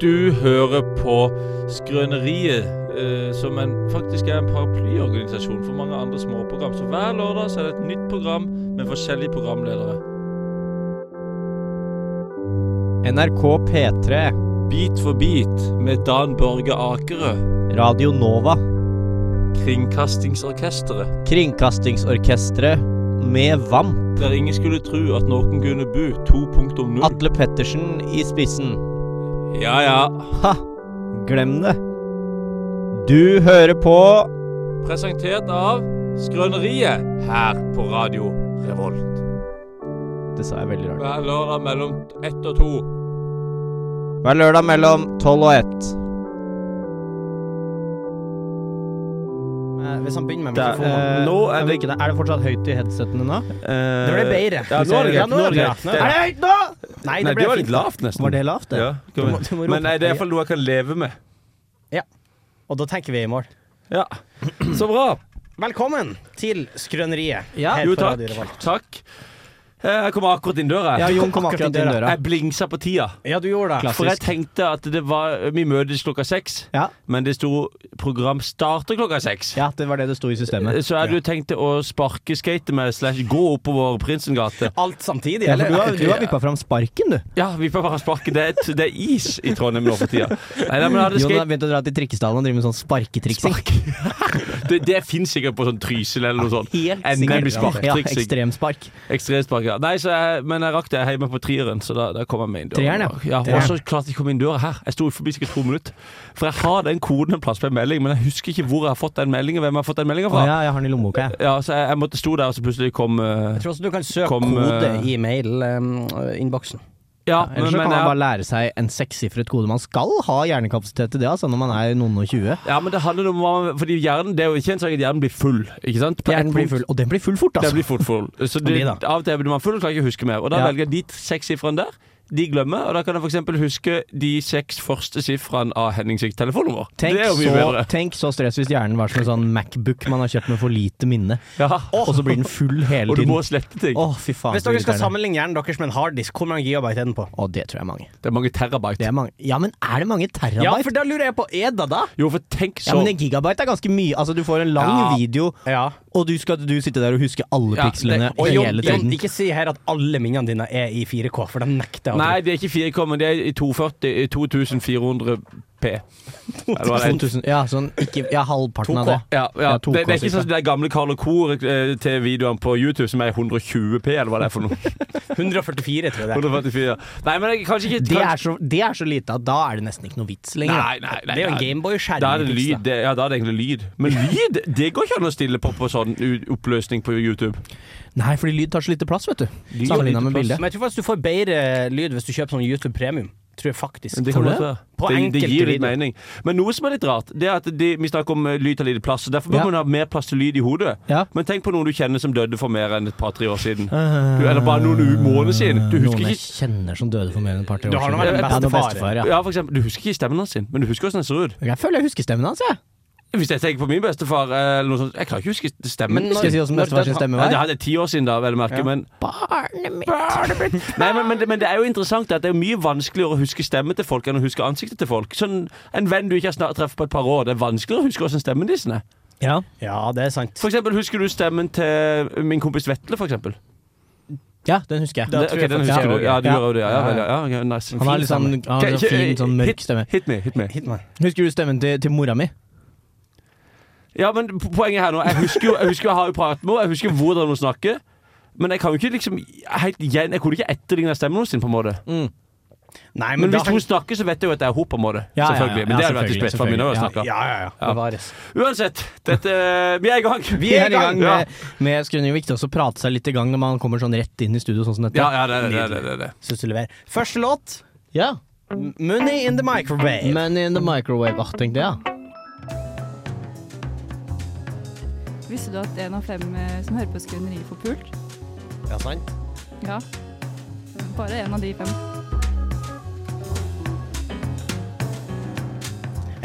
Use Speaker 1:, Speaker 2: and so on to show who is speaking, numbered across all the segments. Speaker 1: Du hører på Skrøneriet, eh, som en, faktisk er en paraplyorganisasjon for mange andre småprogram. Så hver lørdag så er det et nytt program med forskjellige programledere.
Speaker 2: NRK P3,
Speaker 1: Bit for bit med Dan Børge Akerø,
Speaker 2: Radio Nova,
Speaker 1: Kringkastingsorkesteret.
Speaker 2: Kringkastingsorkestret med VAMP,
Speaker 1: Der ingen skulle tru at noen kunne bu 2.0.
Speaker 2: Atle Pettersen i spissen.
Speaker 1: Ja ja.
Speaker 2: Ha! Glem det. Du hører på
Speaker 1: Presentert av Skrøneriet her på Radio Revolt.
Speaker 2: Det sa jeg veldig rart.
Speaker 1: Hver lørdag mellom ett og to.
Speaker 2: Hver lørdag mellom tolv og ett. Hvis han begynner med
Speaker 3: Der, mikrofonen. eh, Nå er jeg vil det-
Speaker 2: Er eh, det fortsatt høyt i headsetene nå?
Speaker 3: Det
Speaker 4: Eh,
Speaker 2: ble bedre.
Speaker 3: Ja, nå er det greit. Nå er det
Speaker 2: Ja,
Speaker 3: greit.
Speaker 2: nå er det greit. Er det høyt nå? Nei,
Speaker 3: Nei,
Speaker 2: det
Speaker 3: det
Speaker 2: ble
Speaker 3: var litt
Speaker 2: fint.
Speaker 3: lavt, nesten.
Speaker 2: Var det lavt, det?
Speaker 3: Ja,
Speaker 2: Du må- du må rope.
Speaker 3: Men nei, det er iallfall noe jeg kan leve med.
Speaker 4: Og da tenker vi i mål.
Speaker 3: Ja. Så bra.
Speaker 4: Velkommen til Skrøneriet.
Speaker 2: Ja.
Speaker 4: her
Speaker 3: Jo,
Speaker 4: på
Speaker 3: takk.
Speaker 4: Radio Revolt.
Speaker 3: Takk. Eh, Jeg kom akkurat inn døra.
Speaker 2: Ja, Jon kom akkurat inn døra.
Speaker 3: Jeg blingsa på tida.
Speaker 4: Ja, du gjorde det.
Speaker 2: Klassisk.
Speaker 3: For jeg tenkte at det var Vi møtes klokka seks,
Speaker 2: Ja.
Speaker 3: men det sto 'program starter klokka seks'.
Speaker 2: ja, det var det det sto i systemet.
Speaker 3: Så jeg hadde jo tenkt å sparkeskate med slash gå oppover Prinsengate.
Speaker 4: Alt samtidig,
Speaker 2: Ja, for
Speaker 4: eller?
Speaker 2: du har, du har vippa fram sparken, du.
Speaker 3: Ja, vi får bare sparke. Det er, et, det er is i Trondheim nå for tida. Nei, nei, men jeg hadde
Speaker 2: Jon har
Speaker 3: skate,
Speaker 2: begynt å dra til trikkestallen og drive med sånn sparketriksing.
Speaker 3: det det fins sikkert på sånn Trysil eller noe sånt.
Speaker 2: Helt
Speaker 3: Endelig
Speaker 2: Ja,
Speaker 3: sparktriksing.
Speaker 2: ekstremspark.
Speaker 3: Ekstremspark, ja. Nei, så jeg, men jeg rakk det hjemme på trieren, så da, da kom jeg meg inn døra.
Speaker 2: Treeren, ja.
Speaker 3: ja. Og så klarte jeg å komme inn døra her. Jeg sto forbi sikkert to minutter. For jeg har den koden en plass på en melding, men jeg husker ikke hvor jeg har fått den meldingen, hvem jeg har fått den meldingen
Speaker 2: Å
Speaker 3: fra.
Speaker 2: ja, jeg har den i lommeboka, jeg.
Speaker 3: Ja, så jeg, jeg måtte sto der, og så plutselig kom eh,
Speaker 4: Jeg tror også du kan søke
Speaker 3: Kom,
Speaker 4: kode
Speaker 3: eh,
Speaker 4: i mail-innboksen.
Speaker 3: Ja, men,
Speaker 2: Ellers så
Speaker 3: men,
Speaker 2: kan man
Speaker 3: jeg,
Speaker 2: bare lære seg en sekssifret kode. Man skal ha hjernekapasitet til det, altså, når man er noen og tjue.
Speaker 3: ja, men det handler om hva man Fordi hjernen, det er jo kjent sak at hjernen blir full, ikke sant? På et
Speaker 2: Hjernen blir
Speaker 3: punkt-
Speaker 2: full. Og den blir full fort,
Speaker 3: Den
Speaker 2: altså.
Speaker 3: blir fort full. Så
Speaker 2: blir
Speaker 3: det,
Speaker 2: det.
Speaker 3: av og til blir man full og klarer ikke å huske mer. Og da
Speaker 2: Ja.
Speaker 3: velger jeg de seks sifrene der. De glemmer, og da kan jeg f.eks. huske de seks første sifrene av Henning sitt telefonnummer.
Speaker 2: Tenk
Speaker 3: det er jo mye
Speaker 2: så,
Speaker 3: bedre.
Speaker 2: tenk så stress hvis hjernen var som en sånn Macbook man har kjøpt med for lite minne,
Speaker 3: Ja.
Speaker 2: og så blir den full hele
Speaker 3: Og du
Speaker 2: tiden.
Speaker 3: må
Speaker 2: Å,
Speaker 3: slette ting.
Speaker 2: fy faen.
Speaker 4: Hvis
Speaker 2: så
Speaker 4: dere skal
Speaker 2: irriterende.
Speaker 4: sammenligne hjernen deres med en harddisk, hvor mange gigabyte er den på?
Speaker 2: Å, det tror jeg er mange.
Speaker 3: Det er mange terabyte.
Speaker 2: Det er mange. Ja, men er det mange terabyte?
Speaker 4: Ja, for da lurer jeg på Er det da?
Speaker 3: Jo, for tenk
Speaker 2: Ja,
Speaker 3: så
Speaker 2: men en gigabyte er ganske mye. Altså, du får en lang
Speaker 3: Ja.
Speaker 2: video,
Speaker 4: Ja.
Speaker 2: og du skal du sitte der og huske alle
Speaker 3: Ja, det-
Speaker 2: pikslene
Speaker 4: Og Jon,
Speaker 2: hele
Speaker 4: Jon,
Speaker 2: tiden.
Speaker 4: ikke si her at alle minnene dine er i 4K, for de nekter jeg å
Speaker 3: Nei, det er ikke 4K, men det er i 240 i 2400 P. Eller hva det er.
Speaker 2: 2000, ja, sånn ikke Ja, halvparten av det.
Speaker 4: 2K.
Speaker 3: Ja, ja.
Speaker 2: Ja,
Speaker 3: Det,
Speaker 2: 2K,
Speaker 3: det er ikke
Speaker 2: cirka.
Speaker 3: sånn som de gamle Karl og Kor eh, til videoene på YouTube som er i 120 P, eller hva det er for noe.
Speaker 4: tro. 144, tror jeg det er.
Speaker 3: 144. Nei, men jeg, kanskje ikke
Speaker 2: Det
Speaker 3: kanskje-
Speaker 2: er, så, det er så lite at da er det nesten ikke noe vits lenger.
Speaker 3: Nei, nei, nei.
Speaker 4: Det er jo en
Speaker 3: nei.
Speaker 4: Gameboy-skjerm.
Speaker 3: Da er det
Speaker 4: i
Speaker 3: lyd.
Speaker 4: pixler.
Speaker 3: Det, ja, da er det egentlig lyd. Men lyd, det går ikke an å stille på på sånn u- oppløsning på YouTube.
Speaker 2: Nei, fordi lyd tar så lite plass, vet du.
Speaker 3: Lyd tar lite
Speaker 2: Sammenligna med
Speaker 3: plass.
Speaker 2: bildet.
Speaker 4: Men jeg tror faktisk du får bedre lyd hvis du kjøper sånn YouTube Premium. Tror jeg faktisk.
Speaker 3: Det, kan
Speaker 2: Tror du
Speaker 3: godt
Speaker 2: det?
Speaker 3: være.
Speaker 4: På
Speaker 3: det, det
Speaker 4: enkelte
Speaker 3: gir litt
Speaker 4: videoer.
Speaker 3: mening. Men noe som er litt rart, det er at de, vi snakker om eh, lyd tar lite plass. Så derfor bør
Speaker 2: Ja.
Speaker 3: man ha mer plass til lyd i hodet.
Speaker 2: Ja.
Speaker 3: Men tenk på noen du kjenner som døde for mer enn et par-tre år siden. Du, eller bare noen u- måneder siden. Du husker
Speaker 2: Eh, Noen jeg
Speaker 3: ikke
Speaker 2: kjenner som døde for mer enn et par-tre år
Speaker 4: Du har nå vært
Speaker 2: Ja, noen
Speaker 4: bestefar.
Speaker 2: bestefar, ja.
Speaker 3: ja, for eksempel, Du husker ikke stemmen hans, sin, men du husker hvordan han ser ut.
Speaker 2: Jeg føler jeg husker stemmen hans, jeg.
Speaker 3: Hvis jeg tenker på min bestefar eh, eller noe sånt, Jeg klarer ikke å huske stemmen.
Speaker 4: Men når-
Speaker 2: Skal jeg si hvordan
Speaker 4: når
Speaker 2: bestefar
Speaker 4: den
Speaker 2: sin
Speaker 4: ha-
Speaker 3: Ja,
Speaker 2: stemme
Speaker 3: det
Speaker 2: var?
Speaker 3: hadde jeg ti år siden, da, vel å merke.
Speaker 4: Ja.
Speaker 3: Men
Speaker 2: Barnet mitt.
Speaker 3: Nei, men, men, det- men det er jo interessant at det er mye vanskeligere å huske stemmen til folk enn å huske ansiktet til folk. Sånn, En venn du ikke har snar- truffet på et par år, det er vanskeligere å huske hvordan stemmen deres er.
Speaker 2: Ja.
Speaker 4: Ja, det er sant.
Speaker 3: For eksempel, husker du stemmen til min kompis Vetle, for eksempel?
Speaker 2: ja, den husker jeg.
Speaker 4: Da
Speaker 3: Det-
Speaker 4: tror
Speaker 3: ok,
Speaker 4: jeg
Speaker 3: den
Speaker 4: faktisk
Speaker 3: husker
Speaker 4: jeg
Speaker 3: du. Ja,
Speaker 2: også.
Speaker 3: du
Speaker 2: Ja.
Speaker 3: gjør jo det. Ja, vel, ja, ja, ok, nice.
Speaker 2: Han har litt sånn, han har litt sånn fin, sånn mørk stemme.
Speaker 3: Hit, hit me, hit me.
Speaker 4: Hit meg.
Speaker 2: Husker du stemmen til, til mora mi?
Speaker 3: Ja, men po- poenget her nå, jeg husker jo, jeg husker jeg har jo pratet med henne, jeg husker hvordan hun snakker. Men jeg kan jo ikke liksom helt igjen, jeg kunne ikke etterligne stemmen hennes, på en måte.
Speaker 2: Mm,
Speaker 4: Nei, men,
Speaker 3: Men
Speaker 4: da
Speaker 3: hvis hun snakker, så vet jeg jo at det er hun, på en måte.
Speaker 2: Ja, ja, ja.
Speaker 3: Selvfølgelig. Men
Speaker 2: Ja,
Speaker 3: det hadde vært litt
Speaker 2: selvfølgelig,
Speaker 3: spesielt for meg når jeg
Speaker 2: selvfølgelig.
Speaker 3: snakker.
Speaker 4: Ja, ja, ja. Bevares.
Speaker 3: Uansett, dette, vi er i gang.
Speaker 2: Vi er i gang
Speaker 3: Ja,
Speaker 2: med, med Skrønning. Viktig også å prate seg litt i gang når man kommer sånn rett inn i studio, sånn som dette.
Speaker 3: ja, ja det, er det, det, er det, det, er det.
Speaker 4: Syns du leverer. Første låt,
Speaker 2: Ja.
Speaker 4: M- 'Money in the Microwave'.
Speaker 2: Money in the microwave. Ah, tenk det, ja.
Speaker 5: Visste du at en av fem eh, som hører på Skrøneriet, får pult?
Speaker 4: Ja, sant?
Speaker 5: Ja. Bare en av de fem.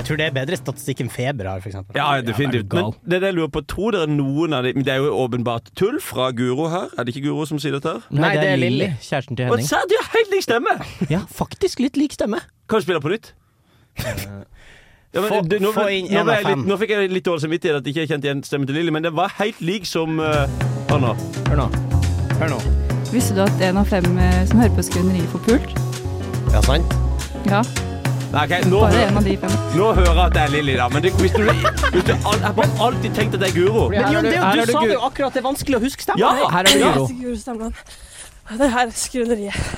Speaker 4: Jeg tror det er bedre statistikk enn feber har, for eksempel.
Speaker 3: Ja, definitivt.
Speaker 2: Ja, er du
Speaker 3: Men
Speaker 2: gal?
Speaker 3: det er det jeg lurer på, tror dere noen av de Men det er jo åpenbart tull fra Guro her. Er det ikke Guro som sier dette her?
Speaker 2: Nei, det er
Speaker 4: Lilly.
Speaker 2: Lilly, kjæresten til
Speaker 3: Og
Speaker 2: Henning.
Speaker 3: se, de har helt lik stemme!
Speaker 2: Ja, faktisk litt lik stemme.
Speaker 3: Kan vi spille på nytt?
Speaker 2: Eh,
Speaker 3: Ja, men
Speaker 4: Få-
Speaker 3: det- nå,
Speaker 4: få inn
Speaker 3: nå,
Speaker 4: en
Speaker 3: ble
Speaker 4: av
Speaker 3: jeg litt,
Speaker 4: fem.
Speaker 3: nå fikk jeg litt dårlig samvittighet at jeg ikke kjente igjen stemmen til Lilly, men den var helt lik som eh, Anna.
Speaker 2: Hør nå. Hør nå.
Speaker 5: Visste du at en av fem eh, som hører på Skrøneriet, får pult?
Speaker 2: Ja, sant?
Speaker 5: Ja,
Speaker 3: Nei, ok, nå,
Speaker 5: bare en av de fem.
Speaker 3: nå hører jeg at det er Lilly, da. Men det, hvis du, hvis du, al- jeg har alltid tenkt at det er Guro.
Speaker 2: Men Jon, det- du sa det jo
Speaker 4: akkurat det er vanskelig å huske
Speaker 3: Ja, her er det
Speaker 6: Ja.
Speaker 3: Guro.
Speaker 6: Det her er skrøneriet.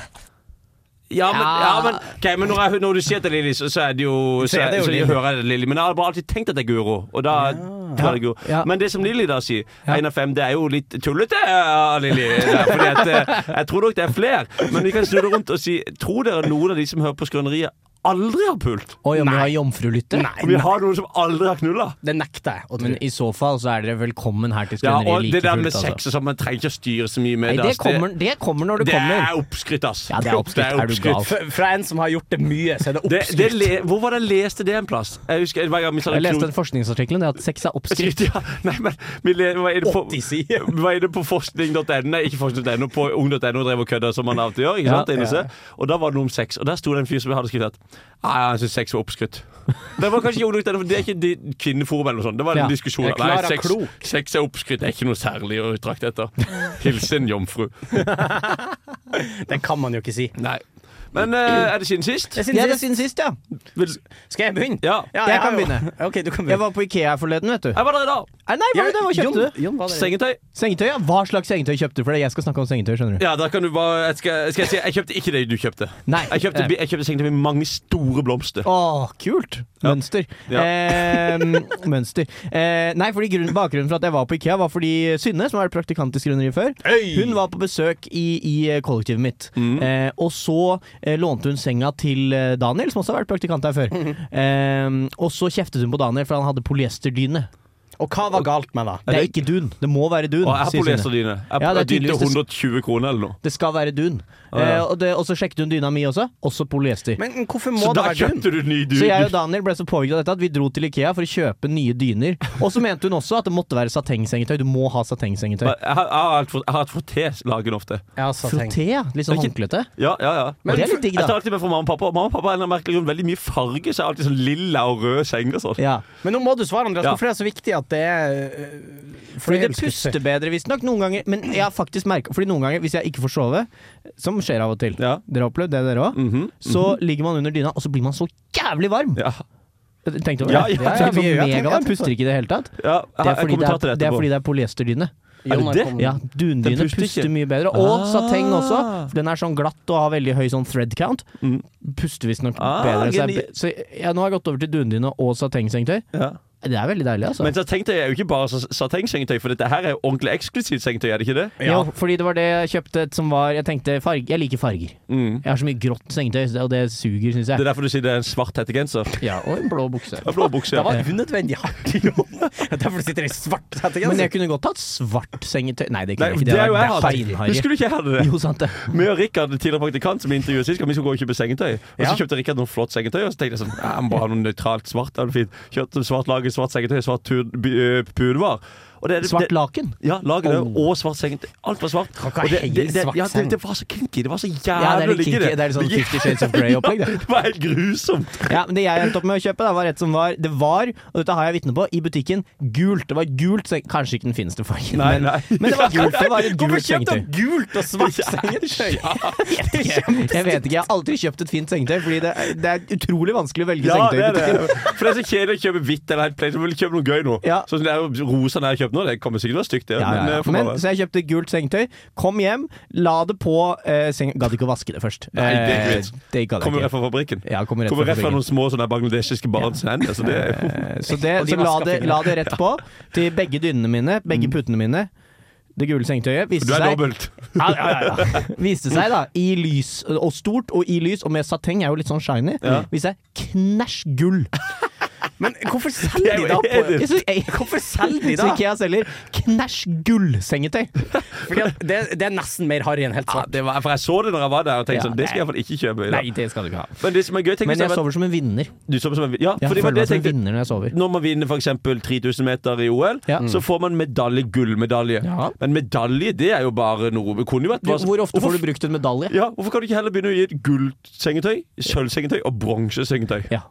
Speaker 3: Ja, men, ja, men, ok, men når, jeg, når du sier at det er Lilly, så, så er det jo Så,
Speaker 2: er det jo
Speaker 3: så jeg
Speaker 2: Lilly.
Speaker 3: hører jeg det er Lilly. Men jeg har bare alltid tenkt at det er Guro. Og da da er det Guro.
Speaker 2: Ja.
Speaker 3: Men det som Lilly da sier,
Speaker 2: Ja.
Speaker 3: én av fem, det er jo litt tullete av Lilly. der, Fordi at eh, jeg tror nok det er flere. Men vi kan snu det rundt og si Tror dere noen av de som hører på Skrøneriet, aldri har pult?
Speaker 2: Oi, om vi har jomfrulytter?
Speaker 4: Nei,
Speaker 3: Og vi har noen som aldri har knulla?
Speaker 4: det nekter jeg å tro.
Speaker 2: Men i så fall så er dere velkommen her til
Speaker 3: Ja,
Speaker 2: Skrøneriet
Speaker 3: og det
Speaker 2: like
Speaker 3: der med
Speaker 2: fullt,
Speaker 3: sex
Speaker 2: altså.
Speaker 3: og sånn, man trenger ikke å styre så mye med
Speaker 2: Nei,
Speaker 3: det.
Speaker 2: det
Speaker 3: ass.
Speaker 2: kommer, det kommer når det
Speaker 3: det
Speaker 2: kommer.
Speaker 3: er oppskrytt, ass.
Speaker 2: Ja, det er oppskrytt. Er du gal?
Speaker 4: Fra, fra en som har gjort det mye, så er det
Speaker 3: Det,
Speaker 4: oppskrytt.
Speaker 3: det le Hvor var det jeg leste det en plass? Jeg husker hver gang vi sa
Speaker 2: Jeg leste en forskningsartikkel om det at sex er oppskrytt.
Speaker 3: Skritt, ja. Nei, men vi le var inne på,
Speaker 4: 80 sider.
Speaker 3: var inne på forskning.no, nei, ikke forskning.no, på ung.no drev og kødda som man alltid gjør. ikke
Speaker 2: Ja,
Speaker 3: sant? Inne og se. Og da var det noe om sex, og der sto det en fyr som hadde skrevet at «Nei, han syntes sex var oppskrytt. Det var kanskje ikke ung.no, for det er ikke de kvinneforum eller noe sånt. Det var en
Speaker 2: Ja.
Speaker 3: diskusjon.
Speaker 4: Det er Clara
Speaker 3: sex,
Speaker 4: Klok.
Speaker 3: sex er oppskrytt, det er ikke noe særlig å trakte etter. Hilsen jomfru.
Speaker 4: Det kan man jo ikke si.
Speaker 3: Nei. Men eh, er det siden sist?
Speaker 4: Det er siden
Speaker 2: Ja, det er
Speaker 4: sist.
Speaker 2: siden sist, ja.
Speaker 3: Vil-
Speaker 4: Skal jeg begynne?
Speaker 3: Ja.
Speaker 2: Jeg
Speaker 4: har
Speaker 2: kan
Speaker 4: jo-
Speaker 2: begynne.
Speaker 4: Ok, du kan
Speaker 2: Jeg
Speaker 4: begynne.
Speaker 2: var på Ikea forleden, vet du.
Speaker 3: Jeg var der i dag.
Speaker 2: Nei, nei, hva, var det, hva kjøpte du?
Speaker 4: Jon, Jon, hva er det?
Speaker 3: Sengetøy.
Speaker 2: Sengetøy, ja. Hva slags sengetøy kjøpte du? For det er jeg skal snakke om sengetøy, skjønner du.
Speaker 3: Ja, da kan du bare jeg skal, skal jeg si Jeg kjøpte ikke det du kjøpte.
Speaker 2: Nei.
Speaker 3: Jeg kjøpte,
Speaker 2: eh,
Speaker 3: jeg kjøpte sengetøy med mange store blomster.
Speaker 2: Å, kult! Mønster.
Speaker 3: Ja.
Speaker 2: Eh, mønster. Eh, nei, fordi grunnen, Bakgrunnen for at jeg var på Ikea, var fordi Synne, som har vært praktikant i Skrøneriet før, hun var på besøk i, i kollektivet mitt.
Speaker 3: Mm.
Speaker 2: Eh, og så eh, lånte hun senga til eh, Daniel, som også har vært praktikant her før.
Speaker 3: Mm.
Speaker 2: eh, og så kjeftet hun på Daniel, for han hadde polyesterdyne.
Speaker 4: Og hva var galt med det?
Speaker 2: Det er ikke dun. Det må være
Speaker 3: Og
Speaker 2: dun.
Speaker 3: jeg har
Speaker 2: sier Synne.
Speaker 3: polyesterdyne. Jeg
Speaker 2: Ja, det er
Speaker 3: jeg dytter
Speaker 2: tydeligvis det-
Speaker 3: 120 kroner eller noe.
Speaker 2: Det skal være dun.
Speaker 3: Å, ja.
Speaker 2: Eh, og, det, og så sjekket hun dyna mi også. Også polyester.
Speaker 4: Men hvorfor må
Speaker 3: Så
Speaker 4: det
Speaker 3: da
Speaker 4: være dun?
Speaker 3: kjøpte du ny du.
Speaker 2: så jeg og Daniel ble så påvirket av dette at vi dro til Ikea for å kjøpe nye dyner. Og så mente hun også at det måtte være satengsengetøy. Du må ha satengsengetøy.
Speaker 3: Jeg har, jeg har, alt for- jeg har et frotté-lagen ofte.
Speaker 4: Ja, så tenk.
Speaker 2: Frotté, ja. Litt sånn
Speaker 3: Det er
Speaker 2: håndklete.
Speaker 3: Ja, ja, ja.
Speaker 2: Men det er litt digg,
Speaker 3: Jeg tar
Speaker 2: da.
Speaker 3: alltid med fra mamma og pappa. Og Mamma og pappa har en eller annen merkelig grunn veldig mye farge, så jeg har alltid sånn lilla og rød seng og sånn.
Speaker 2: Ja.
Speaker 4: Men nå må du svare, Andreas.
Speaker 3: Ja.
Speaker 4: Hvorfor er det så viktig at det er øh,
Speaker 2: Fordi det
Speaker 4: forelskelse?
Speaker 2: puster bedre, visstnok. Noen ganger Men jeg har faktisk merket Fordi noen ganger, hvis jeg ikke får sove, som skjer av og til
Speaker 3: Ja.
Speaker 2: Dere har opplevd det, dere òg.
Speaker 3: Mhm.
Speaker 2: Så ligger man under dyna, og så blir man så jævlig varm!
Speaker 3: ja.
Speaker 2: Tenk over det.
Speaker 3: Ja, ja, ja,
Speaker 2: Sånn
Speaker 4: vi- jeg
Speaker 2: megavarm,
Speaker 4: tenker- jeg tenker-
Speaker 2: puster ikke i det hele tatt.
Speaker 3: ja. Jeg
Speaker 2: Det
Speaker 3: har
Speaker 2: er fordi det
Speaker 3: kommentar til
Speaker 2: er,
Speaker 3: det
Speaker 2: det er,
Speaker 3: etterpå.
Speaker 2: fordi det er polyesterdyne.
Speaker 4: Jon har
Speaker 3: det?
Speaker 4: kommet-
Speaker 2: Ja,
Speaker 3: Mm. Den
Speaker 2: dundyne
Speaker 3: puster
Speaker 2: puster
Speaker 3: ikke. Ah.
Speaker 2: mye bedre. Og sateng også. For den er sånn glatt og har veldig høy sånn thread count.
Speaker 3: Mm.
Speaker 2: Puster visstnok
Speaker 3: Ah,
Speaker 2: bedre. Så,
Speaker 3: geni-
Speaker 2: jeg, så ja, nå har jeg gått over til dundyne og satengsengetøy.
Speaker 3: Ja.
Speaker 2: Det er veldig deilig, altså.
Speaker 3: Men satengtøy er jo ikke bare sa- satengsengetøy, for dette her er jo ordentlig eksklusivt sengetøy, er det ikke det?
Speaker 2: Jo, fordi det var det jeg kjøpte et som var Jeg tenkte farge Jeg liker farger.
Speaker 3: Mm.
Speaker 2: Jeg har så mye grått sengetøy, så det- og det suger, syns
Speaker 3: Det er
Speaker 2: jeg.
Speaker 3: derfor du sier det er en svart hettegenser.
Speaker 2: Ja, og en blå bukse.
Speaker 3: Og blå bukse.
Speaker 4: Det var unødvendig hardt, Jon. Derfor sitter jeg i svart
Speaker 2: Men jeg
Speaker 4: hettegenser.
Speaker 2: kunne godt hatt svart sengetøy. Nei, det
Speaker 3: Nei,
Speaker 2: kunne jeg ikke.
Speaker 3: det er jo
Speaker 2: var
Speaker 3: jeg hatt.
Speaker 2: beinharry.
Speaker 3: Husker du ikke jeg hadde det?
Speaker 2: Jo, sant det.
Speaker 3: Vi og Rikard, tidligere praktikant, som vi intervjuet sist, og vi skulle gå og kjøpe sengetøy. Og så kjøpte Rikard noe flott sengetøy, og så tenkte jeg sånn "Ja, Jeg må bare ha noe nøytralt svart. Det er fint. Kjøpte svart lager, svart sengetøy, svart tur- by- ø, pulvar. Og det er-
Speaker 2: Svart Oh.
Speaker 3: det-
Speaker 2: laken.
Speaker 3: Ja, lager det, og svart sengetøy. Alt var svart.
Speaker 4: Kan ikke
Speaker 3: Og
Speaker 4: ha
Speaker 3: det, det,
Speaker 4: helt
Speaker 3: det,
Speaker 4: svart
Speaker 3: ja, det,
Speaker 4: seng.
Speaker 3: det var så kinky. Det var så
Speaker 2: Ja, det er
Speaker 3: jævlig å
Speaker 2: litt
Speaker 3: ligge i
Speaker 2: kinky.
Speaker 3: det.
Speaker 2: Det er litt sånn Fifty Shades of Grey-opplegg, det.
Speaker 3: Ja, det var helt grusomt.
Speaker 2: Ja, men Det jeg endte opp med å kjøpe, da, var et som var Det var, og dette har jeg vitne på, i butikken gult. Det var gult, så kanskje ikke den fineste fargen,
Speaker 3: Nei,
Speaker 2: men,
Speaker 3: nei.
Speaker 2: men det var gult. Det var et
Speaker 4: Hvorfor
Speaker 2: gult
Speaker 4: kjøpte
Speaker 2: sengetøy.
Speaker 4: du gult og svart sengetøy?
Speaker 2: Jeg vet ikke, jeg har aldri kjøpt et fint sengetøy, fordi det er, det er utrolig vanskelig å velge
Speaker 3: Ja,
Speaker 2: sengetøy
Speaker 3: det
Speaker 2: i
Speaker 3: er
Speaker 2: butikken.
Speaker 3: det. For det er så kjedelig å kjøpe hvitt eller helt plain. Så vil du kjøpe noe gøy nå.
Speaker 2: Ja.
Speaker 3: Sånn som det er rosa jeg har kjøpt nå. Det kommer sikkert til å være stygt, det.
Speaker 2: Ja, ja,
Speaker 3: men,
Speaker 2: ja.
Speaker 3: eh, for
Speaker 2: Men,
Speaker 3: bare-
Speaker 2: så jeg kjøpte gult sengetøy, kom hjem, la det på eh, senga Gadd ikke å vaske det først.
Speaker 3: Nei, det er
Speaker 2: Eh,
Speaker 3: greit.
Speaker 2: det gadd
Speaker 3: Kommer
Speaker 2: jeg
Speaker 3: rett
Speaker 2: ikke.
Speaker 3: fra fabrikken.
Speaker 2: Ja, kommer rett
Speaker 3: Kommer
Speaker 2: fra
Speaker 3: rett fra
Speaker 2: fabrikken.
Speaker 3: noen små sånne bangladeshiske barns hender. Så det er jo
Speaker 2: Eh, Så, det,
Speaker 4: Og de
Speaker 2: så la,
Speaker 4: vasker
Speaker 2: det,
Speaker 4: fingrene.
Speaker 2: la det rett på til begge dynene mine, begge putene mine. Det gule sengetøyet viste
Speaker 3: Mm. Du er
Speaker 2: seg
Speaker 3: dobbelt.
Speaker 2: Ja, ja, ja, ja. Viste seg da, i lys, og stort og i lys, og med sateng er jo litt sånn shiny,
Speaker 3: Ja.
Speaker 2: viste seg knæsj gull.
Speaker 4: Men hvorfor selger de da på
Speaker 2: Jeg synes, jeg,
Speaker 4: Hvorfor selger de
Speaker 2: så
Speaker 4: da?
Speaker 2: Ikea selger knæsj gullsengetøy.
Speaker 4: Fordi at det, det er nesten mer harry enn helt
Speaker 3: Ja,
Speaker 4: svart.
Speaker 3: det var, for jeg så det når jeg var der, og tenkte
Speaker 2: Ja,
Speaker 3: sånn, det skal jeg i hvert fall ikke kjøpe. i dag.
Speaker 2: det skal du ikke ha.
Speaker 3: Men det som er gøy, tenk hvis
Speaker 2: Men
Speaker 3: det
Speaker 2: jeg
Speaker 3: var-
Speaker 2: sover som en vinner.
Speaker 3: du sover som en Ja, fordi
Speaker 2: Jeg
Speaker 3: det var
Speaker 2: føler
Speaker 3: det
Speaker 2: meg som
Speaker 3: jeg
Speaker 2: en
Speaker 3: tenkte.
Speaker 2: vinner når jeg sover.
Speaker 3: Når man vinner f.eks. 3000 meter i OL,
Speaker 2: Ja.
Speaker 3: så får man medalje, gullmedalje.
Speaker 2: Ja.
Speaker 3: Men medalje, det er jo bare noe Det kunne jo vært
Speaker 2: Du,
Speaker 3: hva som-
Speaker 2: hvor ofte
Speaker 3: Hvorfor-
Speaker 2: får du brukt en medalje?
Speaker 3: ja, Hvorfor kan du ikke heller begynne å gi et gullsengetøy, sølvsengetøy og bronsesengetøy?
Speaker 2: Ja,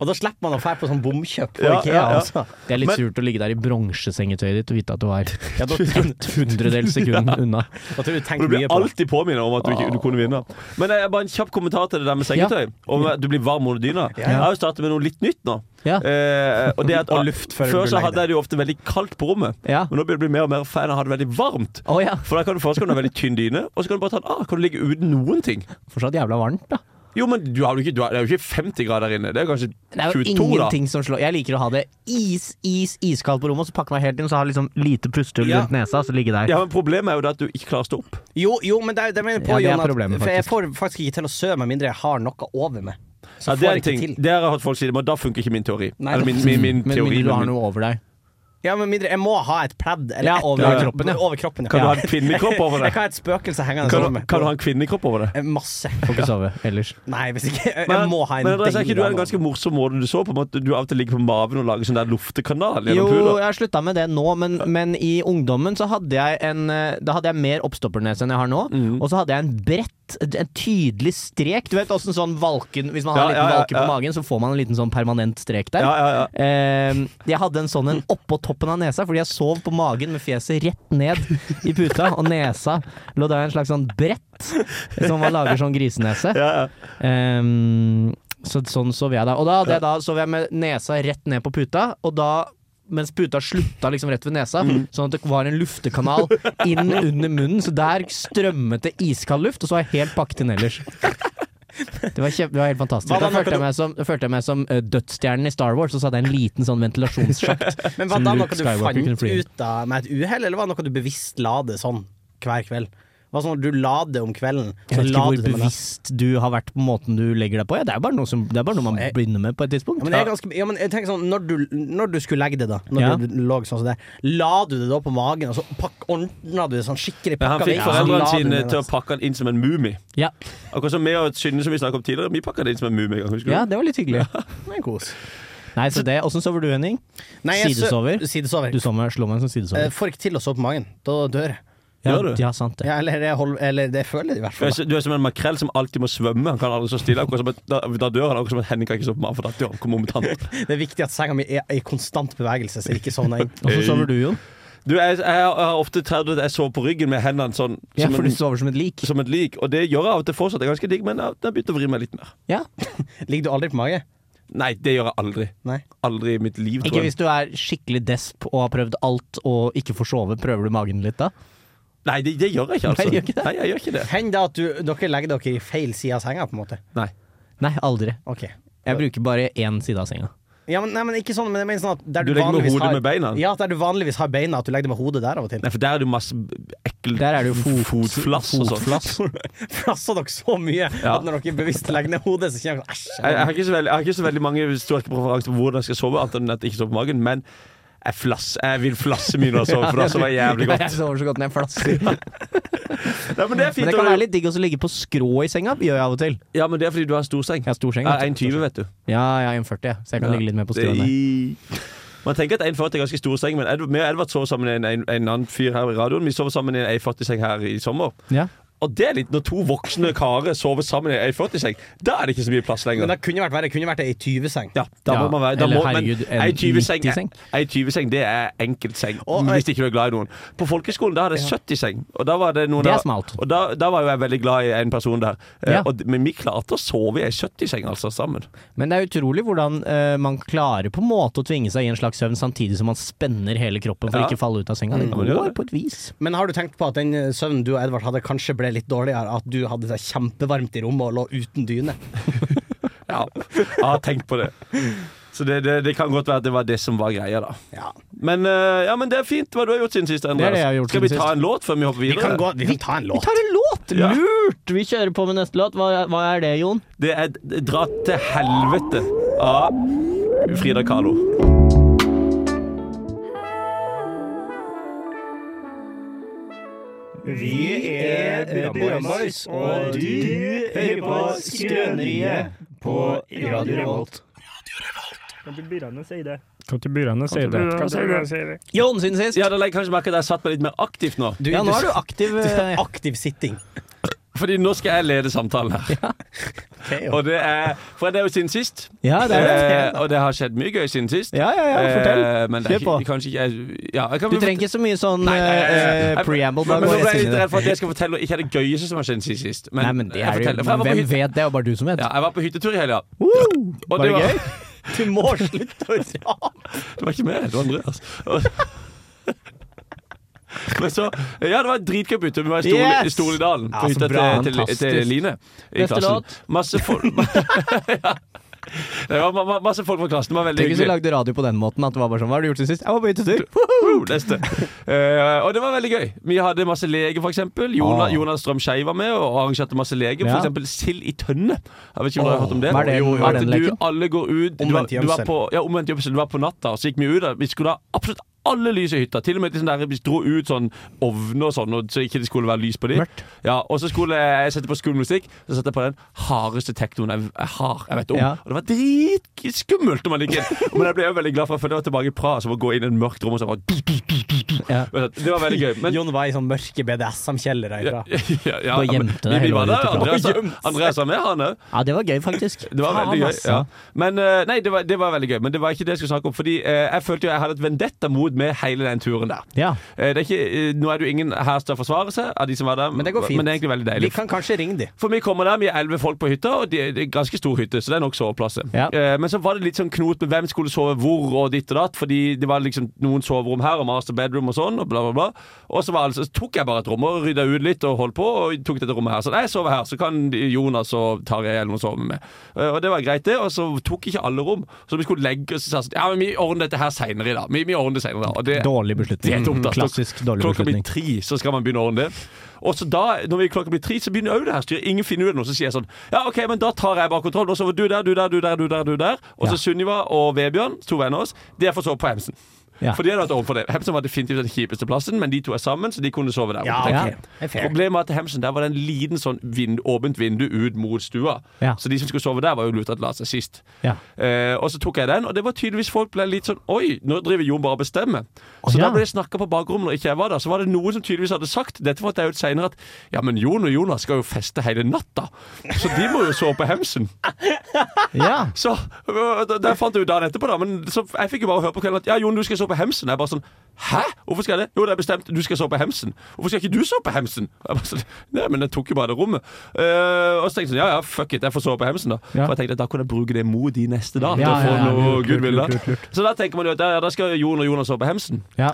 Speaker 4: Og da slipper man å dra på sånn bomkjøp på
Speaker 3: Ja,
Speaker 4: Ikea.
Speaker 3: ja, ja.
Speaker 4: Altså.
Speaker 2: Det er litt
Speaker 3: Men-
Speaker 2: surt å ligge der i bronsesengetøyet ditt og vite at du var
Speaker 4: Ja, da, tenk,
Speaker 2: et hundredels sekund unna.
Speaker 4: da tror jeg du
Speaker 3: Du
Speaker 4: tenker
Speaker 3: blir
Speaker 4: mye på det.
Speaker 3: alltid påminnet om at du, ikke, du kunne vinne. Men eh, bare en kjapp kommentar til det der med sengetøy. Om at du blir varm under dyna. Jeg har jo startet med noe litt nytt nå.
Speaker 2: Ja.
Speaker 3: Eh, og det at,
Speaker 4: Og luft før du
Speaker 3: Før så
Speaker 4: legger
Speaker 3: hadde jeg det jo ofte veldig kaldt på rommet.
Speaker 2: Ja.
Speaker 3: Men nå begynner det å bli mer og mer fan av å ha det veldig varmt.
Speaker 2: Å ja.
Speaker 3: For da kan du først kan du ha veldig tynn dyne, og så kan du bare ta den av. Kan du ligge uten noen ting?
Speaker 2: Fortsatt jævla varmt, da.
Speaker 3: Jo, men du har jo ikke, du har, det er jo ikke 50 grader der inne. Det er jo kanskje
Speaker 2: Det er jo
Speaker 3: 22, da.
Speaker 2: ingenting som slår Jeg liker å ha det is, is, iskaldt på rommet, og så pakke meg helt inn, så har liksom lite pustehull
Speaker 4: Ja.
Speaker 2: rundt nesa, og så ligge der.
Speaker 3: Ja, men Problemet er jo det at du ikke klarer å stå opp.
Speaker 4: Jo, jo, men det, er- det mener jeg
Speaker 2: Ja,
Speaker 4: på,
Speaker 2: det er
Speaker 4: Jon, at-
Speaker 2: problemet,
Speaker 4: For jeg får faktisk ikke til å sove med mindre jeg har noe over meg. Så
Speaker 3: Ja, det er
Speaker 4: får jeg
Speaker 3: en
Speaker 4: ikke
Speaker 3: ting.
Speaker 4: til.
Speaker 3: Det har jeg hørt folk si, men da funker ikke min teori.
Speaker 4: Nei,
Speaker 3: Eller min, min, min
Speaker 2: Men
Speaker 3: teori.
Speaker 2: mindre du har
Speaker 3: men-
Speaker 2: noe over deg.
Speaker 4: Ja, men mindre Jeg må ha et pledd eller
Speaker 2: Ja,
Speaker 4: et-
Speaker 2: over
Speaker 4: ja, ja.
Speaker 2: kroppen, ja.
Speaker 4: Over kroppen, ja.
Speaker 3: Kan du
Speaker 4: Ja.
Speaker 3: ha en kvinnekropp over
Speaker 4: Jeg
Speaker 3: deg?
Speaker 4: kan ha et spøkelse hengende over
Speaker 3: Kan, du-
Speaker 4: meg.
Speaker 3: kan du ha en kvinnekropp over deg?
Speaker 4: Eh, Masse.
Speaker 2: Får ikke sove ellers.
Speaker 4: Nei, hvis ikke Jeg
Speaker 3: Men,
Speaker 4: må ha en
Speaker 3: men Andreas, er ikke
Speaker 4: deilig
Speaker 3: du en
Speaker 4: dame.
Speaker 3: ganske morsom måte du så på? At du av og til ligger på maven og lager sånn der luftekanal
Speaker 2: Jo,
Speaker 3: gjennom pula?
Speaker 2: jeg har slutta med det nå, men, men i ungdommen så hadde jeg en eh, Da hadde jeg mer oppstoppernese enn jeg har nå,
Speaker 3: Mhm.
Speaker 2: og så hadde jeg en bredt, en tydelig strek. Du vet åssen sånn valken Hvis man
Speaker 3: Ja,
Speaker 2: har
Speaker 3: ja,
Speaker 2: en liten
Speaker 3: ja,
Speaker 2: valke på
Speaker 3: ja.
Speaker 2: magen, så får man en liten sånn permanent strek der.
Speaker 3: Ja, ja, ja.
Speaker 2: Eh, jeg hadde en sånn en oppå toppen av nesa, fordi jeg sov på magen med fjeset rett ned i puta, og nesa lå der i en slags sånn brett, som man lager sånn grisenese.
Speaker 3: Ja, ja.
Speaker 2: Ehm, så sånn sov jeg da. Og da, hadde jeg da sov jeg med nesa rett ned på puta, og da mens puta slutta liksom rett ved nesa,
Speaker 4: Mm.
Speaker 2: sånn at det var en luftekanal inn under munnen. Så der strømmet det iskald luft, og så var jeg helt pakket inn ellers. Det var, kjempe, det var helt fantastisk.
Speaker 4: Hva da,
Speaker 2: Da
Speaker 4: noe
Speaker 2: følte
Speaker 4: du-
Speaker 2: jeg meg som, da følte jeg meg som eh, dødsstjernen i Star Wars, og så hadde jeg en liten sånn ventilasjonssjakt.
Speaker 4: Men var
Speaker 2: som
Speaker 4: det
Speaker 2: Luke
Speaker 4: noe du
Speaker 2: Skywalker kunne
Speaker 4: fant
Speaker 2: fly.
Speaker 4: ut av med et uhell, eller var det noe du bevisst la det sånn hver kveld? Var det sånn at du la det om kvelden,
Speaker 2: Jeg
Speaker 4: så
Speaker 2: vet
Speaker 4: la
Speaker 2: ikke hvor
Speaker 4: du det med det?
Speaker 2: bevisst du har vært på måten du legger deg på. Ja, det, er bare noe som, det er bare noe man
Speaker 4: Jeg-
Speaker 2: begynner med på et tidspunkt.
Speaker 4: Ja, men, jeg er ganske, ja, men jeg tenker sånn, når du, når du skulle legge det, da Når
Speaker 2: Ja.
Speaker 4: du lå sånn som det, la du det da på magen, og så pakk, ordna du det sånn skikkelig
Speaker 3: Men han
Speaker 4: pakka
Speaker 3: fikk
Speaker 4: og så
Speaker 3: foreldrene
Speaker 4: la du
Speaker 3: sine
Speaker 4: det
Speaker 3: til å
Speaker 4: ned. altså?
Speaker 3: pakke han inn som en mumie.
Speaker 2: Ja.
Speaker 3: Akkurat som meg og Synne, som vi snakket om tidligere. Vi pakket det inn som en mumie. en gang, husker du?
Speaker 2: ja, det var litt hyggelig.
Speaker 4: Nei, kos.
Speaker 2: Nei, så det, Åssen sover du, Henning?
Speaker 4: Nei, jeg sø-
Speaker 2: Sidesover?
Speaker 4: Sidesover.
Speaker 2: Du sover, slår meg som
Speaker 4: Eh,
Speaker 2: sidesover.
Speaker 4: Får ikke til å sove på magen. Da dør jeg.
Speaker 2: ja,
Speaker 3: gjør du?
Speaker 2: ja, sant det.
Speaker 4: Ja, eller, jeg hold, eller det føler jeg i hvert
Speaker 3: Du er,
Speaker 4: fall.
Speaker 3: så- du er som en makrell som alltid må svømme. Han kan aldri stå stille. Akkurat som at, da, da dør han akkurat som at Henning kan ikke stå på magen, for da dør han momentant.
Speaker 4: Det er viktig at senga mi er i konstant bevegelse, så jeg ikke sovner inn.
Speaker 2: Åssen sover du, Jon?
Speaker 3: Du, jeg, jeg har ofte tredd at jeg sover på ryggen med hendene sånn
Speaker 2: Ja,
Speaker 3: som,
Speaker 2: for du
Speaker 3: en,
Speaker 2: sover som et lik.
Speaker 3: som et lik. Og det gjør jeg av og til fortsatt. Det er ganske digg, men jeg jeg har begynt å vri meg litt mer.
Speaker 2: Ja.
Speaker 4: Ligger du aldri på mage?
Speaker 3: Nei, det gjør jeg aldri.
Speaker 4: Nei.
Speaker 3: Aldri i mitt liv,
Speaker 2: Ikke
Speaker 3: tror jeg.
Speaker 2: hvis du er skikkelig desp og har prøvd alt og ikke får sove. Prøver du magen litt da?
Speaker 3: Nei, det, det gjør jeg ikke, altså.
Speaker 2: Nei, gjør ikke det.
Speaker 3: Nei, jeg gjør ikke det.
Speaker 4: Hender det at du, dere legger dere i feil side av senga, på en måte?
Speaker 3: Nei.
Speaker 2: Nei, aldri.
Speaker 4: Ok.
Speaker 2: Jeg bruker bare én side av senga.
Speaker 4: Ja, men, nei, men ikke sånn, men jeg mener sånn at der
Speaker 3: Du legger med
Speaker 4: vanligvis
Speaker 3: hodet
Speaker 4: har-
Speaker 3: med beina?
Speaker 4: Ja, der du vanligvis har beina, at du legger det med hodet der av og til.
Speaker 3: Nei, for der er det jo masse ekkel
Speaker 2: Der er det jo fot-
Speaker 3: fotflass og sånn.
Speaker 2: fotflass.
Speaker 4: Flasser dere så mye
Speaker 3: Ja.
Speaker 4: at når dere bevisst legger ned hodet, så kjenner dere sånn, æsj.
Speaker 3: Jeg, jeg, har ikke så veldig, jeg har ikke så veldig mange sterke preferanser på hvordan jeg skal sove, annet enn at jeg ikke sover på magen. Men jeg, flass, jeg vil flasse mye når jeg sover, for da sover jeg jævlig
Speaker 2: Jeg
Speaker 3: godt.
Speaker 2: sover så godt når jeg flasser.
Speaker 3: Nei, men det er fint.
Speaker 2: Men det
Speaker 3: å-
Speaker 2: kan være litt digg også å ligge på skrå i senga. Gjør jeg av og til.
Speaker 3: Ja, men det er fordi du har en stor seng.
Speaker 2: Jeg har stor seng.
Speaker 3: Jeg
Speaker 2: vet
Speaker 3: er
Speaker 2: du.
Speaker 3: 1,20, vet du.
Speaker 2: Ja, jeg er 1,40, ja, så jeg kan ligge litt mer på strå. enn deg.
Speaker 3: Det- Man tenker at 1,40 er ganske stor seng, men Edvard, meg og Edvard sover sammen i en, en, en annen fyr her i radioen. Vi sover sammen i en 1,40-seng her i sommer.
Speaker 2: Ja.
Speaker 3: Og det er litt når to voksne karer sover sammen i en 1,40-seng. Da er det ikke så mye plass lenger.
Speaker 4: Men det kunne vært verre. Det kunne vært ei 20-seng.
Speaker 3: Ja, da
Speaker 2: Ja,
Speaker 3: må man være da
Speaker 2: eller
Speaker 3: må, men
Speaker 2: herregud, en
Speaker 3: ei 20-seng,
Speaker 2: 90-seng.
Speaker 3: ei 20-seng, det er enkeltseng.
Speaker 4: Og-
Speaker 3: Hvis ikke du er glad i noen. På folkeskolen da hadde jeg 70-seng. Og da var det noen
Speaker 2: Det er
Speaker 3: der-
Speaker 2: smalt.
Speaker 3: Og da, da var jo jeg veldig glad i en person der. Eh,
Speaker 2: Ja.
Speaker 3: Og, men vi klarte å sove i ei 70-seng altså sammen.
Speaker 2: Men det er utrolig hvordan eh, man klarer på en måte å tvinge seg i en slags søvn samtidig som man spenner hele kroppen for
Speaker 3: Ja. Mm.
Speaker 2: ikke å falle ut av senga. Det
Speaker 3: men det gjør
Speaker 2: går
Speaker 3: det.
Speaker 2: på et vis.
Speaker 4: Men har du tenkt på at den eh, søvnen du og Edvard hadde, kanskje ble litt dårligere? At du hadde det kjempevarmt i rommet og lå uten dyne?
Speaker 3: Ja, jeg har tenkt på det. Så det, det, det kan godt være at det var det som var greia, da.
Speaker 4: Ja.
Speaker 3: Men, eh, ja, men det er fint hva du har gjort siden sist, Andreas.
Speaker 2: Det er det jeg har gjort
Speaker 3: Skal vi
Speaker 2: siden
Speaker 3: ta
Speaker 2: sist.
Speaker 3: en låt før vi hopper
Speaker 4: Vi
Speaker 3: videre?
Speaker 4: kan, gå, vi kan ta en
Speaker 2: Vi
Speaker 4: låt.
Speaker 2: tar en låt!
Speaker 3: Ja.
Speaker 2: Lurt! Vi kjører på med neste låt. Hva, hva er det, Jon?
Speaker 3: Det er d- Dra til helvete. av Frida Kahlo.
Speaker 2: Vi er Brønnboys, og du hører på Skrøneriet på Radio Revolt.
Speaker 7: Kan til byråene si det?
Speaker 8: Kan ikke byråene si det?
Speaker 2: Jon, siden sist.
Speaker 3: Ja, da legger jeg kanskje merke til at jeg satt meg litt mer aktivt nå.
Speaker 4: Du,
Speaker 2: Ja, nå
Speaker 4: du-
Speaker 2: er du aktiv. eh,
Speaker 4: aktiv sitting.
Speaker 3: Fordi nå skal jeg lede samtalen her. Og det er, for det er jo siden sist.
Speaker 2: Ja, det er
Speaker 3: Eh,
Speaker 2: det.
Speaker 3: og det har skjedd mye gøy siden sist.
Speaker 2: Ja, ja, ja,
Speaker 3: Eh,
Speaker 2: fortell.
Speaker 3: men det er
Speaker 2: Kjør på.
Speaker 3: ikke- Kanskje ikke jeg, ja, jeg kan,
Speaker 2: Du trenger ikke så mye sånn
Speaker 3: Nei, nei, nei, nei, nei.
Speaker 2: eh,
Speaker 3: Jeg-
Speaker 2: preamble. Bare
Speaker 3: men
Speaker 2: gå
Speaker 3: nå ble
Speaker 2: rett
Speaker 3: jeg
Speaker 2: inn
Speaker 3: litt
Speaker 2: i det.
Speaker 3: redd for at jeg skal fortelle ikke det gøyeste som har skjedd siden sist.
Speaker 2: Nei, men det
Speaker 3: jeg
Speaker 2: er jo
Speaker 3: forteller, for jeg var på
Speaker 2: Hvem
Speaker 3: hyt-
Speaker 2: vet det? er jo bare du som vet.
Speaker 3: Ja, jeg var på hyttetur i helga. Og
Speaker 2: Var det gøy?
Speaker 4: Du må slutte å rape!
Speaker 3: Det var ikke meg, det var Andreas. Og- Men så, ja, det var et dritgøy bytte. Vi var i Stol,
Speaker 2: Yes!
Speaker 3: i Stoledalen. På
Speaker 2: Ja, så
Speaker 3: hytta
Speaker 2: bra.
Speaker 3: til, til, til
Speaker 2: Fantastisk.
Speaker 3: Line. i
Speaker 2: Beste
Speaker 3: klassen.
Speaker 2: låt.
Speaker 3: Masse folk Ja. Det var ma- ma- masse folk fra klassen. Det var veldig
Speaker 2: Tenk hvis vi
Speaker 3: hyggelig.
Speaker 2: lagde radio på den måten. At det var bare sånn, Hva har du gjort siden sist? Jeg var på hyttetur.
Speaker 3: Woo, neste. Eh, og det var veldig gøy. Vi hadde masse lege, for eksempel. Jonas,
Speaker 2: Ah.
Speaker 3: Jonas Strøm Skei var med og arrangerte masse lege. For
Speaker 2: Ja.
Speaker 3: eksempel sild i tønne. Jeg vet ikke om dere har hørt om det?
Speaker 2: Hva er det-
Speaker 3: Jo, jo,
Speaker 2: hva er
Speaker 3: at
Speaker 2: den
Speaker 3: du,
Speaker 2: leken?
Speaker 3: alle går ut du var,
Speaker 4: Omvendt
Speaker 3: du var
Speaker 4: gjemsel.
Speaker 3: på, ja, Omvendt gjemsel. Du var på natta, og så gikk vi ut. da. Vi skulle ha absolutt alle lys i hytta. Til og med de sånn der, vi dro ut sånn ovner og sånn, og så ikke det skulle være lys på dem.
Speaker 2: Mørkt.
Speaker 3: Ja, og så skulle jeg sette på skummel musikk. Så satte jeg på den hardeste teknoen jeg, jeg har jeg vet om.
Speaker 2: Ja.
Speaker 3: Og det var dritskummelt når man gikk inn. Men jeg ble jo veldig glad for for det var tilbake i Praha, som å gå inn i et mørkt rom og så bare du, du, du, du, du.
Speaker 2: Ja.
Speaker 3: Men Det var veldig gøy. Men
Speaker 4: Jon var i sånn mørke BDSM-kjellere
Speaker 3: ja,
Speaker 4: ifra.
Speaker 3: ja, ja,
Speaker 2: Bare gjemte
Speaker 3: men
Speaker 2: deg
Speaker 3: vi- vi
Speaker 2: hele
Speaker 3: var
Speaker 2: veien
Speaker 3: der.
Speaker 2: ut
Speaker 3: Andreas,
Speaker 2: ifra.
Speaker 3: Andreas var med, han òg.
Speaker 2: Ja, det var gøy, faktisk.
Speaker 3: Det var
Speaker 2: Faen, altså.
Speaker 3: veldig gøy.
Speaker 2: ass.
Speaker 3: Ja. Men eh, nei, det var, det var veldig gøy. Men det var ikke det jeg skulle snakke om. Fordi eh, jeg følte jo jeg hadde et vendetta mot med hele den turen der.
Speaker 2: Ja.
Speaker 3: Eh, det er ikke, eh, nå er det jo ingen her til å forsvare seg av de som var der,
Speaker 4: Men det går fint.
Speaker 3: Men det er egentlig veldig deilig.
Speaker 4: Vi kan kanskje ringe de.
Speaker 3: For vi kommer der, vi er elleve folk på hytta, og det det er en ganske stor hytte, så det er nok soveplasser.
Speaker 2: Ja.
Speaker 3: Eh, men så var det litt sånn knot med hvem skulle sove hvor, og ditt og datt, fordi det var liksom noen soverom her, og master bedroom og sånn, og bla, bla, bla. Og så, var, det- altså, så tok jeg bare et rom og rydda ut litt og holdt på, og tok dette rommet her. Så nei, jeg sover her, så kan Jonas og Tarjei eller noen sove med meg. Eh, og det var greit, det. Og så tok ikke alle rom, så vi skulle legge oss og sa sånn Ja, men vi ordner dette her seinere i dag. Vi, vi ordner det seinere i dag. Og det,
Speaker 2: Dårlig
Speaker 3: det er
Speaker 2: beslutning.
Speaker 3: dumt, ass.
Speaker 2: Klassisk dårlig
Speaker 3: klokka blir
Speaker 2: beslutning.
Speaker 3: tre, så skal man begynne å ordne det. Og så da, når vi klokka blir tre, så begynner òg det her styret. Ingen finner ut av noe. Så sier jeg sånn Ja, OK, men da tar jeg bare kontroll. Og så var du der, du der, du der, du der. du der Og så Sunniva og Vebjørn, to venner av oss, de får sove på Hemsen.
Speaker 2: Ja.
Speaker 3: For de hadde vært ovenfor det. Hemsen var definitivt den kjipeste plassen, men de to er sammen, så de kunne sove der.
Speaker 4: Ja,
Speaker 3: tenker
Speaker 2: ok.
Speaker 3: jeg.
Speaker 4: Det er fair.
Speaker 3: Problemet er at Hemsen der var det en liten sånn vind, åpent vindu ut mot stua.
Speaker 2: Ja.
Speaker 3: Så de som skulle sove der, var jo lurt til å la seg sist.
Speaker 2: Ja.
Speaker 3: Eh, og så tok jeg den, og det var tydeligvis folk ble litt sånn Oi, nå driver Jon bare og bestemmer. Så
Speaker 2: Å, ja.
Speaker 3: Altså, da ble det snakka på bakrommet når ikke jeg var der. Så var det noen som tydeligvis hadde sagt dette fant jeg ut senere at ja, men Jon og Jonas skal jo feste hele natta, så de må jo sove på Hemsen.
Speaker 2: Ja.
Speaker 3: Så øh, da- Der fant jeg ut dagen etterpå, da. Men så, jeg fikk jo bare høre på kvelden at ja, Jon, du skal sove på Hemsen. Jeg bare sånn Hæ? Hvorfor skal jeg det? Jo, det er bestemt. Du skal sove på Hemsen. Hvorfor skal ikke du sove på Hemsen? Jeg bare sånn, Nei, men jeg tok jo bare det rommet. Eh, og så tenkte jeg sånn Ja ja, fuck it, jeg får sove på Hemsen, da.
Speaker 2: Ja.
Speaker 3: For jeg tenkte at da kunne jeg bruke det mot de neste dag.
Speaker 2: Ja,
Speaker 3: Ja,
Speaker 2: ja, ja,
Speaker 3: noe
Speaker 2: lurt,
Speaker 3: Gud
Speaker 2: lurt,
Speaker 3: vil, da.
Speaker 2: lurt, lurt, lurt.
Speaker 3: Så da tenker man jo at ja, ja, da skal Jon og Jonas sove på Hemsen.
Speaker 2: Ja.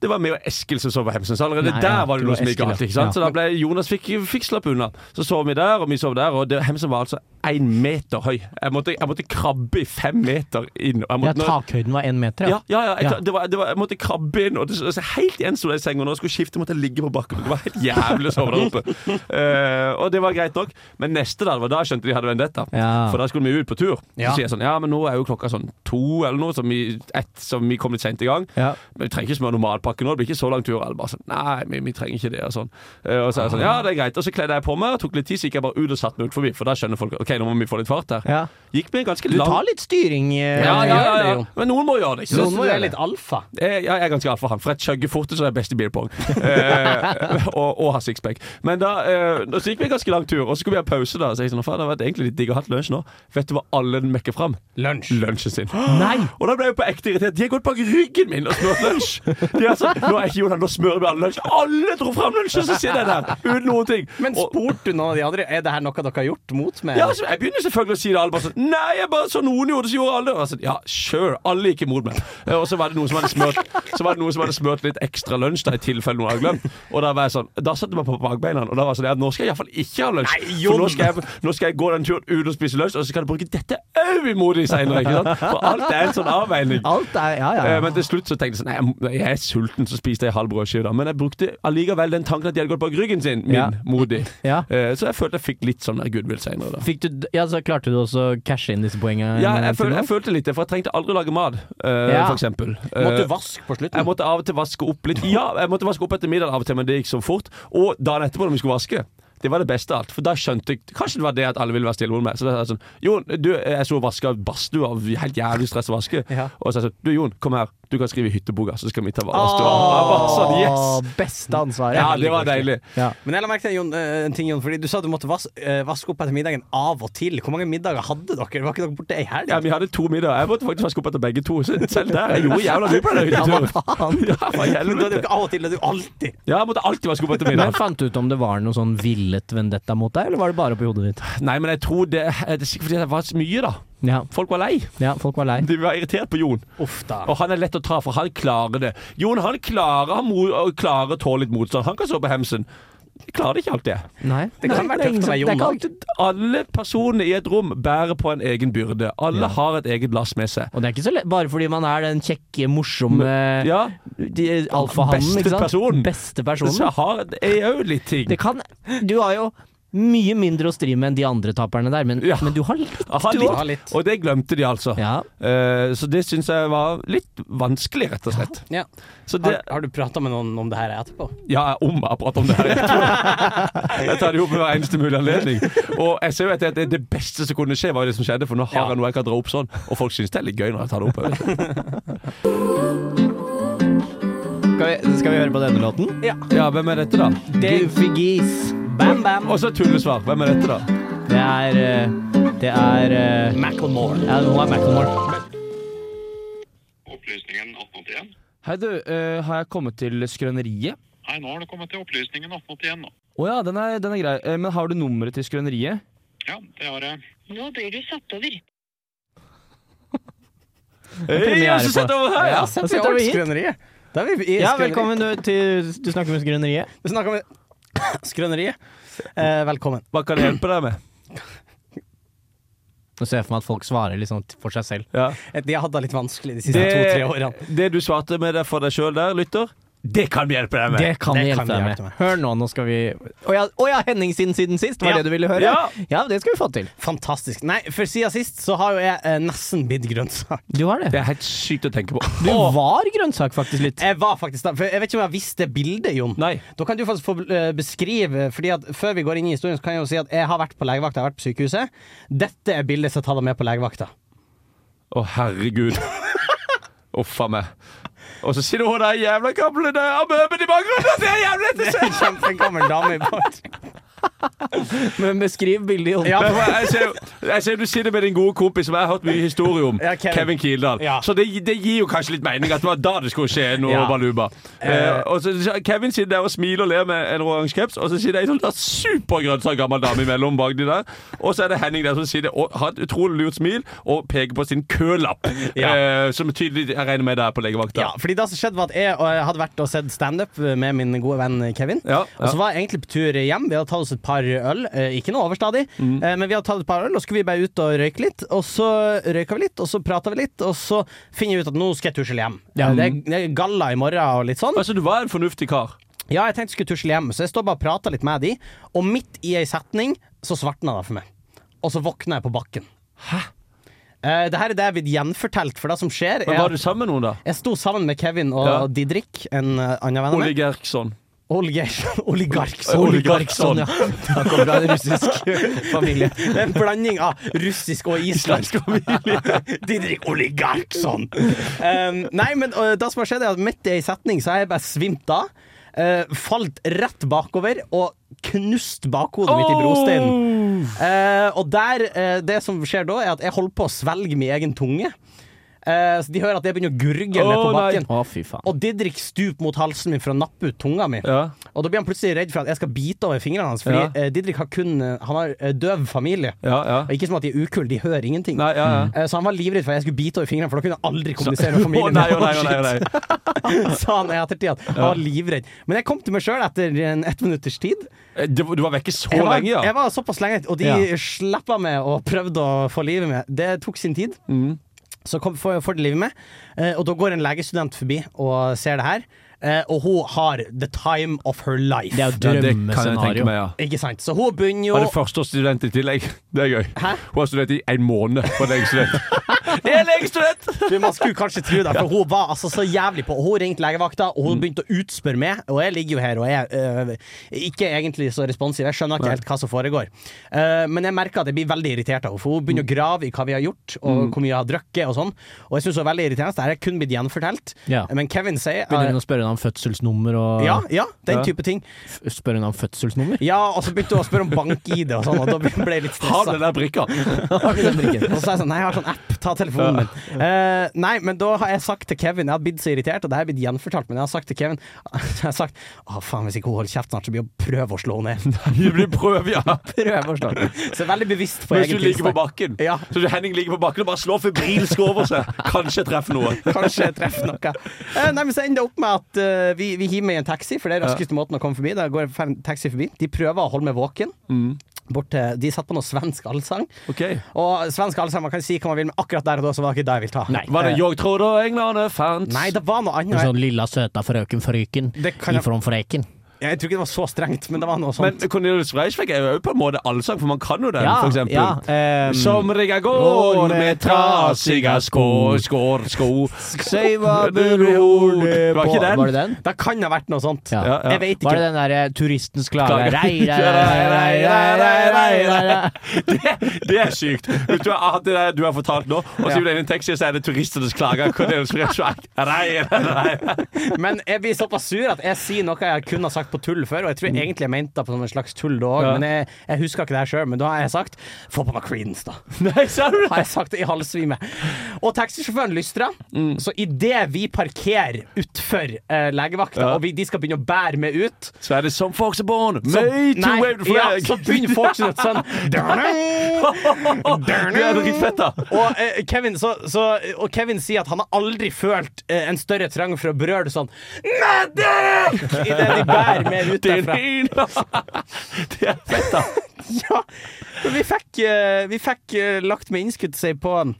Speaker 3: Det var meg og Eskil som sov på Hemsen. Så allerede
Speaker 2: Nei, ja,
Speaker 3: der var
Speaker 2: det
Speaker 3: det noe
Speaker 2: var
Speaker 3: som gikk
Speaker 2: Eskil,
Speaker 3: galt.
Speaker 2: ja.
Speaker 3: ikke sant?
Speaker 2: Ja.
Speaker 3: Så da ble Jonas fikk, fikk slapp unna. Så sov vi der, og vi sov der. Og det, Hemsen var altså én meter høy. Jeg måtte, jeg måtte krabbe i fem meter inn. Og jeg
Speaker 2: ja,
Speaker 3: måtte,
Speaker 2: takhøyden var én meter,
Speaker 3: ja,
Speaker 2: ja.
Speaker 3: ja, ja, jeg,
Speaker 2: Ja.
Speaker 3: Det var, det var, jeg måtte krabbe inn. Og det, altså, helt igjen sto jeg i senga. Når jeg skulle skifte, måtte jeg ligge på bakken. Det var helt jævlig å sove der oppe. Eh, og det var greit nok. Men neste dag, det var da jeg skjønte de hadde vendetta.
Speaker 2: Ja.
Speaker 3: For da skulle vi ut på tur.
Speaker 4: Ja.
Speaker 3: Så sier jeg sånn Ja, men nå er jo klokka sånn to eller noe, som vi, ett, som vi kom litt seint i gang.
Speaker 2: Ja.
Speaker 3: Men vi trenger ikke smøre normalpakke nå, det blir ikke så lang tur. Alle bare sånn, nei, vi, vi trenger ikke det og sånn. Eh, Og så er jeg sånn, ja, det er greit. Og så kledde jeg på meg, og tok litt tid, så gikk jeg bare ut og satte meg ut forbi, for da skjønner folk, ok, nå må vi få litt fart her.
Speaker 2: Ja.
Speaker 3: Gikk vi en ganske
Speaker 2: Du
Speaker 3: lang...
Speaker 2: tar litt styring. eh,
Speaker 3: ja, ja, ja,
Speaker 4: gjør det
Speaker 3: ja.
Speaker 4: jo.
Speaker 3: Men noen må gjøre det, ikke
Speaker 4: Noen
Speaker 3: sant?
Speaker 4: må være litt alfa.
Speaker 3: Jeg, Eh, jeg er ganske alt for han, for jeg chugger fortere, så er jeg best i bilpong. Eh, og, og har sixpack. Men da, eh, da så gikk vi en ganske lang tur, og så skulle vi ha pause da, så jeg sånn, faen, det hadde vært egentlig litt digg å ha hatt lunsj nå. Vet du hva alle den mekker frem?
Speaker 4: Lunsj.
Speaker 3: Lunsjen sin. Og da ble jeg på ekte irritert. De har gått bak ryggen min og smurt lunsj! De er sånn, nå er ikke Jonas, nå smører vi alle lunsj. Alle dro fram lunsj, og så sitter jeg der uten noen ting.
Speaker 4: Men
Speaker 3: Og-
Speaker 4: spurte du noen av de andre Er det her noe dere har gjort mot meg?
Speaker 3: ja, altså, jeg begynner selvfølgelig å si det. Alle bare sånn Nei, jeg bare så noen gjorde det, så gjorde alle det. Og jeg sånn, ja, sure. Alle gikk imot meg. Eh, Og så var det noen som hadde smørt Så var det noen som hadde smørt litt ekstra lunsj, da i tilfelle noen hadde glemt. Og da var jeg sånn Da satte jeg meg på bakbeina, og da var jeg sånn ja, Nå skal jeg iallfall ikke ha lunsj. For nå skal, jeg, nå skal jeg gå den turen uten å spise lunsj, og så kan jeg bruke dette òg imot dem seinere. For alt er en sånn avveining.
Speaker 2: Alt er Ja, ja.
Speaker 3: Eh,
Speaker 2: ja.
Speaker 3: Men til slutt så tenkte jeg sånn Nei, jeg må- jeg er sulten, så spiste jeg halv brødskive. da. Men jeg brukte allikevel den tanken at de hadde gått bak ryggen sin, min,
Speaker 2: Ja.
Speaker 3: modig.
Speaker 2: Ja.
Speaker 3: Eh, Så jeg følte jeg fikk litt sånn der goodwill seinere, da.
Speaker 2: Fikk du, ja, så klarte du også å cashe inn disse poengene?
Speaker 3: Ja, jeg,
Speaker 2: Eh, til
Speaker 3: føl,
Speaker 2: nå?
Speaker 3: jeg følte litt det, for jeg trengte aldri lage mat, eh,
Speaker 2: Ja.
Speaker 3: for eksempel. Eh,
Speaker 4: Måtte du vaske på slutten?
Speaker 3: jeg måtte av og til vaske opp litt. Ja, jeg måtte vaske opp etter middag av og til, men det gikk så fort. Og dagen etterpå, når vi skulle vaske, det var det beste av alt. For da skjønte jeg Kanskje det var det at alle ville være stille mot meg. Så det er sånn Jon, du, jeg så vaska badstua. Helt jævlig stress å vaske.
Speaker 2: Ja.
Speaker 3: Og så er jeg sånn Du, Jon, kom her. Du kan skrive i hytteboka, så skal vi ta badstua. Jeg var Sånn, yes!
Speaker 2: Åh, Beste ansvaret.
Speaker 3: Ja, det var deilig.
Speaker 2: Ja.
Speaker 4: Men jeg la merke til Jon, eh, en ting, Jon, fordi du sa du måtte vas eh, vaske opp etter middagen av og til. Hvor mange middager hadde dere? Var ikke dere borte ei helg?
Speaker 3: Ja, Vi hadde to middager. Jeg måtte faktisk vaske opp etter begge to. Så selv der. Jeg gjorde jævla mye på den hytteturen. Ja, for
Speaker 4: Men da er det jo
Speaker 3: helvete.
Speaker 4: ikke av og til, det er jo alltid.
Speaker 3: Ja, jeg måtte alltid vaske opp etter middag.
Speaker 2: Men fant du ut om det var noe sånn villet vendetta mot deg, eller var det bare oppi hodet ditt?
Speaker 3: Nei, men jeg tror det Det er sikkert fordi det var så mye, da.
Speaker 2: Ja,
Speaker 3: Folk var lei.
Speaker 2: ja folk var lei.
Speaker 3: De var irritert på Jon.
Speaker 4: Uff da.
Speaker 3: Og han er lett å ta, for han klarer det. Jon han klarer, han mo og klarer å tåle litt motstand. Han kan stå på hemsen. Jeg klarer ikke alltid.
Speaker 2: Nei.
Speaker 4: Det kan
Speaker 2: Nei,
Speaker 4: være
Speaker 2: det er ingen
Speaker 4: tøft å
Speaker 2: som-
Speaker 3: Det er
Speaker 4: være Jon
Speaker 3: ikke
Speaker 4: òg.
Speaker 3: alltid Alle personene i et rom bærer på en egen byrde. Alle
Speaker 2: Ja.
Speaker 3: har et eget lass med seg.
Speaker 2: Og det er ikke så lett, bare fordi man er den kjekke, morsomme
Speaker 3: Ja,
Speaker 2: de- eh, alfahannen,
Speaker 3: Beste
Speaker 2: ikke sant?
Speaker 3: personen.
Speaker 2: Beste
Speaker 3: så
Speaker 2: personen.
Speaker 3: jeg har jeg er jo litt ting.
Speaker 2: Det kan Du har jo mye mindre å stri med enn de andre taperne der, men,
Speaker 3: Ja.
Speaker 2: men du har litt.
Speaker 3: Jeg har
Speaker 4: Ja,
Speaker 3: litt.
Speaker 4: litt.
Speaker 3: Og det glemte de, altså.
Speaker 2: Ja.
Speaker 3: Eh, så det syns jeg var litt vanskelig, rett og slett.
Speaker 4: Ja.
Speaker 3: Så det,
Speaker 4: Har, har du prata med noen om det her etterpå?
Speaker 3: Ja, om jeg prater om det her. Jeg, tror- jeg tar det jo på hver eneste mulig anledning. Og jeg ser jo at det, det beste som kunne skje, var jo det som skjedde, for nå har
Speaker 4: Ja.
Speaker 3: jeg noe jeg kan dra opp sånn. Og folk syns det er litt gøy når jeg tar det opp. vet du.
Speaker 2: Skal, vi, skal vi høre på denne låten?
Speaker 3: Ja, hvem er dette, da?
Speaker 2: Goofy Geese.
Speaker 4: Bam Bam
Speaker 3: Og så tullesvar. Hvem er dette, da?
Speaker 2: Det er eh, Det er eh,
Speaker 4: Macklemore.
Speaker 2: Ja, nå er Macklemore.
Speaker 8: Opplysningen 1881?
Speaker 9: Hei, du. eh, har jeg kommet til Skrøneriet?
Speaker 8: Nei, nå har det kommet til opplysningen 1881 nå.
Speaker 9: Å ja, den er, den er grei. Eh, men har du nummeret til Skrøneriet?
Speaker 8: Ja, det har jeg.
Speaker 10: Nå blir du satt over.
Speaker 3: Hei, jeg som setter over her! Ja.
Speaker 2: Da setter vi hit.
Speaker 4: Skrøneriet. Da er vi i
Speaker 2: Ja,
Speaker 4: Skrøneriet.
Speaker 2: velkommen du, til Du snakker med Skrøneriet.
Speaker 4: Vi snakker med Skrøneriet. Eh, velkommen.
Speaker 3: Hva kan jeg hjelpe deg med?
Speaker 2: Nå ser jeg for meg at folk svarer liksom for seg selv.
Speaker 3: Ja.
Speaker 4: Eh, De har hatt det litt vanskelig de siste to-tre årene.
Speaker 3: Det, det du svarte med det for deg sjøl der, lytter, det kan vi hjelpe deg med.
Speaker 2: Det kan
Speaker 4: Det
Speaker 2: vi
Speaker 4: kan
Speaker 2: hjelpe
Speaker 4: vi
Speaker 2: deg
Speaker 4: hjelpe
Speaker 2: med.
Speaker 4: med.
Speaker 2: Hør nå, nå skal vi Å ja, å ja, Henning sin siden sist, var
Speaker 4: Ja.
Speaker 2: det du ville høre?
Speaker 3: Ja.
Speaker 2: ja, det skal vi få til.
Speaker 4: Fantastisk. Nei, for siden sist så har jo jeg eh, nesten blitt grønnsak.
Speaker 2: Du har
Speaker 3: Det
Speaker 2: det.
Speaker 3: er helt sykt å tenke på.
Speaker 2: Du var grønnsak faktisk litt.
Speaker 4: Jeg var faktisk da, for jeg vet ikke om jeg visste det bildet, Jon.
Speaker 3: Nei.
Speaker 4: Da kan du faktisk få eh, beskrive, fordi at før vi går inn i historien, så kan jeg jo si at jeg har vært på legevakta, jeg har vært på sykehuset. Dette er bildet som jeg tar med på legevakta.
Speaker 3: Å, herregud. Uff a meg. Og så sier du hun der jævla gamle der amøben i bakgrunnen! Det er jævlig lett å se!
Speaker 4: Kjempegammel dame i bart.
Speaker 2: Men beskriv bildet, Jon.
Speaker 4: Ja,
Speaker 3: Men Jeg ser, jo- jeg ser jo du sitter med din gode kompis som jeg har hørt mye historie om,
Speaker 4: Ja,
Speaker 3: Kevin,
Speaker 4: Kevin.
Speaker 3: Kildahl.
Speaker 4: Ja.
Speaker 3: Så det, det gir jo kanskje litt mening at det var da det skulle skje noe
Speaker 4: Ja.
Speaker 3: baluba. Eh, og så, så Kevin sitter der og smiler og ler med en oransje caps, og så sitter det ei sånn der supergrønn sånn gammel dame imellom bak de der. Og så er det Henning der som sitter og har et utrolig lurt smil og peker på sin kølapp, eh, som tydelig jeg regner med det er på legevakta.
Speaker 4: Ja, fordi det som skjedde var at jeg, og jeg hadde vært og sett standup med min gode venn Kevin.
Speaker 3: Ja,
Speaker 4: Og så
Speaker 3: ja.
Speaker 4: var jeg egentlig på tur hjem. Vi hadde tatt oss et par øl. eh, Ikke noe overstadig,
Speaker 3: Mm.
Speaker 4: eh, men vi hadde tatt et par øl, og skulle vi bare ut og røyke litt. Og så røyka vi litt, og så prata vi litt, og så finner vi ut at nå skal jeg tusle hjem. Eh, Det, er, det er galla i morgen og litt sånn.
Speaker 3: Altså, du var en fornuftig kar.
Speaker 4: Ja, jeg tenkte jeg skulle tusle hjem, så jeg står bare og prater litt med de, og midt i ei setning så svartna det for meg. Og så våkna jeg på bakken. Hæ? Eh, det her er det jeg har blitt gjenfortalt, for det som skjer
Speaker 3: Men
Speaker 4: er
Speaker 3: var
Speaker 4: at
Speaker 3: du sammen med noen, da?
Speaker 4: jeg sto sammen med Kevin og
Speaker 3: Ja.
Speaker 4: Didrik, en eh, annen venn av meg.
Speaker 3: Olig Erksson.
Speaker 4: Olger- Oligark.
Speaker 3: Oligarkson,
Speaker 4: ja. Da kom fra en russisk familie. Det er en blanding av russisk og islandsk familie. Didrik Oligarkson. Um, nei, men uh, det som har skjedd, er at midt i ei setning så har jeg bare svimt av. Uh, falt rett bakover og knust bakhodet mitt i brosteinen. Eh, og der, eh, det som skjer da, er at jeg holder på å svelge min egen tunge. Eh, så de hører at jeg begynner å gurgle ned på
Speaker 3: Å, nei.
Speaker 4: bakken.
Speaker 2: Å, fy faen.
Speaker 4: Og Didrik stuper mot halsen min for å nappe ut tunga mi.
Speaker 3: Ja.
Speaker 4: Og da blir han plutselig redd for at jeg skal bite over fingrene hans. Fordi
Speaker 3: Ja.
Speaker 4: eh, Didrik har kun eh, Han har eh, døv familie.
Speaker 3: Ja, ja.
Speaker 4: Og ikke som at de er ukule, de hører ingenting.
Speaker 3: Nei, ja, ja.
Speaker 4: Eh, Så han var livredd for at jeg skulle bite over fingrene, for da kunne jeg aldri kommunisere med
Speaker 3: Å
Speaker 4: familien.
Speaker 3: nei, å nei, å nei, å nei.
Speaker 4: Sa han i ettertid at han var livredd. Men jeg kom til meg sjøl etter en ett minutters tid.
Speaker 3: Eh, Du, du var vekke så
Speaker 4: Jeg var,
Speaker 3: lenge, ja?
Speaker 4: jeg var såpass lenge, og de
Speaker 2: Ja.
Speaker 4: slappa meg og prøvde å få livet mitt. Det tok sin tid.
Speaker 3: Mm.
Speaker 4: Så kom, får, får de livet med. Eh, og da går en legestudent forbi og ser det her. eh, og hun har the time of her life.
Speaker 2: Det
Speaker 3: Ja,
Speaker 2: er jo
Speaker 3: det kan jeg tenke
Speaker 2: drømmescenario.
Speaker 3: meg, ja.
Speaker 4: Ikke sant? Så hun begynner jo
Speaker 3: Var det førsteårsstudent i tillegg? Det er gøy.
Speaker 4: Hæ?
Speaker 3: Hun har studert i en måned. Var legestudent. Jeg er legestudent!
Speaker 4: Du, Man skulle kanskje tro det, for hun var altså så jævlig på. Hun ringte legevakta, og hun begynte å utspørre meg. Og jeg ligger jo her og er øh, ikke egentlig så responsiv. Jeg skjønner ikke helt hva som foregår. Eh, men jeg merker at jeg blir veldig irritert av henne, for hun begynner å grave i hva vi har gjort, og hvor mye jeg har drukket, og sånn. Og jeg syns hun er veldig irriterende. Dette er kun blitt gjenfortalt.
Speaker 2: Ja.
Speaker 4: Men Kevin sier øh,
Speaker 2: Begynner hun å spørre henne om fødselsnummer og
Speaker 4: ja, ja, den
Speaker 2: Ja.
Speaker 4: type ting.
Speaker 2: f- Spørre henne om fødselsnummer?
Speaker 4: Ja, og så begynte hun å spørre om bank-ID og sånn, og da ble jeg litt
Speaker 3: Har
Speaker 4: stressa.
Speaker 3: den der brikka.
Speaker 4: Og så sa jeg sånn, nei, jeg har sånn app, ta telefonen min. Eh, nei, men da har jeg sagt til Kevin, jeg har blitt så irritert, og det her er blitt gjenfortalt, men jeg har sagt til Kevin, jeg har sagt, å faen, hvis ikke hun holder kjeft snart, så blir hun prøve å slå henne ned.
Speaker 3: Du blir prøve, ja.
Speaker 4: Prøve å slå henne ned. Så jeg er veldig bevisst på
Speaker 3: Mens du
Speaker 4: egen
Speaker 3: ligger på
Speaker 4: tilstand.
Speaker 3: bakken.
Speaker 4: Ja.
Speaker 3: Så Henning ligger på bakken og bare slår febrilsk over seg. Kanskje jeg treffer noe.
Speaker 4: Kanskje jeg treffer noe. Eh, nei, men så ender det opp med at eh, vi, vi hiver meg i en taxi, for det er raskeste måten å komme forbi. Da går en taxi forbi. De prøver å holde meg våken.
Speaker 3: Mm.
Speaker 4: Bort til, de satt på noe svensk allsang.
Speaker 3: Ok
Speaker 4: Og svensk allsang, man kan si hva man vil, men akkurat der og da så var det ikke det jeg ville ta. Nei.
Speaker 3: Var det 'Jeg trodde englene fant'?
Speaker 4: Eh. Nei, det var noe annet.
Speaker 2: Sånn lilla søta frøken Fryken
Speaker 4: Det kan jeg-
Speaker 2: ifrån Freken.
Speaker 4: Jeg tror ikke det var så strengt, men det var noe sånn-
Speaker 3: Men
Speaker 4: sånt.
Speaker 3: Cornelius Reisvik er jo på en måte allsang, for man kan jo den, for eksempel.
Speaker 2: ja,
Speaker 4: eh,
Speaker 2: ehm,
Speaker 3: Som rigga går med trasige skå, skår, sko.
Speaker 2: Seiva
Speaker 3: beror det
Speaker 2: Var
Speaker 3: på-
Speaker 2: Var det den?
Speaker 4: det kan ha vært noe sånt.
Speaker 2: Ja.
Speaker 3: Ja, ja.
Speaker 4: Jeg vet
Speaker 2: Var det
Speaker 4: ikke.
Speaker 2: den derre turistens klage
Speaker 3: Klage.
Speaker 2: Rei, rei, rei, rei, rei, rei, rei.
Speaker 3: Det er sykt. Hvis du har hatt det der du har fortalt nå, og så gir du deg en tekst, så er det turistenes klager. Cornelius Reisvik. Nei, nei, nei.
Speaker 4: Men jeg blir såpass sur at jeg sier noe jeg kun har sagt på tull før, og jeg tror egentlig jeg mente det på som en slags tull da òg, men jeg, jeg husker ikke det her sjøl. Men da har jeg sagt få på meg Creedence, da.
Speaker 3: Nei, sa du det?
Speaker 4: Har jeg sagt det i halvsvime. Og taxisjåføren lystra, så idet vi parkerer utfor eh, legevakta, og vi, de skal begynne å bære meg ut
Speaker 3: Så er det 'Some folks are born
Speaker 4: så,
Speaker 3: made to
Speaker 4: Nei,
Speaker 3: wave the
Speaker 4: ja,
Speaker 3: flag'.
Speaker 4: så begynner folk sin sånn
Speaker 3: Det er dritfett, da.
Speaker 4: Og, eh, Kevin, så, så, og Kevin sier at han har aldri følt eh, en større trang for å brøle sånn Medic! Idet de bærer meg ut derfra.
Speaker 3: Det er fett, da.
Speaker 4: Ja. Men vi fikk, eh, vi fikk eh, lagt med innskudd seg på um,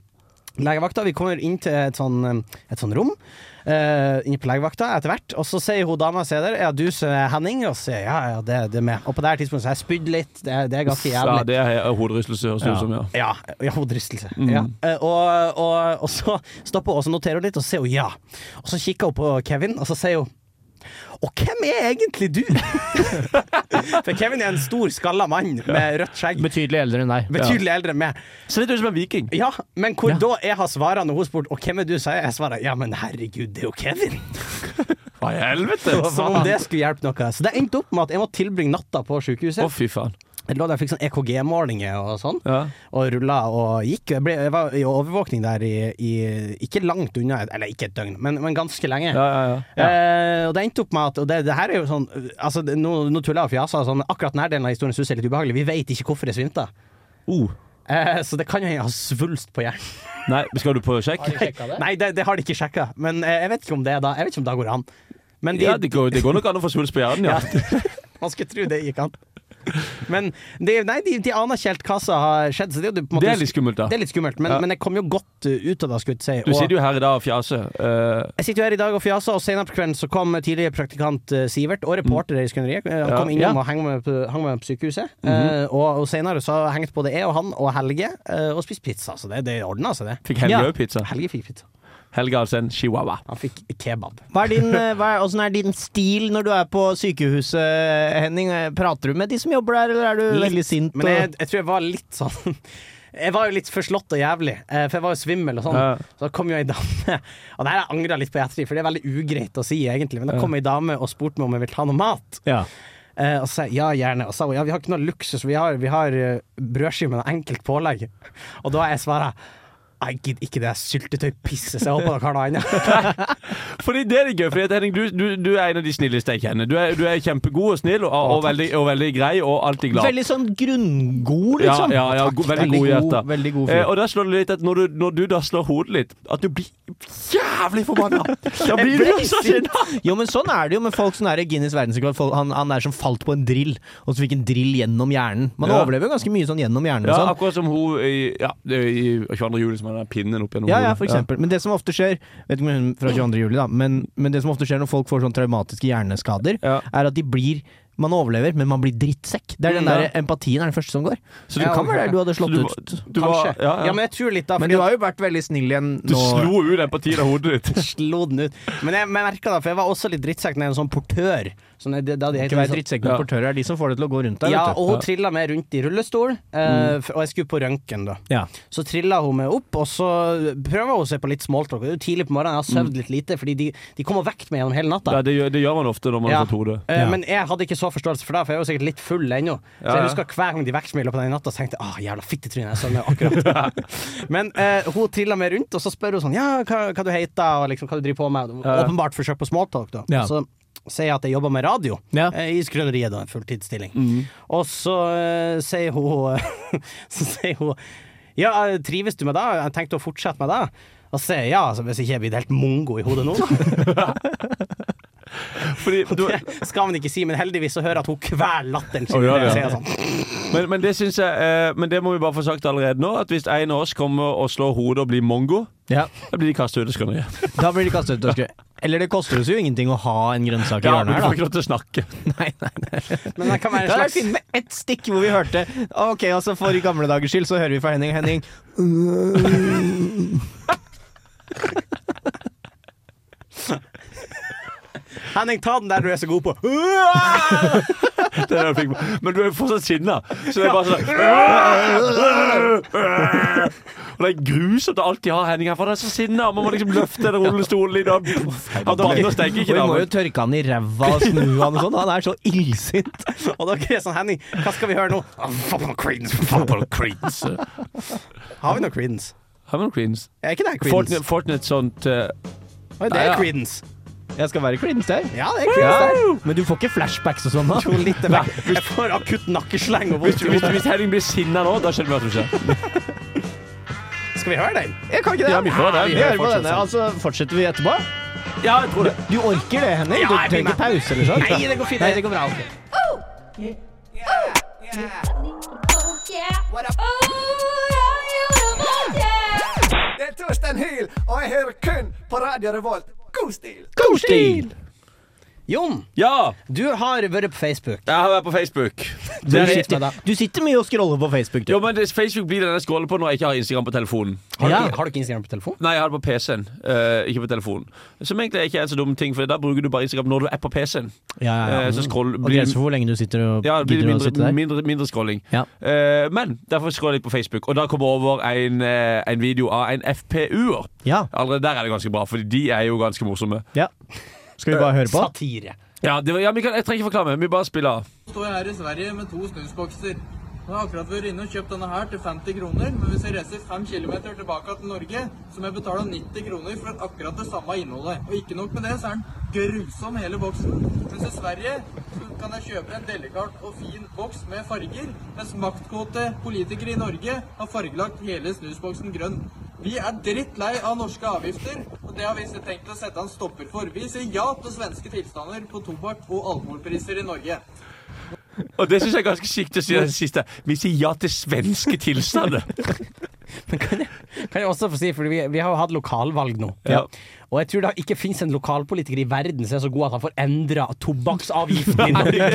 Speaker 4: legevakta. Vi kommer inn til et sånn, eh, et sånn rom. eh, inne på legevakta etter hvert, og så sier hun dama som er der, ja, du som er Henning, og så sier jeg, ja, ja, det, det er meg. Og på det her tidspunktet så har jeg spydd litt, det, er- det er ganske jævlig.
Speaker 3: Ja, det er eh, hoderystelse, høres det ut som. ja
Speaker 4: Ja, ja hoderystelse. Ja. Eh, Og, og, og så stopper hun, og så noterer hun litt, og så sier hun ja. Og så kikker hun på Kevin, og så sier hun og hvem er egentlig du? For Kevin er en stor, skalla mann med rødt skjegg.
Speaker 2: Betydelig eldre enn deg.
Speaker 4: Betydelig eldre enn meg.
Speaker 3: Ser litt ut som en viking.
Speaker 4: Ja, men hvor
Speaker 2: Ja.
Speaker 4: da jeg har svara når hun spurte Og hvem er du, sa jeg. Jeg svarer ja, men herregud, det er jo Kevin.
Speaker 3: Hva i helvete?
Speaker 4: Som om det skulle hjelpe noe. Så det endte opp med at jeg måtte tilbringe natta på
Speaker 3: Å,
Speaker 4: sykehuset.
Speaker 3: fy faen.
Speaker 4: Jeg lå der og fikk sånn EKG-målinger og sånn.
Speaker 3: Ja.
Speaker 4: og rulla og gikk. Jeg, ble, jeg var i overvåkning der i, i ikke langt unna, eller ikke et døgn, men, men ganske lenge.
Speaker 3: Ja, ja, ja.
Speaker 4: Eh, og det endte opp med at Og det, det her er jo sånn altså, det, nå, nå tuller jeg og fjaser, sånn, akkurat denne delen av historien syns jeg er litt ubehagelig. Vi vet ikke hvorfor jeg svimte.
Speaker 3: Oh.
Speaker 4: Eh, så det kan jo hende jeg har svulst på hjernen.
Speaker 3: Nei, skal du på sjekk?
Speaker 4: Nei, det, det har de ikke sjekka, men eh, jeg vet ikke om det da Jeg vet ikke om det går an. Men de,
Speaker 3: Ja, det går, det går nok an å få svulst på hjernen, ja.
Speaker 4: man skulle tro det gikk an. Men de, nei, de, de aner ikke helt hva som har skjedd, så det er jo på en måte
Speaker 3: Det er litt skummelt, da.
Speaker 4: det er litt skummelt. Men,
Speaker 3: Ja.
Speaker 4: men jeg kom jo godt eh, ut av det, skulle jeg si.
Speaker 3: Du
Speaker 4: og-
Speaker 3: sitter jo her i dag og fjaser. eh,
Speaker 4: Jeg sitter jo her i dag og fjaser, og senere på kvelden så kom tidligere praktikant eh, Sivert, og reporter i Skøneriet, eh, han
Speaker 3: Mm. Ja.
Speaker 4: kom innom
Speaker 3: Ja. Mhm.
Speaker 4: og hang med, på, hang med meg på sykehuset. Eh, og, og senere så hengte både jeg og han og Helge eh, og spiste pizza, så det, det ordna seg, det.
Speaker 3: fikk Helge
Speaker 2: Ja.
Speaker 3: òg pizza.
Speaker 4: Helge fikk pizza.
Speaker 3: Helge altså en chihuahua.
Speaker 4: Han fikk kebab.
Speaker 2: Hva er din, eh, hva er, hvordan er din stil når du er på sykehuset, Henning? Eh, Prater du med de som jobber der, eller er du veldig sint?
Speaker 4: Men jeg,
Speaker 2: og...
Speaker 4: jeg tror jeg var litt sånn Jeg var jo litt forslått og jævlig, eh, for jeg var jo svimmel og sånn.
Speaker 3: Ja.
Speaker 4: Så da kom jo ei dame Og det her angra litt på i ettertid, for det er veldig ugreit å si egentlig, men da kom ei dame og spurte meg om jeg ville ta noe mat.
Speaker 2: Ja.
Speaker 4: Eh, og så sa jeg ja, gjerne. Og så sa hun ja, vi har ikke noe luksus, vi har, vi har eh, brødskive med noe enkelt pålegg. Og da har jeg svara jeg gidder ikke det er syltetøypisset, så jeg håper dere har noe annet.
Speaker 3: Fordi det er det gøy, fordi at Henning, du, du, du er en av de snilleste jeg kjenner. Du er, du er kjempegod og snill, og, og, veldig, og veldig grei, og alltid glad.
Speaker 2: Veldig sånn
Speaker 3: ja,
Speaker 2: grunngod, liksom.
Speaker 3: ja, ja,
Speaker 2: Takk.
Speaker 3: go, veldig god i hjertet.
Speaker 2: Veldig god
Speaker 3: Eh,
Speaker 2: fyr.
Speaker 3: og da slår det litt at når du, når du da slår hodet litt, at du blir jævlig forbanna. Da blir du så sinna!
Speaker 2: Jo, men sånn er det jo med folk som er i Guinness verdensrekord. Folk- Han, han er som falt på en drill, og så fikk en drill gjennom hjernen. Man
Speaker 3: Ja.
Speaker 2: overlever jo ganske mye sånn gjennom hjernen.
Speaker 3: Ja,
Speaker 2: og sånn.
Speaker 3: akkurat som hun i, ja, i 22. juli som har den pinnen opp gjennom
Speaker 2: Ja, ja,
Speaker 3: hodet.
Speaker 2: for eksempel. Men det som ofte skjer Vet ikke om hun fra 22. 22. juli, da. Men, men det som ofte skjer når folk får sånn traumatiske hjerneskader,
Speaker 3: Ja.
Speaker 2: er at de blir man overlever, men man blir drittsekk. Det er den
Speaker 3: Mm,
Speaker 2: der
Speaker 3: ja.
Speaker 2: Empatien er den første som går. Så du
Speaker 4: Ja,
Speaker 2: kan være der du hadde slått
Speaker 3: du var-
Speaker 2: ut.
Speaker 3: du var-
Speaker 4: Kanskje.
Speaker 3: ja, ja.
Speaker 4: men jeg tror litt, da.
Speaker 2: Men
Speaker 4: fordi
Speaker 2: du har jo vært veldig snill igjen
Speaker 3: Du
Speaker 2: nå.
Speaker 3: slo ut empatien av hodet ditt.
Speaker 4: slo den ut. Men jeg, men jeg merket det, for jeg var også litt drittsekk når jeg er en sånn portør. Sånn, det, da de heter
Speaker 2: Ikke vær
Speaker 4: sånn-
Speaker 2: drittsekk, men
Speaker 3: Ja.
Speaker 2: portører er de som får det til å gå rundt deg.
Speaker 4: Ja,
Speaker 2: vet du.
Speaker 4: og hun trilla med rundt i rullestol, eh,
Speaker 3: Mm.
Speaker 4: f- og jeg skulle på røntgen, da.
Speaker 2: Ja.
Speaker 4: Så trilla hun meg opp, og så prøver hun seg på litt smalltalk. Det er jo tidlig på morgenen, jeg har sovet litt lite, fordi de, de kom og vekket meg gjennom hele natta.
Speaker 3: Mm. Ja, det, gjør, det gjør man ofte når man
Speaker 4: Ja.
Speaker 3: har fått hode.
Speaker 4: Eh,
Speaker 2: Ja.
Speaker 4: Men jeg hadde ikke så forståelse for det, for jeg var sikkert litt full ennå. Så
Speaker 3: Ja, ja.
Speaker 4: jeg husker hver gang de vekket meg i løpet av den natta, så tenkte jeg ah, jævla fittetryne, jeg sovner akkurat. men eh, hun trilla meg rundt, og så spør hun sånn ja, hva, hva du heter, og liksom hva du driver på med.
Speaker 3: Ja.
Speaker 4: Åpenbart forsøk på smalltalk, da.
Speaker 2: Ja.
Speaker 4: Så sier jeg at jeg jobber med radio.
Speaker 2: Ja.
Speaker 4: Eh, I Skrøneriet, da. En fulltidsstilling. Og så eh, sier hun Så sier hun Ja, trives du med det? Jeg tenkte å fortsette med det. Og så sier jeg ja, altså, hvis ikke jeg blir helt mongo i hodet nå.
Speaker 3: Fordi, du,
Speaker 4: Det skal man ikke si, men heldigvis så hører jeg at hun kveler latteren
Speaker 3: Å,
Speaker 4: sin.
Speaker 3: ja, ja.
Speaker 4: Så jeg er sånn,
Speaker 3: men, men det syns jeg eh, Men det må vi bare få sagt allerede nå, at hvis en av oss kommer og slår hodet og blir mongo,
Speaker 2: Ja.
Speaker 3: da blir de kastet ut av skrøneriet.
Speaker 2: Da blir de kastet ut. av skre- Eller det koster oss jo ingenting å ha en grønnsak i
Speaker 3: Ja, men du
Speaker 2: hjørnet
Speaker 3: får
Speaker 2: her, da.
Speaker 3: ikke lov til å snakke.
Speaker 2: Nei, nei, nei.
Speaker 4: men det
Speaker 2: Det
Speaker 4: kan være
Speaker 2: hadde
Speaker 4: en
Speaker 2: vært fint
Speaker 4: slags
Speaker 2: med ett stikk hvor vi hørte Ok, altså for i gamle dagers skyld, så hører vi fra Henning Henning
Speaker 4: Henning, ta den der du er så god på.
Speaker 3: Det er det jeg fikk på. Men du er jo fortsatt sinna. Så det er bare sånn Og det er grusomt å alltid ha Henning her, for han er så sinna. Man må liksom løfte den rullestolen litt. og- Han banner og steker
Speaker 2: Og
Speaker 3: ikke,
Speaker 2: vi
Speaker 3: da.
Speaker 2: må jo
Speaker 3: men-
Speaker 2: tørke han i ræva og snu han og sånn. Han er så illsint.
Speaker 4: Og dere er sånn Henning, hva skal vi høre nå? Ah, Faen på noe Creedence, for faen.
Speaker 3: Fuck, bare Creedence.
Speaker 4: Har vi noe Creedence?
Speaker 3: Har vi noen Creedence?
Speaker 4: Er ikke det her
Speaker 3: Fortnite,
Speaker 4: Creedence?
Speaker 3: Fortnite sånt eh,
Speaker 4: Oi, det
Speaker 3: Nei,
Speaker 4: er
Speaker 3: ja.
Speaker 4: Creedence.
Speaker 2: Jeg skal være klinete her.
Speaker 4: Ja, det er Creedence der.
Speaker 2: Men du får ikke flashbacks og sånn, da?
Speaker 4: Jo, litt er vekk. Jeg får akutt nakkesleng og
Speaker 3: hvis,
Speaker 4: vondt i
Speaker 3: hvis,
Speaker 4: hodet.
Speaker 3: hvis Henning blir sinna nå, da skjønner vi at det skjer.
Speaker 4: Skal vi høre den?
Speaker 2: Jeg kan ikke det.
Speaker 3: Ja, vi får det.
Speaker 2: Vi
Speaker 3: Vi
Speaker 2: hører på
Speaker 3: fortsetter
Speaker 2: denne. Altså, fortsetter vi etterpå?
Speaker 3: Ja, jeg tror det.
Speaker 2: Du orker det, Henning? Du
Speaker 4: Ja, jeg blir
Speaker 2: trenger
Speaker 4: med.
Speaker 2: ikke pause eller sånn?
Speaker 4: Nei, det går fint. det går bra. ok.
Speaker 10: Det er Torsten Hyl, og jeg hører kun på Radio Revolt. God stil!
Speaker 2: God stil!
Speaker 4: Jon,
Speaker 3: Ja!
Speaker 4: du har vært på Facebook.
Speaker 3: Jeg har vært på Facebook.
Speaker 2: Du
Speaker 4: er riktig,
Speaker 2: sitter,
Speaker 4: da.
Speaker 2: du sitter mye og scroller på Facebook, du.
Speaker 3: Jo, men det- Facebook blir den jeg scroller på når jeg ikke har Instagram på telefonen.
Speaker 4: Har du,
Speaker 2: Ja.
Speaker 4: ikke- har du ikke Instagram på telefon?
Speaker 3: Nei, jeg har det på PC-en, eh, ikke på telefonen. Som egentlig ikke er en så dum ting, for da bruker du bare Instagram når du er på PC-en.
Speaker 2: Ja, ja,
Speaker 3: Eh,
Speaker 2: ja.
Speaker 3: så scroll,
Speaker 2: Og
Speaker 3: blir,
Speaker 2: grenser for hvor lenge du sitter og
Speaker 3: ja, det blir
Speaker 2: gidder å sitte
Speaker 3: mindre,
Speaker 2: der.
Speaker 3: mindre, mindre scrolling.
Speaker 2: Ja.
Speaker 3: Eh, men derfor scroller jeg på Facebook, og da kommer jeg over en, eh, en video av en FPU-er.
Speaker 2: Ja.
Speaker 3: Allerede der er det ganske bra, for de er jo ganske morsomme.
Speaker 2: ja. Skal vi bare høre på?
Speaker 4: Satire.
Speaker 3: Ja, det var, ja, vi kan, Jeg trenger ikke forklare mer, vi bare spiller av.
Speaker 10: Står jeg her i Sverige med to snusbokser. Jeg har akkurat vært inne og kjøpt denne her til 50 kroner, men hvis jeg reiser 5 km tilbake til Norge, så må jeg betale 90 kroner for akkurat det samme innholdet. Og ikke nok med det, så er den grusom hele boksen. Mens i Sverige så kan jeg kjøpe en delikat og fin boks med farger, mens maktkåte politikere i Norge har fargelagt hele snusboksen grønn. Vi er drittlei av norske avgifter, og det har vi tenkt å sette en stopper for. Vi sier ja til svenske tilstander på tobakk og alkoholpriser i Norge.
Speaker 3: Og det syns jeg er ganske sykt å si det siste. Vi sier ja til svenske tilstander.
Speaker 4: Kan jeg også få si, for vi, vi har jo hatt lokalvalg nå.
Speaker 3: Ja.
Speaker 4: Og jeg tror det ikke fins en lokalpolitiker i verden som er så god at han får endra tobakksavgiften i Norge.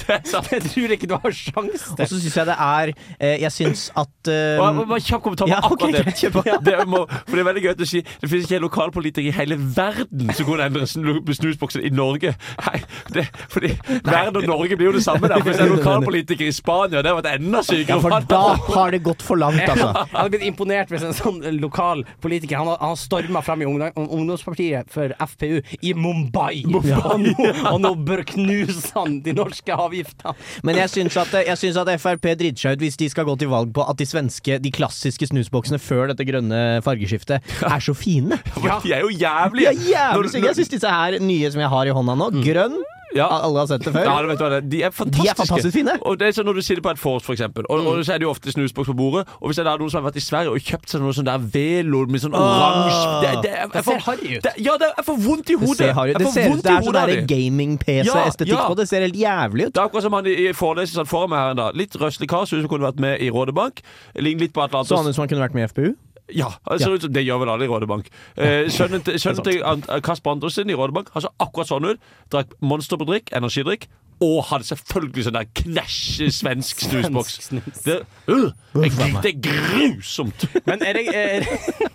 Speaker 3: Det er sant.
Speaker 4: Jeg tror ikke du har sjans
Speaker 2: Og
Speaker 4: til
Speaker 2: så syns jeg det er eh, Jeg syns at eh,
Speaker 3: Og jeg må bare kjapp kommentar på
Speaker 2: ja, ok,
Speaker 3: akkurat det.
Speaker 2: greit, kjør på.
Speaker 3: det må, for det er veldig gøy å si Det finnes ikke en lokalpolitiker i hele verden som kunne endre snu- snusboksen i Norge. Nei, det, fordi verden og Norge blir jo det samme. Der. For Hvis det er en lokalpolitiker i Spania, det hadde vært enda
Speaker 2: Ja,
Speaker 3: sykere.
Speaker 2: for da har det gått for langt, altså.
Speaker 4: Jeg hadde blitt imponert hvis en sånn lokal politiker Han, han storma frem i ungdom, ungdomspartiet for FPU i Mumbai. Og, nå, og nå bør knuse han de norske avgiftene.
Speaker 2: Men jeg syns at, jeg syns at Frp driter seg ut hvis de skal gå til valg på at de svenske, de klassiske snusboksene før dette grønne fargeskiftet er så fine.
Speaker 3: For De er jo
Speaker 2: De
Speaker 3: jævlige.
Speaker 2: er jævlig
Speaker 3: Når-
Speaker 2: stygge. Jeg syns disse her nye som jeg har i hånda nå, grønn
Speaker 3: Ja.
Speaker 2: Alle har sett Mm. det
Speaker 3: Ja,
Speaker 2: før.
Speaker 3: det vet du hva det er. De er fantastiske.
Speaker 2: fantastisk fine. Mm.
Speaker 3: Og det er sånn Når du sitter på et vors, for eksempel, og, og så er det jo ofte snusboks på bordet. Og hvis det er noen som har vært i Sverige og kjøpt seg noe sånn der velo med sånn oransje det, det, er- jeg
Speaker 4: ser
Speaker 3: får-
Speaker 4: harry ut.
Speaker 3: Det, ja, det, er- jeg får vondt i
Speaker 2: Det
Speaker 3: hodet.
Speaker 2: ser, harry ut.
Speaker 3: Jeg
Speaker 2: det
Speaker 3: får
Speaker 2: ser ut
Speaker 3: vondt
Speaker 2: det
Speaker 3: i
Speaker 2: er sånn
Speaker 3: hodet av
Speaker 2: derre
Speaker 3: de.
Speaker 2: gaming-PC-estetikk
Speaker 3: Ja, ja.
Speaker 2: på det. Det ser helt jævlig ut.
Speaker 3: Det er akkurat som han i i forelesningen satt foran meg her en dag. Litt røslig kar, så ut som kunne vært med i Rådebank. Ligner litt på Atlantis.
Speaker 2: Sånn ut som han kunne vært med i FPU.
Speaker 3: Ja, altså, det gjør vel alle i Rådebank. Eh, Sønnen til, sønnen til Ant- Kasper Andersen i Rådebank han så akkurat sånn ut. Drakk monster på drikk, energidrikk. Og hadde selvfølgelig sånn der knæsj svensk snusboks. Det, øh, jeg, gikk- det er grusomt!
Speaker 4: Men er det, er,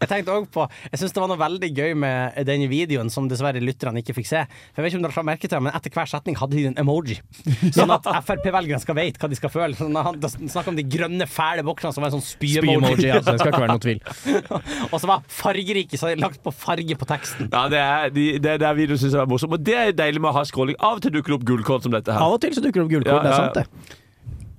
Speaker 4: jeg tenkte også på Jeg syns det var noe veldig gøy med den videoen som dessverre lytterne ikke fikk se. For jeg vet ikke om dere har merket det, men Etter hver setning hadde de en emoji. Sånn at Frp-velgerne skal vite hva de skal føle. Sånn, at han da snakk om de grønne, fæle boksene som var en sånn spy-emoji.
Speaker 2: Spy-emoji, altså. Det skal ikke være noe tvil.
Speaker 4: Og så var fargerike, så hadde de lagt på farge på teksten.
Speaker 3: Ja, det er, de, det, det er videoen synes jeg er morsom, og det er deilig med å ha scrolling. Av og til dukker det opp gullkorn som dette her.
Speaker 2: Av og til så dukker det opp gullkort,
Speaker 3: Ja,
Speaker 2: det er
Speaker 3: ja,
Speaker 2: sant, det.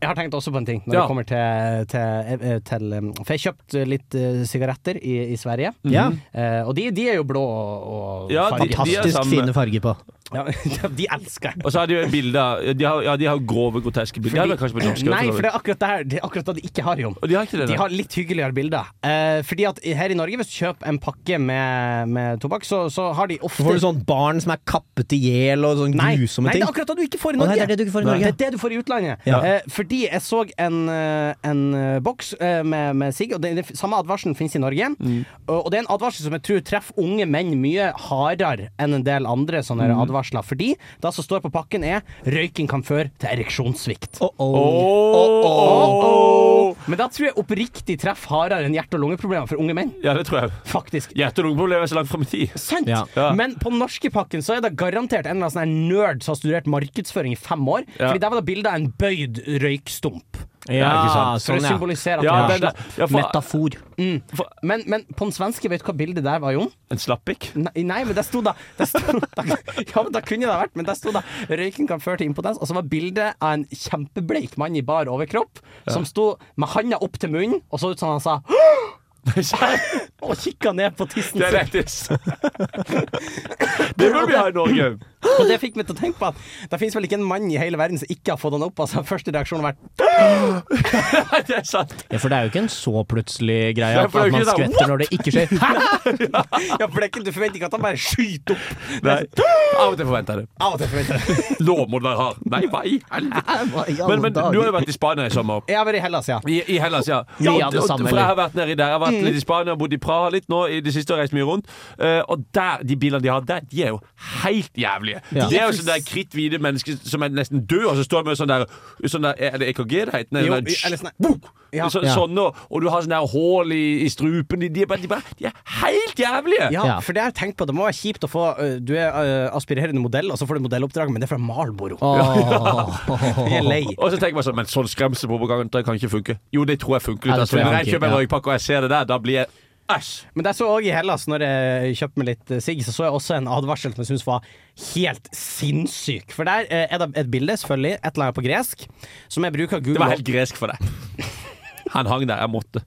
Speaker 4: Jeg har tenkt også på en ting når
Speaker 3: Ja.
Speaker 4: det kommer til, til, eh, til eh, For jeg kjøpte litt eh, sigaretter i, i Sverige.
Speaker 2: Mhm. Ja.
Speaker 4: Eh, og de, de er jo blå og
Speaker 3: Mm. Ja, de- de- samme.
Speaker 4: farget.
Speaker 2: Fantastisk fine farger på.
Speaker 4: Ja, de elsker jeg.
Speaker 3: Og så har de jo bilder De har, ja, de har grove, groteske bilder. Eller kanskje på norsk.
Speaker 4: Nei, for det er akkurat det her Det er akkurat det de ikke har, Jon.
Speaker 3: Og de har ikke det?
Speaker 4: De
Speaker 3: nei.
Speaker 4: har litt hyggeligere bilder. Eh, fordi at her i Norge, hvis du kjøper en pakke med, med tobakk, så, så har de ofte
Speaker 2: Så får du sånn barn som er kappet i hjel og sånn
Speaker 4: Nei,
Speaker 2: grusomme
Speaker 4: nei, det
Speaker 2: ting.
Speaker 4: er akkurat det du ikke får i
Speaker 2: Å,
Speaker 4: Norge.
Speaker 2: nei, det er det du ikke får i Norge.
Speaker 4: Det er det du får i utlandet.
Speaker 2: Ja.
Speaker 4: Eh, fordi jeg så en, eh, en eh, boks eh, med, med sigg, og den, den samme advarselen finnes i Norge.
Speaker 3: Mm.
Speaker 4: Og, og det er en advarsel som jeg tror treffer unge menn mye hardere enn en del andre sånne
Speaker 2: Mm.
Speaker 4: advarsler. Fordi det som står på pakken er 'røyking kan føre til ereksjonssvikt'.
Speaker 2: Å, å.
Speaker 3: Åh.
Speaker 4: Men da tror jeg oppriktig treffer hardere enn hjerte- og lungeproblemer for unge menn.
Speaker 3: Ja, det tror jeg.
Speaker 4: Faktisk.
Speaker 3: Hjerte- og lungeproblemer er så langt fram i tid.
Speaker 4: Sant!
Speaker 2: Ja.
Speaker 3: Ja.
Speaker 4: Men på norske pakken så er det garantert en eller annen sånn her nerd som har studert markedsføring i fem år.
Speaker 3: Ja.
Speaker 4: Fordi der var det bilde av en bøyd røykstump.
Speaker 2: Ja,
Speaker 3: ikke
Speaker 4: For å
Speaker 2: sånn, ja.
Speaker 4: symbolisere at
Speaker 3: Ja,
Speaker 4: ja,
Speaker 3: den der- ja, for-
Speaker 2: Metafor.
Speaker 4: men, men på den svenske, vet du hva bildet der var, Jon?
Speaker 3: En slappik?
Speaker 4: Nei, nei men der sto da, der sto, da Ja, men da kunne det ha vært, men der sto da 'røyking kan føre til impotens', og så var bildet av en kjempebleik mann i bar overkropp som sto med handa opp til munnen og så ut som han sa og kikka ned på tissen
Speaker 3: Det er
Speaker 4: sin.
Speaker 3: lættis. Det burde vi ha i Norge.
Speaker 4: Og det fikk meg til å tenke på at det finnes vel ikke en mann i hele verden som ikke har fått den opp. Altså, første reaksjon har vært
Speaker 3: Nei, det er sant.
Speaker 2: Ja, for det er jo ikke en så plutselig greie
Speaker 3: Nei,
Speaker 2: at
Speaker 3: for det er jo ikke
Speaker 2: at man
Speaker 3: det.
Speaker 2: skvetter når det ikke skjer. Hæ?
Speaker 4: Ja, for det er ikke, du forventer ikke at han bare skyter opp.
Speaker 3: Nei. Av og til forventer jeg det.
Speaker 4: Av og til forventer jeg det.
Speaker 3: Lover dere har. Nei, hva i helvete? Men, men du har jo vært i Spania i sommer.
Speaker 4: Jeg har vært i Hellas, ja.
Speaker 3: I, I Hellas, ja.
Speaker 2: Ja,
Speaker 3: Og-
Speaker 2: ja, det
Speaker 3: og- for jeg
Speaker 2: samme, eller? Mm.
Speaker 3: har vært nedi der. Jeg har vært litt i Spania, bodd i Praha litt nå i det siste og reist mye rundt. Eh, og der, de bilene de har der, de er jo helt jævlige.
Speaker 2: Ja.
Speaker 3: Det er jo sånne der kritthvite mennesker som er nesten døde, og så står de med sånn der, sånn der Er det EKG det heter? Nei,
Speaker 4: Jo,
Speaker 3: nei,
Speaker 4: i- eller sånn-
Speaker 3: Boom!
Speaker 4: Ja.
Speaker 3: Så,
Speaker 2: Ja.
Speaker 3: Sånne, og, og du har sånne der hull i, i strupen. De, de, er bare, de, bare, de er helt jævlige!
Speaker 4: Ja,
Speaker 2: Ja.
Speaker 4: for det har jeg tenkt på. Det må være kjipt å få øh, Du er øh, aspirerende modell, og så får du modelloppdrag, men det er fra Marlboro. Jeg er lei.
Speaker 3: Og så tenker man sånn, men sånn skremselpropaganda det kan ikke funke. Jo, det tror jeg funker.
Speaker 2: Ja,
Speaker 3: litt,
Speaker 2: det
Speaker 3: altså,
Speaker 2: tror jeg
Speaker 3: Når jeg
Speaker 2: funker,
Speaker 3: kjøper en
Speaker 2: ja.
Speaker 3: røykpakke og jeg ser det der, da blir jeg æsj!
Speaker 4: Men jeg så også i Hellas, når jeg kjøpte meg litt eh, sigg, så så jeg også en advarsel som jeg syntes var helt sinnssyk. For der eh, er det et bilde, selvfølgelig, et eller annet på gresk, som jeg bruker
Speaker 3: Det
Speaker 4: Google
Speaker 3: var helt gresk for deg. Han hang der. Jeg måtte.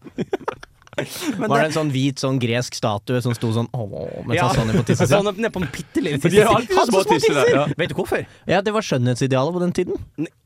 Speaker 2: Var det en sånn hvit sånn gresk statue som sto sånn åh, mens
Speaker 4: Ja.
Speaker 2: han så ned på tissen
Speaker 4: Sånn
Speaker 2: sin?
Speaker 4: ned på en bitte lille
Speaker 3: de er jo alltid så små tisser der, ja.
Speaker 4: Vet du hvorfor?
Speaker 2: Ja, det var skjønnhetsidealet på den tiden.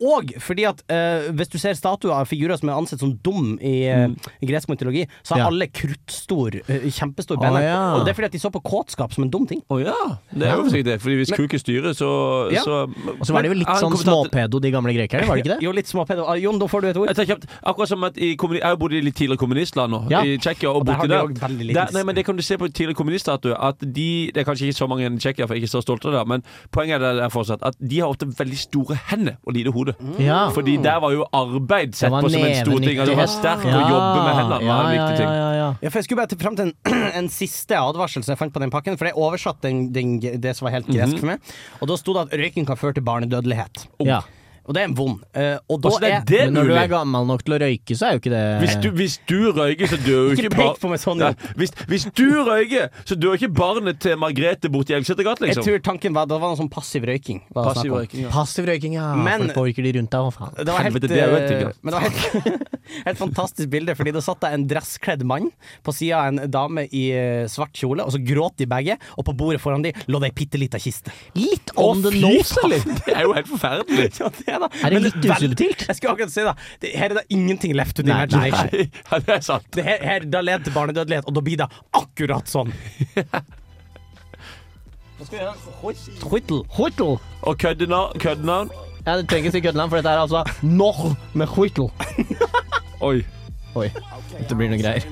Speaker 4: Og fordi at eh, hvis du ser statuer av figurer som er ansett som dum i, eh, i gresk mytologi, så har
Speaker 2: Mm. Ja.
Speaker 4: alle kruttstor, eh, kjempestor
Speaker 2: Å,
Speaker 4: bene.
Speaker 2: ja.
Speaker 4: Og det er fordi at de så på kåtskap som en dum ting.
Speaker 3: Å ja. Det er jo sikkert det. Fordi hvis kuken styrer, så,
Speaker 4: Ja.
Speaker 3: så
Speaker 2: Og så var det jo litt
Speaker 3: Han
Speaker 2: sånn
Speaker 3: kommer til at-
Speaker 2: småpedo, de gamle grekerne, var det ikke det?
Speaker 4: Jo, litt småpedo. Ah, Jon, da får du et
Speaker 3: Jeg
Speaker 4: ord.
Speaker 3: tar kjapt, akkurat som at i kommuni, Jeg har bodd i litt tidligere kommunistland nå,
Speaker 2: Ja.
Speaker 3: i Tsjekkia. Og,
Speaker 4: Og der
Speaker 3: borti
Speaker 4: har
Speaker 3: der,
Speaker 4: de jo veldig liten
Speaker 3: der nei, men Det kan du se på tidligere kommuniststatuer. At de, det er kanskje ikke så mange i Tsjekkia, for jeg er ikke så stolt av det, men poenget er det der fortsatt at de har ofte veldig store hender og lite hode.
Speaker 2: Ja.
Speaker 3: Fordi der var jo arbeid sett
Speaker 2: var
Speaker 3: på som en stor ting. Altså, du var sterk og jobbe med hendene var en viktig ting.
Speaker 2: Ja, ja, ja.
Speaker 4: Ja, for jeg skulle bare til- fram til en, en siste advarsel som jeg fant på den pakken, for jeg oversatte den, den, det som var helt gresk for meg. Og da sto det at røyking kan føre til barnedødelighet.
Speaker 2: Mhm. ja.
Speaker 4: Og det er en vond. Eh, og da
Speaker 3: Altså, det er
Speaker 4: er
Speaker 3: det
Speaker 2: Men når du
Speaker 3: mulig.
Speaker 2: er gammel nok til å røyke, så er jo ikke det
Speaker 3: Hvis du, hvis du røyker, så dør jo ikke
Speaker 4: Ikke
Speaker 3: bar-
Speaker 4: pek på meg sånn,
Speaker 3: Nei,
Speaker 4: Jon.
Speaker 3: hvis, hvis du røyker, så dør ikke barnet til Margrethe borti Elgsetergat,
Speaker 4: Jeg
Speaker 3: liksom.
Speaker 4: tror tanken var Det var noe sånn passiv røyking. var det snakk
Speaker 3: Passiv
Speaker 4: om.
Speaker 3: røyking. Ja.
Speaker 2: Passiv røyking, ja.
Speaker 4: Men-
Speaker 2: Men, For påvirker de rundt deg, hva faen.
Speaker 4: Det var helt,
Speaker 3: Helvete, det er jo en ting, ja.
Speaker 4: eh, men det var helt, helt fantastisk bilde, fordi det satt der en dresskledd mann på sida av en dame i eh, svart kjole, og så gråt de begge, og på bordet foran de lå det ei bitte lita kiste.
Speaker 2: Litt on the nose, da.
Speaker 3: Det er jo helt forferdelig.
Speaker 4: Ja, det er, da.
Speaker 2: Er det
Speaker 4: Men
Speaker 2: litt
Speaker 4: vel-
Speaker 2: usubtilt?
Speaker 4: Jeg skulle akkurat si det. det. Her er det ingenting left to the
Speaker 2: Nei, nei,
Speaker 4: imagination.
Speaker 3: Ja, det er sant.
Speaker 4: Det her, her da leder til barnedødelighet, og da blir det akkurat sånn. Huitl.
Speaker 2: Huitl.
Speaker 3: Og køddenavn køddenavn.
Speaker 2: Ja, du trenger ikke si køddenavn, for dette er altså norr med huitl.
Speaker 3: Oi.
Speaker 2: Oi. Det blir noen greier.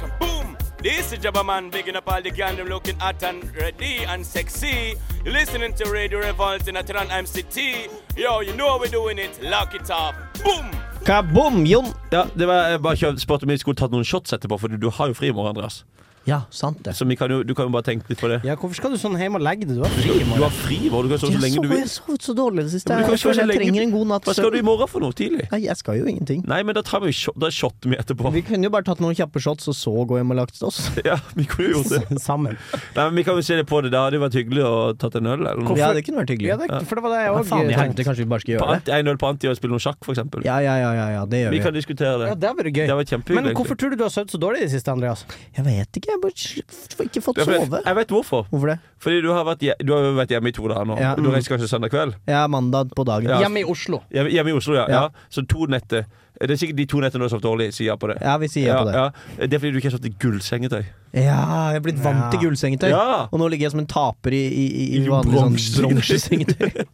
Speaker 11: Kaboom! This is Jabba Man, bigging up all the gang, them looking hot and ready and sexy. You're listening to Radio Revolt in Atlanta MCT. Yo, you know how we're doing it. Lock it up. Boom!
Speaker 2: Kaboom, Jon!
Speaker 3: Ja, det var, jeg bare kjøpt, spurte om vi skulle tatt noen shots etterpå, for du, du har jo fri i morgen, Andreas.
Speaker 2: Ja, sant det.
Speaker 3: Så vi kan jo, du kan jo bare tenke litt på det.
Speaker 4: Ja, hvorfor skal du sånn hjem og legge deg? Du har
Speaker 3: Du,
Speaker 4: fri
Speaker 3: skal,
Speaker 4: i
Speaker 3: du
Speaker 4: morgen.
Speaker 3: har fri i morgen, du kan sove så
Speaker 2: Jeg
Speaker 3: lenge du
Speaker 2: sov-
Speaker 3: vil.
Speaker 2: jeg sovet så dårlig i det siste.
Speaker 3: Men du kan
Speaker 2: Jeg,
Speaker 3: jo sove
Speaker 2: føler
Speaker 3: så
Speaker 2: jeg
Speaker 3: lenge
Speaker 2: trenger
Speaker 3: du-
Speaker 2: en god natts
Speaker 3: Hva skal du i
Speaker 2: søvn.
Speaker 3: morgen for noe tidlig?
Speaker 2: Nei, jeg skal jo ingenting.
Speaker 3: Nei, men da tar vi jo shot, da shotter vi etterpå.
Speaker 2: Vi kunne jo bare tatt noen kjappe shots og så gå hjem og lagt oss.
Speaker 3: Ja, vi kunne jo gjort det.
Speaker 4: Sammen.
Speaker 3: Nei, men vi kan jo se litt på det. Det hadde jo vært hyggelig å tatt en øl, eller noe.
Speaker 2: Ja, det kunne vært hyggelig.
Speaker 4: Ja, det, for det var det jeg
Speaker 2: Ja,
Speaker 4: òg
Speaker 2: faen i
Speaker 4: tenkte.
Speaker 2: helvete, kanskje vi bare skal
Speaker 3: På
Speaker 2: gjøre det?
Speaker 3: anti, en øl på anti og spille noe sjakk, for eksempel.
Speaker 2: Ja, ja, ja, ja, ja det gjør
Speaker 3: Vi
Speaker 2: vi.
Speaker 3: kan diskutere det.
Speaker 4: Ja, det hadde vært
Speaker 3: Det
Speaker 4: gøy.
Speaker 3: var kjempehyggelig.
Speaker 4: Men
Speaker 3: egentlig.
Speaker 4: hvorfor tror du du har sovet så dårlig i det siste, Andreas?
Speaker 2: Jeg vet ikke, jeg har bare sl- ikke fått
Speaker 3: Ja, for jeg-
Speaker 2: sove.
Speaker 3: Jeg vet hvorfor.
Speaker 2: Hvorfor det?
Speaker 3: Fordi du har vært, hje- du har jo vært hjemme i to dager nå.
Speaker 2: Ja.
Speaker 3: Du reiser kanskje søndag kveld?
Speaker 2: Jeg er mandag på dagen.
Speaker 3: Ja.
Speaker 2: Ja,
Speaker 4: Hjemme i Oslo.
Speaker 3: Hjemme, hjemme i Oslo, ja.
Speaker 2: Ja.
Speaker 3: ja. Så to netter. Det er sikkert de to nettene du har sovet dårlig, sier jeg på det.
Speaker 2: vi sier ja på det.
Speaker 3: Ja, ja. Det er fordi du ikke har sovet i gullsengetøy.
Speaker 2: Ja, jeg er blitt vant til gullsengetøy.
Speaker 3: Ja.
Speaker 2: Og nå ligger jeg som en taper i, i, i, i
Speaker 3: I
Speaker 2: vanlig sånn
Speaker 3: bronse.
Speaker 2: bronsesengetøy.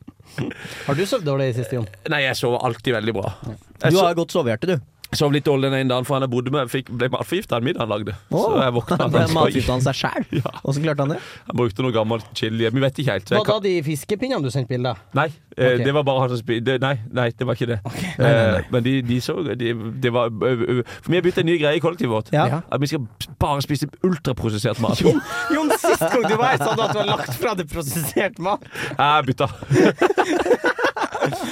Speaker 4: Har du sovet dårlig i det siste, Jon?
Speaker 3: Nei, jeg sover alltid veldig bra. Jeg
Speaker 2: Du
Speaker 3: so-
Speaker 2: har godt sovehjerte, du.
Speaker 3: sov litt dårlig den ene dagen, for han jeg bodde med, fikk, ble matforgifta av middagen han lagde.
Speaker 2: Åh.
Speaker 3: Så jeg våkna
Speaker 2: Det er
Speaker 3: han,
Speaker 2: matgifta han seg sjæl.
Speaker 3: Ja.
Speaker 2: Åssen klarte han det?
Speaker 3: han brukte noe gammelt chili. Vi vet ikke helt. så
Speaker 4: Var
Speaker 3: jeg
Speaker 4: da
Speaker 3: kan-
Speaker 4: de fiskepinnene du sendte bilde av?
Speaker 3: Nei, eh,
Speaker 4: Ok.
Speaker 3: det var bare han som spiste Nei, nei, det var ikke det. Eh, Men de, de så de, Det var ø, ø, For vi har begynt en ny greie i kollektivet vårt.
Speaker 2: Ja.
Speaker 3: At vi skal bare spise ultraprosessert mat.
Speaker 4: Jon, sist gang du var her, sa du at du har lagt fra deg prosessert mat.
Speaker 3: Jeg bytta.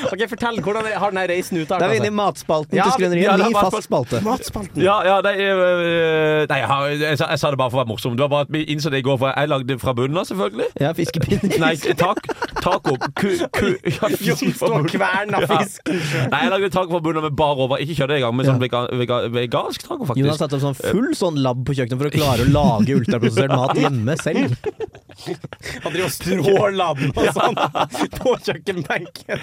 Speaker 4: Ok, Fortell, hvordan har denne reisen
Speaker 2: Da
Speaker 4: utarta
Speaker 2: er vi inne i
Speaker 4: seg?
Speaker 2: matspalten
Speaker 4: Ja,
Speaker 2: til
Speaker 3: ja,
Speaker 2: Skrøneriet.
Speaker 3: det er
Speaker 2: Ny
Speaker 3: matspalten.
Speaker 2: fast spalte.
Speaker 4: Matspalten.
Speaker 3: Ja, ja, nei, ø, ø, nei jeg, har- jeg, sa- jeg sa det bare for å være morsom. Det var bare at vi innså det i går, for jeg lagde fra bunnen av, selvfølgelig.
Speaker 2: Ja, fiskepinner.
Speaker 3: Nei, tak, taco. Ku, ku, ja,
Speaker 4: Jon står og kverner
Speaker 3: Ja.
Speaker 4: fisken.
Speaker 3: Nei, jeg lagde taco fra bunnen av med bar over. Ikke kjøtt engang, men sånn vega, vega, vegansk taco,
Speaker 2: Jonas
Speaker 3: faktisk.
Speaker 2: satte opp sånn full sånn lab på kjøkkenet for å klare å lage ultraprosessert mat hjemme selv.
Speaker 4: Han driver og stråler den og sånn på kjøkkenbenken.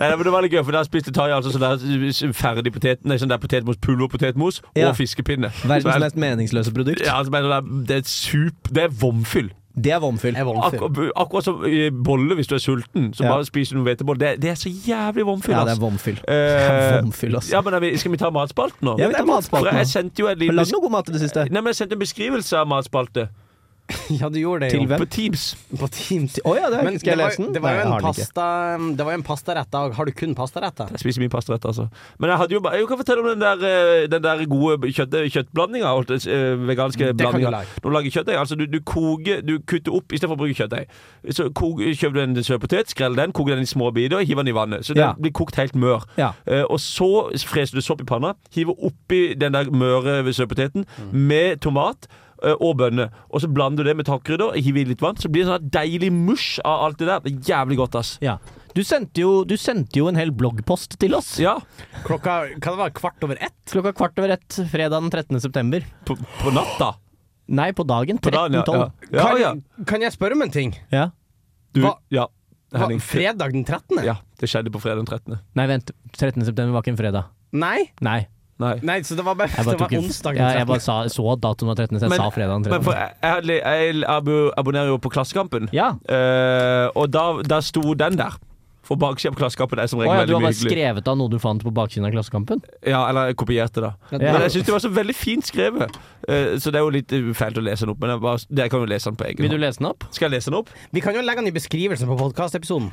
Speaker 3: Nei, nei, men det var litt gøy, for der spiste Tarjei altså sånn der ferdig potet, nei, sånn der potetmos, pulverpotetmos
Speaker 2: Ja.
Speaker 3: og fiskepinne. Så
Speaker 2: Verdens
Speaker 3: jeg-
Speaker 2: mest meningsløse produkt.
Speaker 3: ja, altså, men det, er, det er sup Det er vomfyll.
Speaker 2: Det er vomfyll.
Speaker 3: Akkur, akkurat som eh, bolle hvis du er sulten. Så
Speaker 2: Ja.
Speaker 3: bare spiser du noen hveteboller. Det, det er så jævlig vomfyll.
Speaker 2: Ja, det
Speaker 3: ass.
Speaker 2: er vomfyll.
Speaker 3: Eh,
Speaker 2: Vomfyll, ass.
Speaker 3: ja, men er vi- Skal vi ta matspalten nå?
Speaker 2: Ja, vi tar matspalten
Speaker 3: For
Speaker 2: nå.
Speaker 3: jeg sendte jo en
Speaker 2: Har
Speaker 3: liten
Speaker 2: du lagd noe god mat i det siste?
Speaker 3: Nei, men jeg sendte en beskrivelse av matspalte
Speaker 4: Ja, du gjorde det,
Speaker 2: Til
Speaker 4: Jon.
Speaker 2: hvem?
Speaker 3: på Teams.
Speaker 4: På Teams.
Speaker 2: Å ja, det er,
Speaker 4: Men
Speaker 2: skal jeg
Speaker 4: det var-
Speaker 2: lese den?
Speaker 4: Det var jo
Speaker 2: Nei, jeg har
Speaker 4: en
Speaker 2: den ikke.
Speaker 4: pasta um, Det var jo en pastarett. da. Har du kun pastaretter?
Speaker 3: Jeg spiser mye pastarett, altså. Men jeg hadde jo bare Jeg kan fortelle om den der, eh, den der gode kjøtt, kjøttblandinga. holdt det, eh, Veganske
Speaker 4: Det kan du
Speaker 3: blandinga.
Speaker 4: lage.
Speaker 3: Når du lager kjøttdeig, altså du, du koker Du kutter opp istedenfor å bruke kjøttdeig. Så kok, kjøper du en søt potet, skrell den, koker den i små biter og hiver den i vannet. Så den
Speaker 2: Ja.
Speaker 3: blir kokt helt mør.
Speaker 2: Ja.
Speaker 3: Eh, og så freser du sopp i panna, hiver oppi den der møre søtpoteten med tomat. eh, Og bønner. Og så blander du det med takkrydder. Hiver i litt vann. Så blir det sånn her deilig mush av alt det der. Det er Jævlig godt, ass.
Speaker 2: Ja. Du, sendte jo, du sendte jo en hel bloggpost til oss.
Speaker 3: Ja.
Speaker 4: Klokka kan det være kvart over ett?
Speaker 2: Klokka kvart over ett fredag den 13. september.
Speaker 3: På, på natta.
Speaker 2: Nei, på dagen.
Speaker 3: På dagen,
Speaker 2: 13.12.
Speaker 3: ja. ja. ja,
Speaker 4: Kan,
Speaker 3: ja.
Speaker 4: kan jeg spørre om en ting?
Speaker 2: ja.
Speaker 3: Du,
Speaker 4: Hva-
Speaker 3: ja.
Speaker 4: Hva,
Speaker 3: Henning,
Speaker 4: fredag den 13.?
Speaker 3: ja, det skjedde på fredag den 13.
Speaker 2: Nei, vent. 13. september var ikke en fredag.
Speaker 4: Nei?
Speaker 2: Nei.
Speaker 3: Nei.
Speaker 4: Nei, så det var, bare,
Speaker 2: Jeg bare,
Speaker 4: det var
Speaker 2: tok en- ja,
Speaker 4: onsdag den 13.
Speaker 2: jeg bare sa, så at datoen var 13., så jeg sa fredag den
Speaker 3: men for
Speaker 2: 13.
Speaker 3: jeg, jeg, jeg abo- abonnerer jo på Klassekampen,
Speaker 2: Ja.
Speaker 3: Eh, og da, da sto den der. For baksida på Klassekampen er som
Speaker 2: Å
Speaker 3: regel
Speaker 2: ja, du
Speaker 3: veldig
Speaker 2: har
Speaker 3: mye
Speaker 2: bare
Speaker 3: hyggelig.
Speaker 2: skrevet av noe du fant på baksiden av Klassekampen?
Speaker 3: Ja, eller jeg kopierte det.
Speaker 4: Ja.
Speaker 3: Men jeg syns det var så veldig fint skrevet. Eh, så det er jo litt eh, fælt å lese den opp, men jeg, bare, jeg kan jo lese den på egen
Speaker 2: Vil du
Speaker 3: hånd.
Speaker 2: lese den opp?
Speaker 3: Skal jeg lese den opp?
Speaker 4: Vi kan jo legge den i beskrivelsen på podkastepisoden.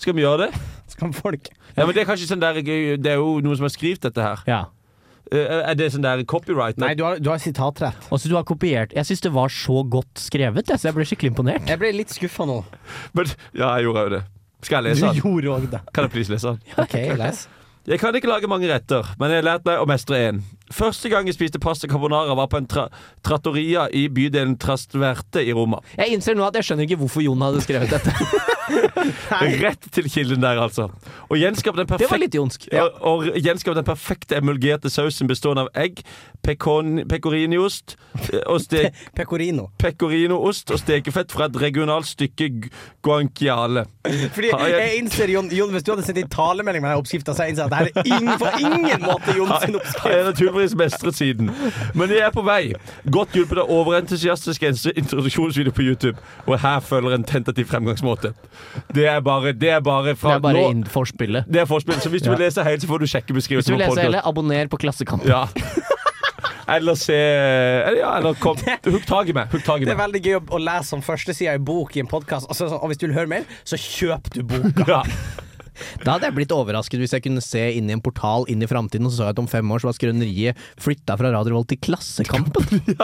Speaker 3: Skal vi gjøre det?
Speaker 4: Så kan folk
Speaker 3: Ja, men Det er kanskje sånn der Det er jo noen som har skrevet dette her.
Speaker 2: Ja.
Speaker 3: Eh, er det sånn der copyright?
Speaker 4: Nei, du har, du har sitatrett.
Speaker 2: Og så du har kopiert Jeg syns det var så godt skrevet, jeg, så jeg ble skikkelig imponert.
Speaker 4: Jeg ble litt skuffa nå.
Speaker 3: Men, ja, jeg gjorde jo det. Skal jeg lese den?
Speaker 4: gjorde òg det.
Speaker 3: Kan jeg please lese den?
Speaker 4: OK, les.
Speaker 3: Jeg kan ikke lage mange retter, men jeg har lært meg å mestre én. Første gang jeg spiste pasta carbonara, var på en tra trattoria i bydelen Trastverte i Roma.
Speaker 2: Jeg innser nå at jeg skjønner ikke hvorfor Jon hadde skrevet dette.
Speaker 3: Rett til kilden der, altså. Og gjenskap den
Speaker 2: Det var
Speaker 3: perfekte
Speaker 2: litt jonsk.
Speaker 3: og, og gjenskap den perfekte emulgerte sausen bestående av egg, pecon- pecoriniost eh, og stek
Speaker 4: Pecorino.
Speaker 3: pecorinoost og stekefett fra et regionalt stykke gu- guanciale.
Speaker 4: Fordi
Speaker 3: Har jeg-
Speaker 4: jeg innser, Jon, Jon hvis du hadde sendt en talemelding med den oppskrifta, så jeg innser at er ingen, på ingen måte Jon sin
Speaker 3: Jeg er naturligvis mestret siden. Men jeg er på vei. Godt hjulpet av overentusiastisk eneste introduksjonsvideo på YouTube. Og her følger en tentativ fremgangsmåte. Det er bare, det er bare fra
Speaker 2: Det er bare
Speaker 3: nå-
Speaker 2: inn forspillet.
Speaker 3: Det er forspill. Så hvis du vil
Speaker 2: Ja.
Speaker 3: lese helt, så får du sjekke
Speaker 2: Hvis du
Speaker 3: beskrivelsen.
Speaker 2: vil
Speaker 3: på
Speaker 2: lese hele,
Speaker 3: podcasten.
Speaker 2: abonner på Klassekampen.
Speaker 3: Ja. Eller se Eller, ja, eller kom Hugg tak i meg. Hugg tak i
Speaker 4: Det er
Speaker 3: meg.
Speaker 4: veldig gøy å- å lese som førstesida i bok i en podkast. Altså, så- og hvis du vil høre mer, så kjøp du boka.
Speaker 2: Da hadde jeg blitt overrasket hvis jeg kunne se inn i en portal inn i framtiden, og så så jeg at om fem år så var skrøneriet flytta fra Radio Revolt til Klassekampen.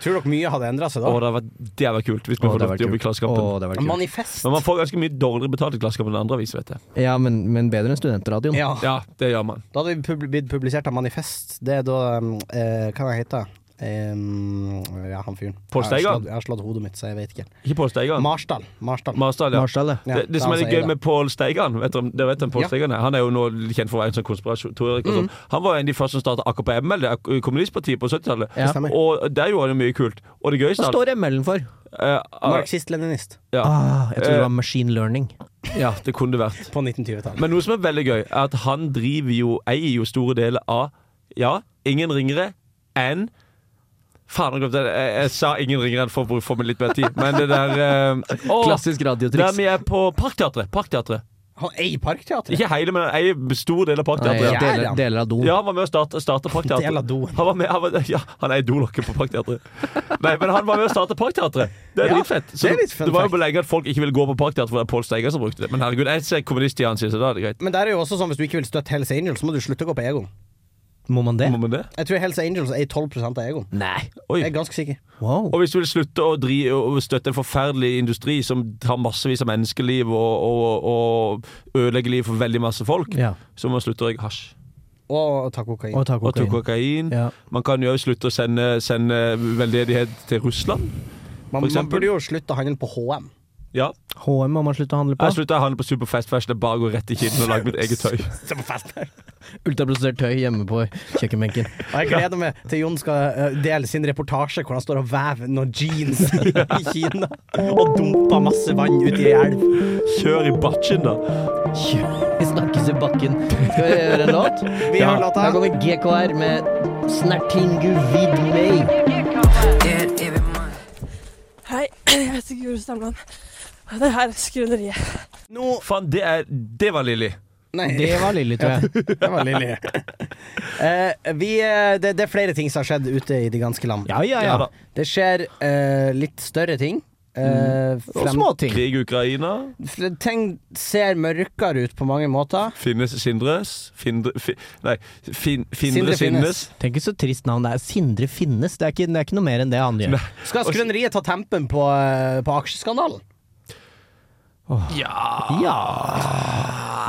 Speaker 4: Tror dere mye hadde endra seg
Speaker 3: Å,
Speaker 4: da?
Speaker 3: det hadde vært det hadde vært kult hvis vi
Speaker 2: Å,
Speaker 3: får
Speaker 2: det
Speaker 3: lov
Speaker 2: hadde
Speaker 3: til å jobbe i
Speaker 2: vært kult.
Speaker 3: Klassekampen.
Speaker 2: Å, det hadde vært kult.
Speaker 4: Manifest.
Speaker 3: Men man får ganske mye dårligere betalt i Klassekampen enn andre aviser, vet jeg.
Speaker 2: Ja, men, men bedre enn studentradioen.
Speaker 4: Ja.
Speaker 3: Ja, det gjør man.
Speaker 4: Da hadde vi pub blitt publisert av Manifest. Det er da um, eh, Hva heter det? Um, ja, han fyren.
Speaker 3: Pål
Speaker 4: Jeg
Speaker 3: Steigan?
Speaker 4: har slått- Jeg har slått hodet mitt, så jeg vet ikke.
Speaker 3: Ikke Pål Steigan.
Speaker 4: Marsdal. Marsdal.
Speaker 3: Marsdal, ja.
Speaker 2: Marsdal, ja.
Speaker 3: Det, det
Speaker 4: Ja,
Speaker 3: som er
Speaker 4: han
Speaker 3: litt
Speaker 4: sier
Speaker 3: gøy med Pål Steigan vet dere, om- dere vet hvem Paul
Speaker 4: Ja.
Speaker 3: Steigan er? Han er jo nå kjent for å være en sånn konspiratoriker. og sånn. Han var jo en av de første som starta AKP ML, det er kommunistpartiet på 70-tallet.
Speaker 2: Ja.
Speaker 4: Stemmer.
Speaker 3: Og der gjorde han jo mye kult. Og det gøyeste
Speaker 2: Hva står ML-en for?
Speaker 3: eh, ah,
Speaker 4: Marxist-leninist
Speaker 3: ja.
Speaker 2: Ah, jeg tror det var machine learning.
Speaker 3: ja, det kunne det vært.
Speaker 4: på 1920-tallet.
Speaker 3: Men noe som er veldig gøy, er at han driver jo eier jo store deler av Ja, ingen ringere enn Faen, jeg glemte det. Jeg, jeg sa ingen ringere enn for å få meg litt mer tid. Men det der eh, å,
Speaker 2: Klassisk
Speaker 3: Der
Speaker 2: radiotriks.
Speaker 3: vi er på Parkteatret. Parkteatret.
Speaker 4: Han eier Parkteatret.
Speaker 3: Ikke hele, men han eier stor del av
Speaker 2: Nei,
Speaker 3: Parkteatret.
Speaker 4: Ja,
Speaker 2: deler,
Speaker 4: ja.
Speaker 2: deler av doen.
Speaker 3: Ja, han var med å starte, starte Parkteatret.
Speaker 4: Del av doen.
Speaker 3: Han var med, han var, ja, han er idolokket på Parkteatret. Nei, men han var med å starte Parkteatret. Det er
Speaker 4: Ja,
Speaker 3: dritfett. Så
Speaker 4: det er litt
Speaker 3: det,
Speaker 4: fun
Speaker 3: det var jo
Speaker 4: fact. Men der er jo også sånn hvis du ikke vil støtte Hells Angels, så må du slutte å gå på Egon.
Speaker 2: Må man det?
Speaker 3: Må man det?
Speaker 4: Jeg tror Hells Angels eier 12 av Egon.
Speaker 2: Nei.
Speaker 3: Oi.
Speaker 4: Jeg er ganske sikker.
Speaker 2: Wow.
Speaker 3: Og hvis du vil slutte å dri, å støtte en forferdelig industri som tar massevis av menneskeliv og, og, og ødelegger livet for veldig masse folk,
Speaker 2: Ja.
Speaker 3: så må man slutte å røyke hasj.
Speaker 4: Og ta kokain.
Speaker 2: Og ta
Speaker 3: Og tok
Speaker 2: kokain.
Speaker 3: kokain.
Speaker 2: Ja.
Speaker 3: Man kan jo også slutte å sende, sende veldedighet til Russland. for
Speaker 4: man, man
Speaker 3: eksempel-
Speaker 4: burde jo slutte å handle på HM.
Speaker 3: Ja.
Speaker 2: HM må man slutte å handle
Speaker 3: Jeg
Speaker 2: på.
Speaker 3: slutta å handle på Superfast Fashion. Jeg bare går rett i kilden og lager mitt eget tøy.
Speaker 2: Ultraprosessert tøy hjemme på kjøkkenbenken.
Speaker 4: Og jeg gleder meg til Jon skal eh, dele sin reportasje hvor han står og vever noen jeans i Kina. Og dumper masse vann ut i ei elv.
Speaker 3: Kjør i batchen, da.
Speaker 2: Vi snakkes i bakken. Skal vi gjøre en låt?
Speaker 4: Vi har låta.
Speaker 2: Her kommer GKR med 'Snertingu vid meg'.
Speaker 6: Hei, jeg heter Guro Stamland. Og det her er Skrøneriet.
Speaker 4: Nå
Speaker 3: Faen, det, er, det var Lilly.
Speaker 4: Nei,
Speaker 2: Det var Lilly, tror jeg.
Speaker 4: det var Lilly. Eh, vi, eh, det, det er flere ting som har skjedd ute i det ganske land.
Speaker 2: Ja, ja,
Speaker 3: Ja
Speaker 2: ja.
Speaker 3: da.
Speaker 4: Det skjer eh, litt større ting. Eh,
Speaker 2: Mm. Og
Speaker 4: frem-
Speaker 2: småting.
Speaker 3: Krig i Ukraina.
Speaker 4: f- Ting ser mørkere ut på mange måter.
Speaker 3: Finnes Sindres. Findre, fi, nei, fin, Findre
Speaker 4: Sindre
Speaker 3: Finnes.
Speaker 4: Finnes.
Speaker 2: Tenk så trist navn det er. Sindre Finnes. Det er ikke, det er ikke noe mer enn det han gjør.
Speaker 4: Skal Skrøneriet ta tempen på, eh, på aksjeskandalen?
Speaker 2: Ja.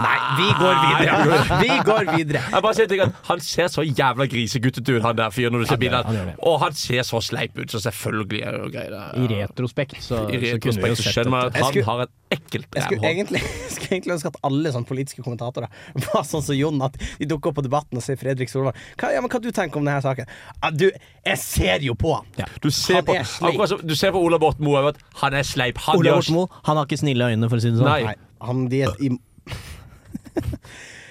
Speaker 4: Nei, vi går videre. Vi går videre.
Speaker 3: Jeg bare sier en ting at Han ser så jævla griseguttete ut, han der fyren, når du ser bildet.
Speaker 2: han gjør det.
Speaker 3: Og han ser så sleip ut, så selvfølgelig er det jo greier der.
Speaker 2: I retrospekt, så,
Speaker 3: I
Speaker 2: så kunne vi jo
Speaker 3: retrospekt så
Speaker 2: sett
Speaker 3: skjønner man
Speaker 2: dette.
Speaker 3: at
Speaker 4: Jeg
Speaker 3: han
Speaker 4: skulle-
Speaker 3: har et ekkelt
Speaker 4: Jeg skulle
Speaker 3: rævhånd.
Speaker 4: egentlig, jeg skulle egentlig ønske at alle sånne politiske kommentatorer var sånn som Jon, at de dukker opp på Debatten og sier Fredrik Solvang. Hva, ja, men hva du tenker om denne saken? Ja, du, jeg ser jo på han!
Speaker 3: Du ser
Speaker 4: Han
Speaker 3: på,
Speaker 4: er sleip.
Speaker 3: akkurat som- du ser på Ola Borten Moe at han er sleip. Han
Speaker 2: Ola
Speaker 3: gjør-
Speaker 2: Borten Moe, han har ikke snille øyne, for å si det sånn.
Speaker 3: Nei.
Speaker 4: Nei, han de er i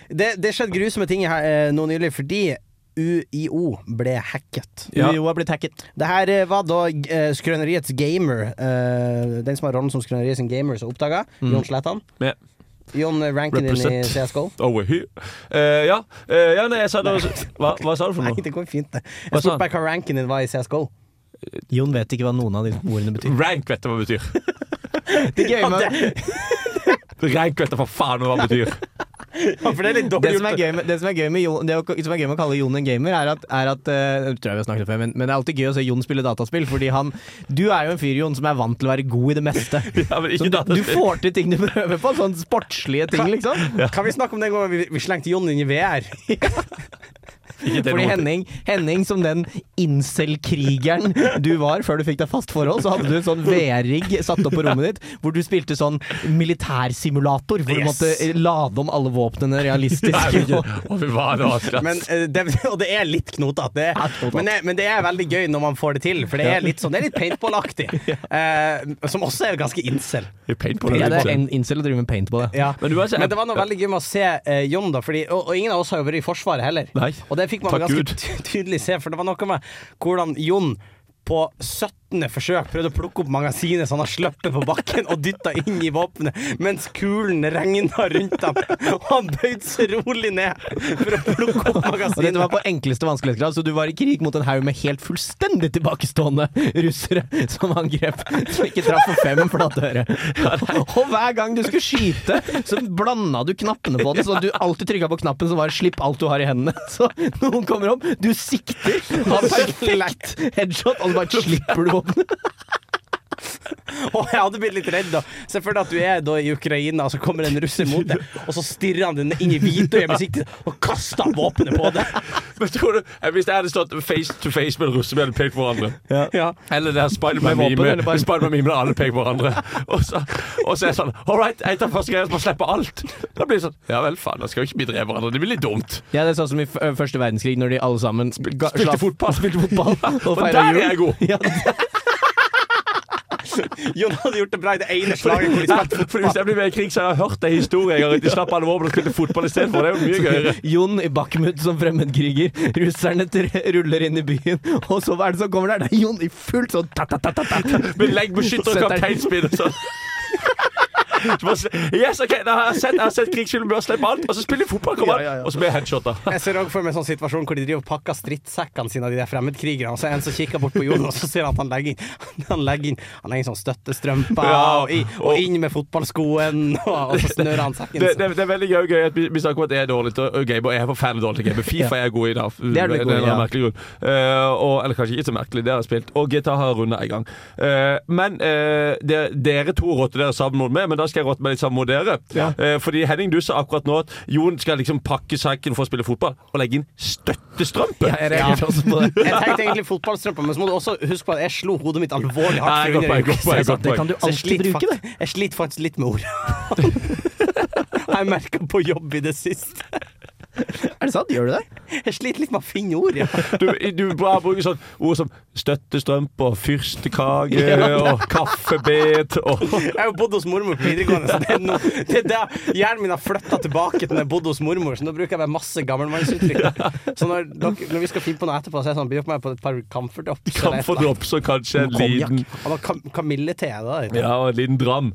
Speaker 4: det, det skjedde grusomme ting her eh, nå nylig fordi UiO ble hacket.
Speaker 3: Ja.
Speaker 2: UiO har blitt hacket.
Speaker 4: Det her eh, var da eh, Skrøneriets gamer, eh, den som har rollen som Skrøneriets gamer, som oppdaga.
Speaker 2: Mm.
Speaker 4: Jon Slettan.
Speaker 3: Med
Speaker 4: Jon Rankin din i
Speaker 3: Represent.
Speaker 4: CSGO.
Speaker 3: Over here. Eh, ja. Eh, ja, nei, jeg sa det også. hva, hva sa du for
Speaker 4: Nei,
Speaker 3: noe?
Speaker 4: det går fint, det.
Speaker 3: Hva sa
Speaker 4: Jeg spurte bare hva ranken din var i CSGO.
Speaker 2: Jon vet ikke hva noen av de ordene betyr.
Speaker 3: Rank vet du hva det betyr.
Speaker 2: Det er gøy med
Speaker 3: Rank vet du for faen hva det betyr.
Speaker 4: for det er litt
Speaker 2: Det som er gøy med, det som er gøy med, Jon, det som er gøy med å kalle Jon en gamer, er at, er at eh, jeg tror jeg vi har snakket om det før, men, men det er alltid gøy å se Jon spille dataspill, fordi han Du er jo en fyr, Jon, som er vant til å være god i det meste.
Speaker 3: Ja, men
Speaker 2: Så
Speaker 3: ikke
Speaker 2: du, du
Speaker 3: dataspill.
Speaker 2: får til ting du prøver på, sånn sportslige ting, liksom.
Speaker 4: Kan vi snakke om den gangen vi, vi slengte Jon inn i VR?
Speaker 1: Ikke det
Speaker 2: Fordi
Speaker 1: noe-
Speaker 2: Henning, Henning, som den incel-krigeren du var før du fikk deg fast forhold, så hadde du en sånn VR-rigg satt opp på rommet ditt, hvor du spilte sånn militærsimulator, hvor du
Speaker 4: Yes.
Speaker 2: måtte lade om alle våpnene realistisk.
Speaker 4: Men, eh, det, og det er litt knotete. det er- Men, det- men det er veldig gøy når man får det til, for det er litt sånn, det er litt paintball-aktig. Eh, som også er ganske incel.
Speaker 2: ja, det
Speaker 3: liksom.
Speaker 2: er en incel å drive med paintball, ja.
Speaker 4: Ja. Men, det var noe veldig gøy med å se eh, Jon, da, fordi, og, og ingen av oss har jo vært i Forsvaret heller. Og det fikk man
Speaker 2: Takk
Speaker 4: ganske
Speaker 2: Gud.
Speaker 4: ty- tydelig se, for det var noe med hvordan Jon på 17. forsøk prøvde å plukke opp magasinet så han har sluppet på bakken og dytta inn i våpenet, mens kulen regna rundt ham. Og han bøyde seg rolig ned for å plukke opp
Speaker 2: Og Altså, dette
Speaker 4: magasinet.
Speaker 2: var på enkleste vanskelighetsgrad, så du var i krig mot en haug med helt fullstendig tilbakestående russere som angrep, som ikke traff for fem flate øre. Og hver gang du skulle skyte, så blanda du knappene på den, så du alltid trykka på knappen som var 'slipp alt du har i hendene'. Så noen kommer opp, du sikter, har perfekt headshot, og så bare slipper du våpenet.
Speaker 4: Og jeg hadde blitt litt redd, da. Se for deg at du er da i Ukraina, og så kommer en russer mot deg, og så stirrer han den inn i hvitøyet med sikte og kaster han våpenet på deg.
Speaker 3: Men tror du, eh, Hvis jeg hadde stått face to face med en russe, vi hadde pekt på hverandre.
Speaker 4: Ja.
Speaker 3: Eller det her
Speaker 4: Med våpen, eller
Speaker 3: Spiderman-memet.
Speaker 4: bare-
Speaker 3: Spiderman-memet der alle peker på hverandre. Og så, og så er jeg sånn All right, jeg tar første greia og slipper alt. Da blir det sånn Ja vel, faen, da skal jo ikke vi drepe hverandre. Det blir litt dumt.
Speaker 2: Ja, det er sånn som i f- ø, første verdenskrig, når de alle sammen sp ga-
Speaker 3: spilte
Speaker 2: slapp-
Speaker 3: fotball.
Speaker 2: spilte fotball og
Speaker 3: Og der
Speaker 2: feira jul.
Speaker 3: er jeg god.
Speaker 4: Jon hadde gjort det bra i det ene slaget. hvor de
Speaker 3: Nei,
Speaker 4: spilte
Speaker 3: for Hvis jeg blir med i krig, så har jeg hørt en historie en gang. At de slapp alle våpen og spilte fotball istedenfor. Det er jo mye gøyere.
Speaker 2: Jon i Bakhmut som fremmedkriger. Russerne tr- ruller inn i byen, og så hva er det som kommer der? Det er Jon i fullt sånn ta, ta, ta, ta, ta.
Speaker 3: Med leggbeskytter og
Speaker 2: Setter-
Speaker 3: kapteinspinn og sånn. Så bare se- Yes, ok, da har jeg sett, jeg har sett krigsfilmer, bør slippe alt. Og så spiller de fotball, kommer han, og så blir jeg headshota.
Speaker 4: Jeg ser også for meg en sånn situasjon hvor de driver og pakker strittsekkene sine av de der fremmedkrigerne, og så er det en som kikker bort på jorden, og så ser han at han legger inn Han legger inn, han legger inn sånn støttestrømper,
Speaker 3: Ja,
Speaker 4: og, i, og inn med fotballskoen, og, og så snører han sekken.
Speaker 3: Det, det, det er veldig gøy, gøy at vi, vi snakker om at jeg er dårlig til å game, og jeg er forferdelig dårlig til å game. Fifa er jeg god i, da.
Speaker 2: Det er du
Speaker 3: En
Speaker 2: god i,
Speaker 3: eller annen
Speaker 2: ja.
Speaker 3: merkelig grunn. Eh, og, eller kanskje ikke så merkelig, det har jeg spilt. Og GTA har jeg runda en gang. Eh, men eh, det, dere to rotter dere sammen mot meg, men da skal jeg rotte meg litt sammen mot dere. Eh, fordi Henning, du sa akkurat nå at Jon skal liksom pakke sekken for å spille fotball, og legge inn støttestrømpe.
Speaker 2: jeg reagerte også på det.
Speaker 4: Jeg tenkte egentlig fotballstrømper, men så må du også huske på at jeg slo hodet mitt alvorlig
Speaker 3: Nei,
Speaker 4: hardt.
Speaker 3: godt poeng, godt poeng, godt
Speaker 2: poeng. Det kan du
Speaker 4: Så jeg
Speaker 2: alltid
Speaker 4: sliter
Speaker 2: bruke,
Speaker 4: fakt- Jeg sliter faktisk litt med ord. Jeg merka på jobb i det siste.
Speaker 2: Er det sant? Sånn, Gjør du det?
Speaker 4: Jeg sliter litt med å finne ord, ja.
Speaker 3: Du, du bare bruker sånn ord som støttestrømpe og fyrstekake og kaffebet og
Speaker 4: Jeg har jo bodd hos mormor på videregående, så det er, no, det er der hjernen min har flytta tilbake til når jeg bodde hos mormor, så nå bruker jeg bare masse gammelmannsuttrykk. Så når, dere, når vi skal finne på noe etterpå, så er jeg sånn, byr dere meg på et par camferdrops.
Speaker 3: Kan få drops og kanskje en liten
Speaker 4: Kamille-te, da. vet du.
Speaker 3: Ja, og en liten dram.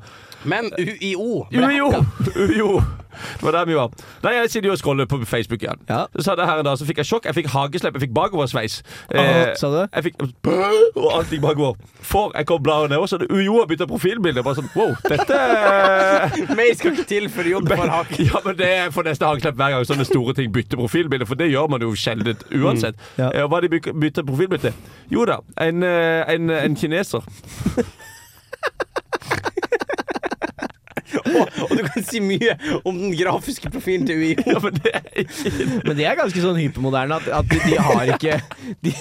Speaker 4: Men UiO
Speaker 3: UiO! UiO! Det var der vi var. Nei, jeg sitter jo og scroller på Facebook igjen. Så sa det her en dag, så fikk jeg sjokk. Jeg fikk hageslepp, jeg fikk bakoversveis. Eh,
Speaker 2: Ah, sa du det?
Speaker 3: Jeg fikk Og alt gikk bakover. For jeg kom bladet ned, og så hadde UiO har bytta profilbilde. Bare sånn wow, dette
Speaker 4: Mer skal ikke til for jobb for hake.
Speaker 3: ja, men det er for neste hageslepp hver gang sånne store ting bytter profilbilde, for det gjør man jo sjelden uansett.
Speaker 2: Ja.
Speaker 3: Eh, Hva de byg- bytter profilbilde til? Jo da, en, eh, en, en kineser.
Speaker 4: Og, og du kan si mye om den grafiske profilen til UiO.
Speaker 3: Ja, men det er ikke
Speaker 2: Men de er ganske sånn hypermoderne at, at de, de har ikke de,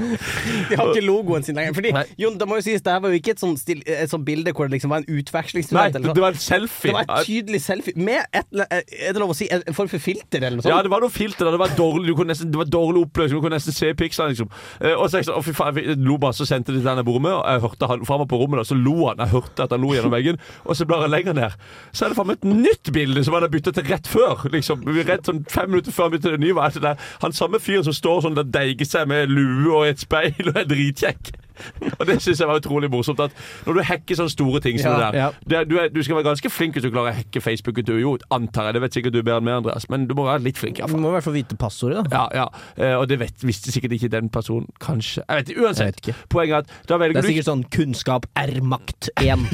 Speaker 4: De har ikke logoen sin lenger. Fordi, Jon, det må jo sies, det her var jo ikke et sånt, stil, et sånt bilde hvor det liksom var en
Speaker 3: Nei,
Speaker 4: utvekslingsstudent. eller
Speaker 3: det
Speaker 4: sånn.
Speaker 3: det var en selfie.
Speaker 4: Det var et tydelig selfie med et, eh, er det lov å si, en form for filter eller noe
Speaker 3: Ja,
Speaker 4: sånt?
Speaker 3: det var noe filter der. Det var dårlig, du kunne nesten, det var dårlig oppløsning. Du kunne nesten se pikslene, liksom. Eh, og så jeg sa, å fy faen, jeg lo bare, så sendte de til han jeg bor med, og jeg hørte han, for han var på rommet, da, så lo han. Jeg hørte at han lo gjennom veggen, og så blar jeg lenger ned. Så er det faen meg et nytt bilde som han har bytta til rett før. liksom. Rett sånn fem minutter før han bytta til det nye. var det der. Han samme fyren som står sånn der deiger seg med lue og et speil og er dritkjekk. Og det syns jeg var utrolig morsomt. at Når du hacker sånne store ting som
Speaker 2: Ja,
Speaker 3: det der
Speaker 2: ja.
Speaker 3: det, er- du, er, du skal være ganske flink hvis du klarer å hacke Facebooken til UiO, antar jeg. Det vet sikkert du bedre enn meg, Andreas, men du må være litt flink. i hvert fall.
Speaker 2: Du må i hvert fall vite passordet, da.
Speaker 3: Ja, ja. Eh, og det vet, visste sikkert ikke den personen, kanskje. Jeg vet ikke, Uansett. Poenget er at da
Speaker 2: Det
Speaker 3: velger
Speaker 2: er
Speaker 3: du
Speaker 2: sikkert sånn kunnskap er makt 1.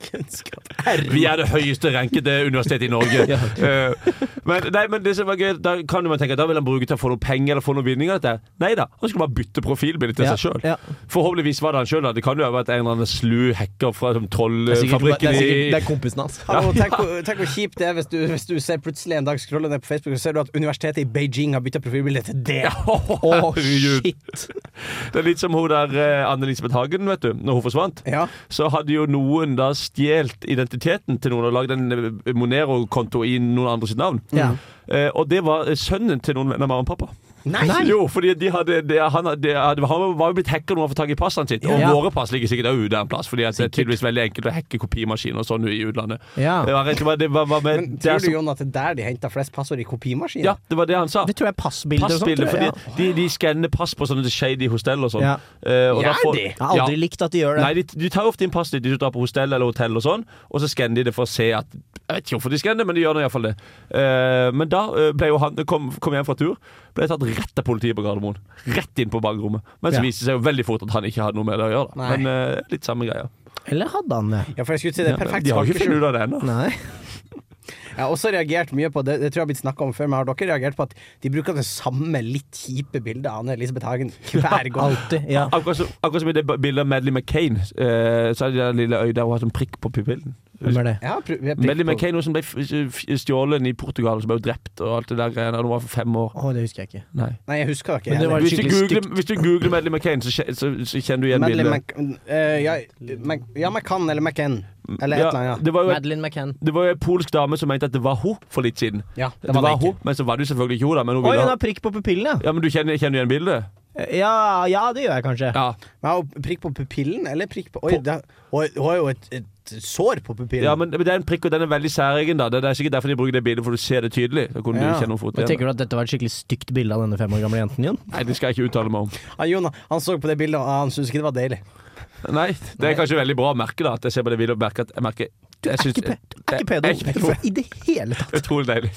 Speaker 4: Kunnskap.
Speaker 3: Vi er det høyeste rankede universitetet i Norge. Eh, men, nei, men det som var gøy, da kan man tenke at da vil han bruke til å få noe penger eller få noen vinninger. Dette. Nei da, han skulle bare bytte profilbilde til
Speaker 2: Ja,
Speaker 3: seg sjøl. Forhåpentligvis var det han sjøl, da. Det kan jo være at en eller annen slu hacker fra som trollfabrikken Eh, i
Speaker 2: kompisen hans.
Speaker 4: Hallo, tenk, hvor- tenk hvor kjipt det er hvis du, hvis du ser plutselig en dag scroller ned på Facebook, så ser du at universitetet i Beijing har bytta profilbilde til det. Å,
Speaker 3: herregud.
Speaker 4: shit!
Speaker 3: Det er litt som hun der eh, Anne-Elisabeth Hagen, vet du. Når hun forsvant, så hadde jo noen da stjålet identiteten til noen og lagd en eh, Monero-konto i noen andre sitt navn.
Speaker 4: Ja.
Speaker 3: Eh, og det var eh, sønnen til noen venner av mamma og pappa.
Speaker 4: Nei!
Speaker 3: Jo, fordi de hadde, de, han, hadde- de, hadde- han var jo blitt hacker når han fikk tak i passene sitt. Og
Speaker 4: Ja.
Speaker 3: våre pass ligger sikkert også ute en plass, Fordi at det er tydeligvis veldig enkelt å hacke kopimaskiner og sånn i utlandet.
Speaker 4: Ja.
Speaker 3: Det var, rett og slett- det var, var med,
Speaker 4: Men
Speaker 3: det er
Speaker 4: tror du,
Speaker 3: så-
Speaker 4: Jon, at det er der de henter flest passord i kopimaskinen?
Speaker 3: ja, det var det han sa.
Speaker 2: Det tror jeg er passbilder og sånt,
Speaker 3: Passbilder,
Speaker 2: tror jeg,
Speaker 3: fordi de, de skanner pass på sånne shady hostell og sånn.
Speaker 2: Ja.
Speaker 3: Eh, og da
Speaker 2: Gjør
Speaker 3: får-
Speaker 2: de? Jeg har aldri likt at de gjør det.
Speaker 3: Nei, de, de tar ofte inn passet ditt hvis du drar på hostell eller hotell og sånn, og så skanner de det for å se at Jeg vet ikke hvorfor de skanner det, men de gjør det iallfall det. Eh, men da eh, ble jo han kom, kom hjem fra tur, ble tatt rett av politiet på Gardermoen. Rett inn på bakrommet. Men så
Speaker 4: Ja.
Speaker 3: viste det seg jo veldig fort at han ikke hadde noe med det å gjøre. Da.
Speaker 4: Nei.
Speaker 3: Men eh, litt samme greia.
Speaker 2: Eller hadde han det?
Speaker 4: Ja, for jeg skulle si det er
Speaker 3: Ja,
Speaker 4: perfekt
Speaker 3: de har jo ikke
Speaker 4: skalkeskjul.
Speaker 3: funnet ut av det ennå.
Speaker 2: Nei.
Speaker 4: Jeg har også reagert mye på det, det tror jeg har blitt snakket om før, men har dere reagert på at de bruker det samme litt kjipe bildet av Anne-Elisabeth Hagen hver gang?
Speaker 2: Alltid. Ja.
Speaker 3: Akkurat, som, akkurat som i det bildet av Madeleine McCain, eh, så er det der lille øyet der hun har sånn prikk på pupillen.
Speaker 2: Hvem er det?
Speaker 4: Ja, pr- jeg prikk
Speaker 3: Madeleine
Speaker 4: på-
Speaker 3: McCain, hun som ble f- f- stjålet i Portugal, som ble drept og alt det der greiene da hun var for fem år.
Speaker 2: Å, det husker jeg ikke.
Speaker 3: Nei.
Speaker 4: Nei, jeg husker ikke.
Speaker 2: Men det var
Speaker 3: Hvis
Speaker 4: heller.
Speaker 3: du,
Speaker 2: skikkelig
Speaker 3: googler, hvis du googler Madeleine McCain, så, kje- så, så kjenner du igjen
Speaker 4: Madeleine
Speaker 3: bildet.
Speaker 4: Mac... eh, ja, Mac... Ja, McCann eller McCann. Eller et
Speaker 3: Ja,
Speaker 4: eller annet,
Speaker 3: det var jo et
Speaker 2: Madeline McCann.
Speaker 3: det var jo en polsk dame som mente at det var hun for litt siden.
Speaker 4: ja. Ja,
Speaker 3: Det var, hun, Men så var det jo selvfølgelig ikke hun, da. Men, hun
Speaker 2: Oi,
Speaker 3: ville
Speaker 2: hun
Speaker 3: ha-
Speaker 2: har prikk på pupillen, ja.
Speaker 3: ja, men du kjenner, kjenner igjen bildet?
Speaker 2: Ja, ja det gjør jeg kanskje.
Speaker 3: Ja.
Speaker 4: Men har hun prikk på pupillen, eller prikk på Oi,
Speaker 3: På-
Speaker 4: det- hun hun har jo et, et sår på pupillen.
Speaker 3: ja, men men det er en prikk, og den er veldig særegen. da Det det er sikkert derfor de bruker det bildet, for du ser det tydelig. Da kunne
Speaker 4: Ja.
Speaker 3: du kjenne henne fort
Speaker 2: Men
Speaker 3: igjen.
Speaker 2: Tenker du at dette var et skikkelig stygt bilde av denne fem år gamle jenten, Jon?
Speaker 3: Nei, det skal jeg ikke uttale meg om.
Speaker 4: Han, Jon, han så på det bildet, og han syntes ikke det var deilig.
Speaker 3: Nei, Det er kanskje veldig bra å merke, da. At jeg ser på det bildet og merker at jeg merker Du
Speaker 2: Er ikke, pe-
Speaker 3: Eh,
Speaker 2: du er ikke pedo i det hele tatt.
Speaker 3: Utrolig deilig.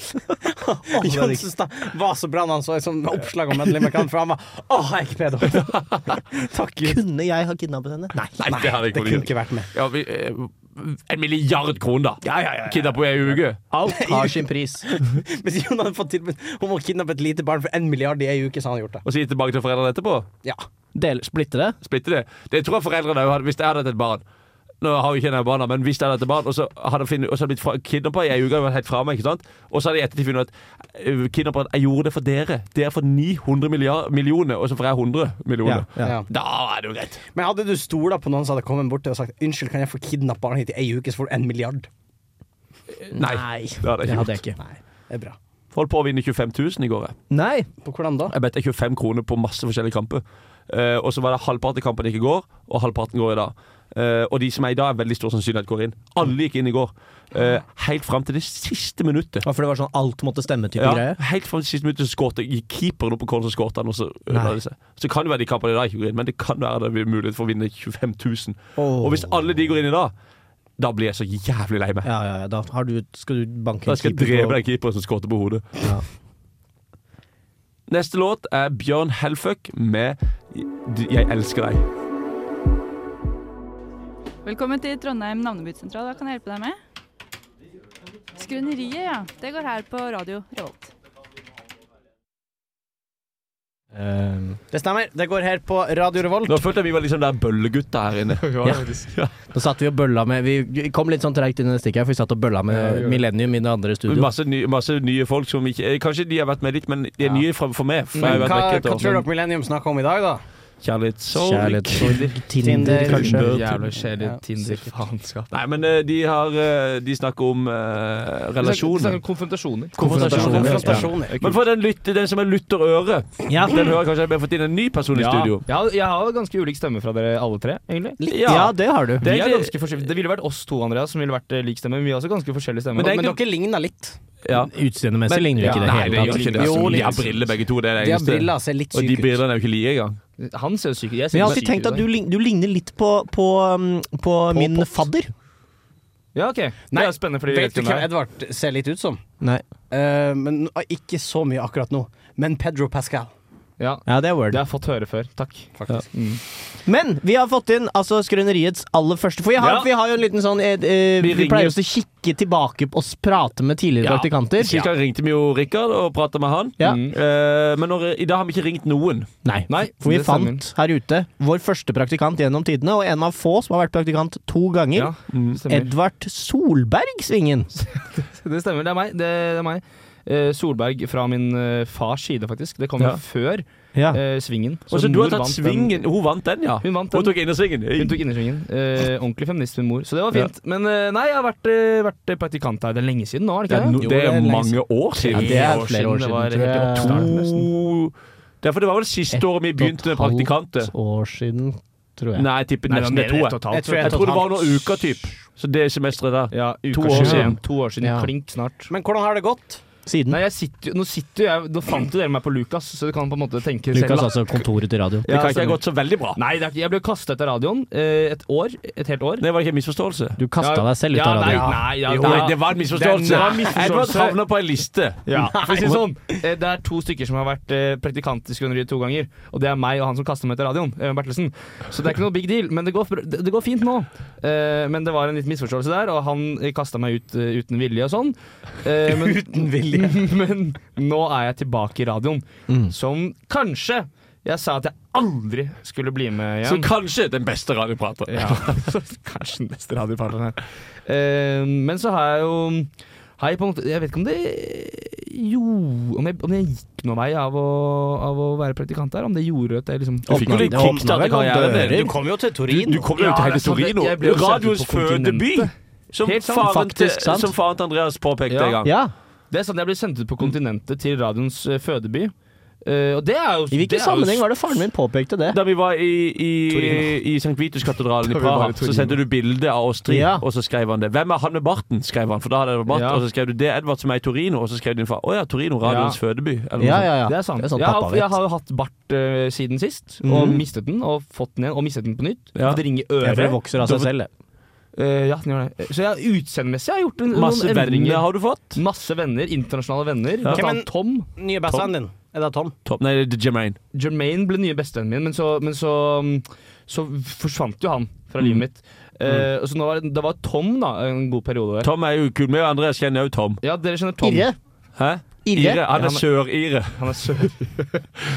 Speaker 4: Jon syntes det var så bra når han så et sånt oppslag om Madeleine McCann, for han var Åh, jeg er ikke pedo! Takk, Gud.
Speaker 2: Kunne jeg ha kidnappet henne? Nei.
Speaker 3: Nei, det hadde jeg
Speaker 4: Det
Speaker 3: ikke
Speaker 4: kunne
Speaker 3: gjort.
Speaker 4: ikke vært med.
Speaker 3: Ja, vi, eh, en milliard kroner, da! Ja, ja, ja, Kidda på ei uke.
Speaker 2: Alt har sin pris.
Speaker 4: Hvis Jon hadde fått tilbud om å kidnappe et lite barn for en milliard i ei uke, så hadde han gjort det.
Speaker 3: Og så gi tilbake til foreldrene etterpå?
Speaker 4: Ja.
Speaker 2: Del, splitte det?
Speaker 3: Splitte det? Det tror jeg foreldrene også hadde Hvis jeg hadde hatt et barn Nå har jo ikke jeg barna, men hvis jeg hadde hatt et barn, og så hadde jeg blitt fra- kidnappet i ei uke, hadde jeg vært helt fra meg, ikke sant? Og så hadde jeg i ettertid funnet ut at øh, kidnapperen Jeg gjorde det for dere. Dere får 900 milliard, millioner, og så får jeg 100 millioner.
Speaker 2: Ja,
Speaker 4: ja.
Speaker 3: Da er det jo greit.
Speaker 4: Men hadde du stola på noen som hadde kommet bort til og sagt 'Unnskyld, kan jeg få kidnappe barnet ditt i ei uke, så får du en milliard'?
Speaker 3: Nei. Det hadde
Speaker 2: Det
Speaker 3: jeg ikke
Speaker 2: hadde
Speaker 3: gjort.
Speaker 2: jeg ikke.
Speaker 4: Det er bra.
Speaker 3: Holdt på å vinne 25 000 i går, jeg.
Speaker 2: Nei.
Speaker 4: På hvordan da?
Speaker 3: Jeg bet deg 25 kroner på masse forskjellige kamper. Eh, og så var det halvparten av kampene ikke går, og halvparten går i dag. Eh, og de som er i dag, er veldig stor sannsynlighet går inn. Alle gikk inn i går. Eh, helt fram til det siste minuttet.
Speaker 2: Ja, For det var sånn alt måtte stemme-type
Speaker 3: Ja,
Speaker 2: greie?
Speaker 3: helt fram til siste minuttet så skåret gikk keeperen opp på kålen og skåret han, og så
Speaker 2: Nei.
Speaker 3: ødela det seg. Så kan det være de kampene i dag ikke går inn, men det kan være det blir mulighet for å vinne 25 000.
Speaker 2: Åh.
Speaker 3: Og hvis alle de går inn i dag, da blir jeg så jævlig lei meg.
Speaker 2: Ja, ja, ja. Da har du, skal du banke
Speaker 3: Da skal jeg drepe den keeperen som skåret på hodet.
Speaker 2: Ja.
Speaker 3: Neste låt er Bjørn Helfuck med Jeg elsker deg.
Speaker 5: Velkommen til Trondheim navnebyttesentral. Hva kan jeg hjelpe deg med? Skrøneriet, ja. Det går her på radio Revolt.
Speaker 4: Det stemmer. Det går her på Radio Revolt.
Speaker 3: Nå følte jeg vi var liksom der bøllegutta her inne.
Speaker 2: Da satt vi og bølla med Vi kom litt sånn treigt inn i det stikket, her, for vi satt og bølla med Millennium i det andre
Speaker 3: Men
Speaker 2: studioet.
Speaker 3: Masse, nye, masse nye folk som ikke eh, Kanskje de har vært med litt, men de er nye fra, for meg. For jeg har
Speaker 4: Men hva,
Speaker 3: vært
Speaker 4: hva
Speaker 3: vekk
Speaker 4: tror
Speaker 3: et
Speaker 4: dere
Speaker 3: år.
Speaker 4: Millennium snakker om i dag, da?
Speaker 3: Kjærlighetssorg.
Speaker 2: Kjærlighetssorg. Tinder,
Speaker 4: Tinder,
Speaker 2: kanskje.
Speaker 9: Jævlig kjedelig
Speaker 4: Ja,
Speaker 9: Tinder-faenskap.
Speaker 3: Nei, men eh, de har eh, De snakker om eh, relasjoner.
Speaker 9: Sånn Konfrontasjoner.
Speaker 2: Konfrontasjoner.
Speaker 4: Konfrontasjoner.
Speaker 3: Men for den, lytter- den som er lytter øre,
Speaker 2: Ja.
Speaker 3: den hører kanskje at vi har fått inn en ny person i
Speaker 9: Ja.
Speaker 3: studio.
Speaker 9: Jeg har, jeg har ganske ulik stemme fra dere alle tre, egentlig.
Speaker 2: Ja, det har du.
Speaker 9: Det,
Speaker 3: Vi
Speaker 9: er
Speaker 3: er
Speaker 9: egentlig
Speaker 3: litt-
Speaker 9: ganske forskjellig. det ville vært oss to Andreas, som ville vært eh, lik stemme, men vi har også ganske forskjellig stemme.
Speaker 4: Men, dere ligner litt.
Speaker 3: Ja.
Speaker 2: Utseendemessig
Speaker 9: Men-
Speaker 2: ligner vi ikke i det
Speaker 3: Nei, det
Speaker 2: hele
Speaker 3: gjør
Speaker 2: tatt.
Speaker 3: ikke det.
Speaker 4: Jo,
Speaker 3: Altså.
Speaker 4: litt.
Speaker 3: De har briller, begge to. Det er det
Speaker 4: De har
Speaker 3: eneste.
Speaker 4: briller, altså, ser litt
Speaker 3: Og de
Speaker 4: syke ut.
Speaker 3: brillene er jo ikke like engang.
Speaker 9: Han ser jo syk ut. Jeg
Speaker 2: Men
Speaker 9: ser
Speaker 2: jeg har
Speaker 9: bare
Speaker 2: alltid
Speaker 9: syk
Speaker 2: tenkt
Speaker 9: ut,
Speaker 2: at
Speaker 9: da.
Speaker 2: du, lign- du ligner litt på, på, um, på min
Speaker 4: Pop.
Speaker 2: fadder.
Speaker 9: Ja, ok.
Speaker 4: Nei,
Speaker 9: det er spennende, fordi vi
Speaker 4: Vet
Speaker 9: vet
Speaker 4: du
Speaker 9: hvem
Speaker 4: hvem
Speaker 9: det er.
Speaker 4: Edvard ser litt ut som?
Speaker 2: Nei.
Speaker 4: Eh, men ah, Ikke så mye akkurat nå. Men Pedro Pascal.
Speaker 9: Ja.
Speaker 2: det er word.
Speaker 9: Det har jeg fått høre før. Takk. Ja. Mm.
Speaker 2: Men vi har fått inn altså skrøneriets aller første. For vi har,
Speaker 9: Ja.
Speaker 2: vi har jo en liten sånn eh,
Speaker 3: Vi
Speaker 2: eh, Vi,
Speaker 3: ringer.
Speaker 2: pleier også å kikke tilbake på oss prate med tidligere praktikanter.
Speaker 3: Sist gang ringte vi jo Rikard og prata med han.
Speaker 2: Ja.
Speaker 3: Eh, men når, i dag har vi ikke ringt noen.
Speaker 2: Nei. For vi
Speaker 3: det stemmer.
Speaker 2: fant her ute vår første praktikant gjennom tidene, og en av få som har vært praktikant to ganger.
Speaker 9: Ja, stemmer.
Speaker 2: Edvard Solberg Svingen.
Speaker 9: Det stemmer. Det er meg. Det, det er meg. Eh, Solberg fra min eh, fars side, faktisk. Det kom jo
Speaker 3: Ja.
Speaker 9: før
Speaker 2: Ja.
Speaker 9: eh, Svingen.
Speaker 3: Og så Altså, du har
Speaker 9: mor
Speaker 3: tatt
Speaker 9: vant den.
Speaker 3: svingen. Hun vant den, ja.
Speaker 9: Hun vant
Speaker 3: Hun
Speaker 9: den.
Speaker 3: tok innersvingen.
Speaker 9: Hun tok innersvingen. Eh, ordentlig feminist, min mor. Så det var fint. Men eh, nei, jeg har vært, eh, vært praktikant her. Det er lenge siden nå, er det
Speaker 3: Ja,
Speaker 9: ikke
Speaker 3: no,
Speaker 9: det?
Speaker 3: det er mange år
Speaker 9: Ja,
Speaker 3: siden.
Speaker 9: det er flere år siden. Det var
Speaker 3: Det
Speaker 9: helt i
Speaker 3: er
Speaker 9: oppstarten, nesten.
Speaker 3: to Derfor det var vel siste året vi begynte med praktikanter.
Speaker 2: År siden, tror jeg.
Speaker 3: Nei, jeg tipper
Speaker 9: Nei, det var
Speaker 3: nesten det
Speaker 9: mer
Speaker 3: er to.
Speaker 9: enn ett og et halvt,
Speaker 3: Jeg tror,
Speaker 9: tror jeg.
Speaker 3: jeg tror det var noen uker, typ. Så det semesteret der.
Speaker 9: Ja, uka
Speaker 3: to år
Speaker 9: 21.
Speaker 3: siden.
Speaker 9: To år siden.
Speaker 2: Ja.
Speaker 9: Klink snart.
Speaker 4: Men hvordan har det gått?
Speaker 2: Siden.
Speaker 9: Nei, jeg sitter, jo- nå sitter jo jeg Nå fant jo dere meg på Lukas, så du kan på en måte tenke selv.
Speaker 2: Lukas,
Speaker 9: da.
Speaker 2: altså kontoret til radio.
Speaker 3: Det kan ikke
Speaker 9: stemmer.
Speaker 3: ha gått så veldig bra.
Speaker 9: Nei, det er ikke, jeg ble kastet ut av radioen eh, et år. Et helt år.
Speaker 3: Det var ikke en misforståelse.
Speaker 2: Du kasta deg selv ut av radio.
Speaker 9: Ja, nei, nei, ja,
Speaker 3: Jo,
Speaker 9: da-
Speaker 3: det var en misforståelse.
Speaker 9: Det var en
Speaker 3: Edvard
Speaker 9: misforståelse.
Speaker 3: havna på ei liste.
Speaker 9: Ja, for å si det sånn. eh, Det er to stykker som har vært eh, praktikant i Skrøneriet to ganger. Og det er meg og han som kaster meg til radioen, eh, Bertelsen. Så det er ikke noe big deal. Men det går, det det går fint nå. Eh, Men det var en liten misforståelse der, og han kasta meg ut eh, uten vilje og sånn. Eh, Men, uten vilje? Mm. Men nå er jeg tilbake i radioen, som kanskje jeg sa at jeg aldri skulle bli med
Speaker 3: Så
Speaker 9: igjen.
Speaker 3: kanskje den beste radioprateren.
Speaker 9: Ja, så kanskje den beste radiopartneren her. Eh, men så har jeg jo har jeg, på en måte, jeg vet ikke om det Jo, om jeg, om jeg gikk noen vei av å, av å være praktikant der. Om det gjorde at jeg liksom
Speaker 3: Du fikk jo litt
Speaker 2: Åpna-
Speaker 3: kickstart i
Speaker 2: det åpna vel noen
Speaker 3: karrieren
Speaker 2: dører.
Speaker 3: din.
Speaker 4: Du kom jo til
Speaker 3: Du,
Speaker 4: Torino.
Speaker 3: du kom jo
Speaker 9: Ja,
Speaker 3: til hele
Speaker 9: det er sant,
Speaker 3: Torino.
Speaker 9: jeg ble jo
Speaker 3: Radios
Speaker 9: sendt på kontinentet.
Speaker 3: fødeby. Som,
Speaker 9: Helt sant,
Speaker 3: faren til,
Speaker 2: faktisk sant.
Speaker 3: som faren til Andreas påpekte
Speaker 9: Ja.
Speaker 3: en gang.
Speaker 2: Ja.
Speaker 9: Det er sant, jeg ble sendt ut på kontinentet til radioens eh, fødeby. Eh, og det er jo
Speaker 2: I hvilken sammenheng var det faren min påpekte det?
Speaker 3: Da vi var i, i,
Speaker 9: Torino.
Speaker 3: i St. Vitus-katedralen i
Speaker 9: vi var i
Speaker 3: Praha, så
Speaker 9: Torino.
Speaker 3: sendte du bilde av oss tre,
Speaker 2: Ja.
Speaker 3: og så skrev han det. Hvem er han med barten? skrev han, for da hadde det vært bart.
Speaker 9: Ja.
Speaker 3: Og så skrev du det er Edvard som er i Torino, og så skrev din far å ja, Torino, radioens fødeby. Eller noe
Speaker 2: Ja,
Speaker 3: sånt.
Speaker 2: ja, ja.
Speaker 9: Det er sant.
Speaker 2: sånn
Speaker 9: jeg,
Speaker 2: pappa
Speaker 9: har, jeg
Speaker 2: vet. Mhm.
Speaker 9: har jo hatt bart eh, siden sist, og mistet den, og fått den igjen, og mistet den på nytt.
Speaker 3: Ja.
Speaker 9: For Det ringer
Speaker 2: Ja, for Det
Speaker 9: øret.
Speaker 2: vokser av seg selv, det.
Speaker 9: Eh, ja, den gjør det. Så jeg, utseendemessig har jeg gjort en,
Speaker 3: Masse
Speaker 9: noen
Speaker 3: venner
Speaker 9: endringer.
Speaker 3: har du fått.
Speaker 9: Masse venner, internasjonale venner. Blant
Speaker 4: Hvem er-
Speaker 9: annet Tom.
Speaker 4: Nye bestevennen din. Er det Tom?
Speaker 3: Topp. Nei, det er Jermaine.
Speaker 9: Jermaine ble nye bestevennen min, men så, men så, mm, så forsvant jo han fra
Speaker 3: Mm.
Speaker 9: livet mitt. Eh, og så nå var, det var Tom da, en god periode der.
Speaker 3: Tom er jo kul. Vi og Andreas kjenner jo Tom.
Speaker 9: Ja, dere kjenner Tom.
Speaker 2: Irre.
Speaker 3: Hæ? Han
Speaker 2: Irre.
Speaker 9: Ja,
Speaker 3: er
Speaker 9: men-
Speaker 3: sør-ire.
Speaker 9: Han er søt.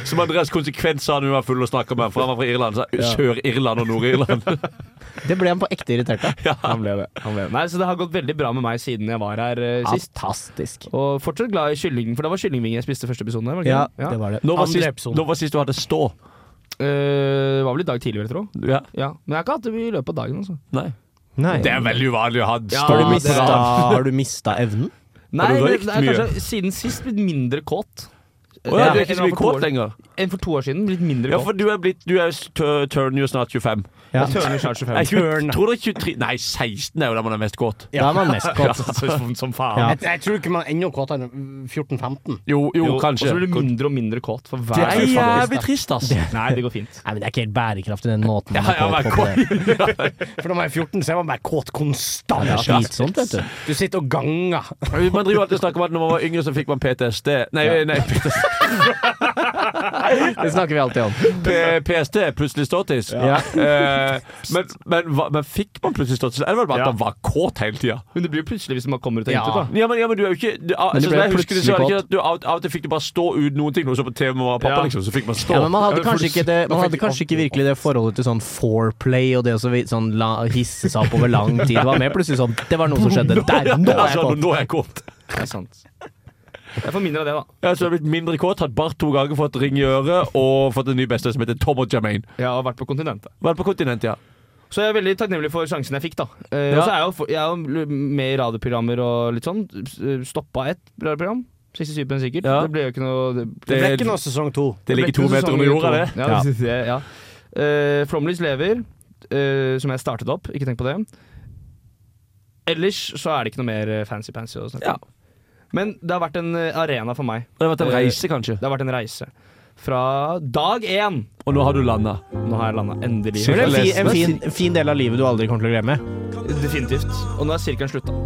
Speaker 3: Som Andreas konsekvent sa når vi var fulle og snakka med ham, for han var fra Irland. Så Sør-Irland og Nord-Irland.
Speaker 2: Det ble han på ekte irritert av.
Speaker 9: Han ble det. Han ble det. Nei, så det har gått veldig bra med meg siden jeg var her eh, sist.
Speaker 2: Fantastisk.
Speaker 9: Og fortsatt glad i kylling, for det var kyllingvinger jeg spiste første episoden. her, Var det
Speaker 2: Ja,
Speaker 9: ikke det?
Speaker 2: det var det.
Speaker 3: Når var,
Speaker 4: Andre
Speaker 3: sist,
Speaker 4: episode.
Speaker 3: når var sist du hadde stå?
Speaker 9: Eh, det var vel i dag tidligere, tror jeg.
Speaker 3: Ja.
Speaker 9: Ja. Men jeg har ikke hatt det i løpet av dagen. Altså.
Speaker 3: Nei.
Speaker 2: Nei.
Speaker 3: Det er veldig uvanlig å ha
Speaker 2: Har
Speaker 3: stå
Speaker 2: du
Speaker 9: Ja,
Speaker 3: midt på
Speaker 2: mista,
Speaker 3: dagen.
Speaker 2: har du mista evnen?
Speaker 9: Nei,
Speaker 3: du
Speaker 9: det,
Speaker 3: røykt
Speaker 9: det er
Speaker 3: mye?
Speaker 9: kanskje siden sist blitt mindre kåt.
Speaker 3: Å ja, du er
Speaker 9: Enn
Speaker 3: ikke så
Speaker 9: for
Speaker 3: mye
Speaker 9: to år-
Speaker 3: kåt lenger?
Speaker 9: Enn for to år siden. Blitt mindre
Speaker 3: Ja,
Speaker 9: kåt.
Speaker 3: for du er blitt Du er s- tø- turn jo snart 25.
Speaker 2: Ja.
Speaker 9: Jeg tørner snart
Speaker 3: Nei,
Speaker 9: 25.
Speaker 3: tju- tror det er 23 Nei, 16 er jo da man er mest kåt.
Speaker 2: Da er man mest kåt.
Speaker 9: som, som faen.
Speaker 2: Ja.
Speaker 4: Jeg, jeg tror ikke man er enda kåtere enn 14-15.
Speaker 3: Jo, jo,
Speaker 9: Og
Speaker 3: kanskje.
Speaker 9: så blir du mindre og mindre kåt for
Speaker 3: Det
Speaker 9: hver
Speaker 3: er jævlig trist, ass.
Speaker 9: Nei, det går fint.
Speaker 2: Nei, men det er ikke helt bærekraftig, den måten man
Speaker 3: Ja, ja,
Speaker 2: er
Speaker 3: men
Speaker 2: kåt på. Det.
Speaker 4: For når man er 14, så er man bare kåt konstant.
Speaker 2: det er slitsomt, vet du.
Speaker 4: Du sitter og ganger.
Speaker 3: Man driver alltid og snakker om at når man var yngre, så fikk man PTSD. Nei, nei PTSD.
Speaker 2: Det snakker vi alltid om.
Speaker 3: P- PST, plutselig ståtis.
Speaker 2: Ja.
Speaker 3: Eh, men, men, hva- men fikk man plutselig ståtis? Eller var det bare at
Speaker 9: Ja.
Speaker 3: man var kåt hele tida?
Speaker 9: Men det blir jo plutselig hvis man kommer ut av
Speaker 4: Ja.
Speaker 9: intet,
Speaker 3: Ja, men, ja, men du er jo ikke du, altså,
Speaker 2: Men det ble
Speaker 3: sånn jeg husker det, så
Speaker 2: plutselig
Speaker 3: var det ikke at du, av, av og til fikk du bare stå uten noen ting. Når du så på TV med mamma og pappa,
Speaker 9: Ja.
Speaker 3: liksom, så fikk man stå.
Speaker 2: Ja, men man hadde
Speaker 9: Ja, for
Speaker 2: kanskje
Speaker 9: du-
Speaker 2: ikke, det, man
Speaker 9: da fikk
Speaker 2: hadde
Speaker 9: du
Speaker 2: kanskje ikke
Speaker 9: ordentlig
Speaker 2: virkelig det forholdet til sånn foreplay og det å så vid- sånn la, hisse seg opp over lang tid. Det var mer plutselig sånn Det var noe som skjedde der. Nå er jeg sånn.
Speaker 3: altså,
Speaker 2: kåt!
Speaker 3: nå er jeg kåt.
Speaker 9: da. Det er sant. Jeg får mindre av det, da.
Speaker 3: Ja, så jeg har blitt mindre kåt, hatt bart to ganger, fått ring i øret og fått en ny beste som heter Tom og Jermaine.
Speaker 9: Jeg har vært på kontinentet.
Speaker 3: Vært på kontinentet, ja.
Speaker 9: Så jeg er veldig takknemlig for sjansen jeg fikk, da. Eh,
Speaker 3: Ja.
Speaker 9: Og så er jeg jo, for- jeg er jo med i radioprogrammer og litt sånn. Stoppa ett radioprogram. 67 pen sikkert.
Speaker 3: Ja.
Speaker 9: Det ble jo ikke noe Det,
Speaker 4: Det
Speaker 3: Det-
Speaker 4: ble ikke noe sesong to.
Speaker 3: Det
Speaker 9: ble
Speaker 3: ligger
Speaker 9: ikke
Speaker 3: to
Speaker 9: noe
Speaker 3: meter
Speaker 9: sesong
Speaker 2: sånn
Speaker 3: under
Speaker 9: i
Speaker 3: jorda,
Speaker 9: to.
Speaker 3: det.
Speaker 9: Ja, det synes jeg, ja. Eh, Flomlys lever, eh, som jeg startet opp. Ikke tenk på det. Ellers så er det ikke noe mer fancy-pansy å snakke
Speaker 3: Ja.
Speaker 9: om. Men det har vært en eh, arena for meg.
Speaker 3: Det har vært en
Speaker 9: Eh,
Speaker 3: reise, kanskje.
Speaker 9: Det har vært en reise. Fra dag én.
Speaker 3: Og nå har du landa.
Speaker 9: Nå har jeg landa endelig.
Speaker 2: Men det er en fin, en fin, fin del av livet du aldri kommer til å glemme.
Speaker 9: Definitivt. Og nå er sirkelen slutta.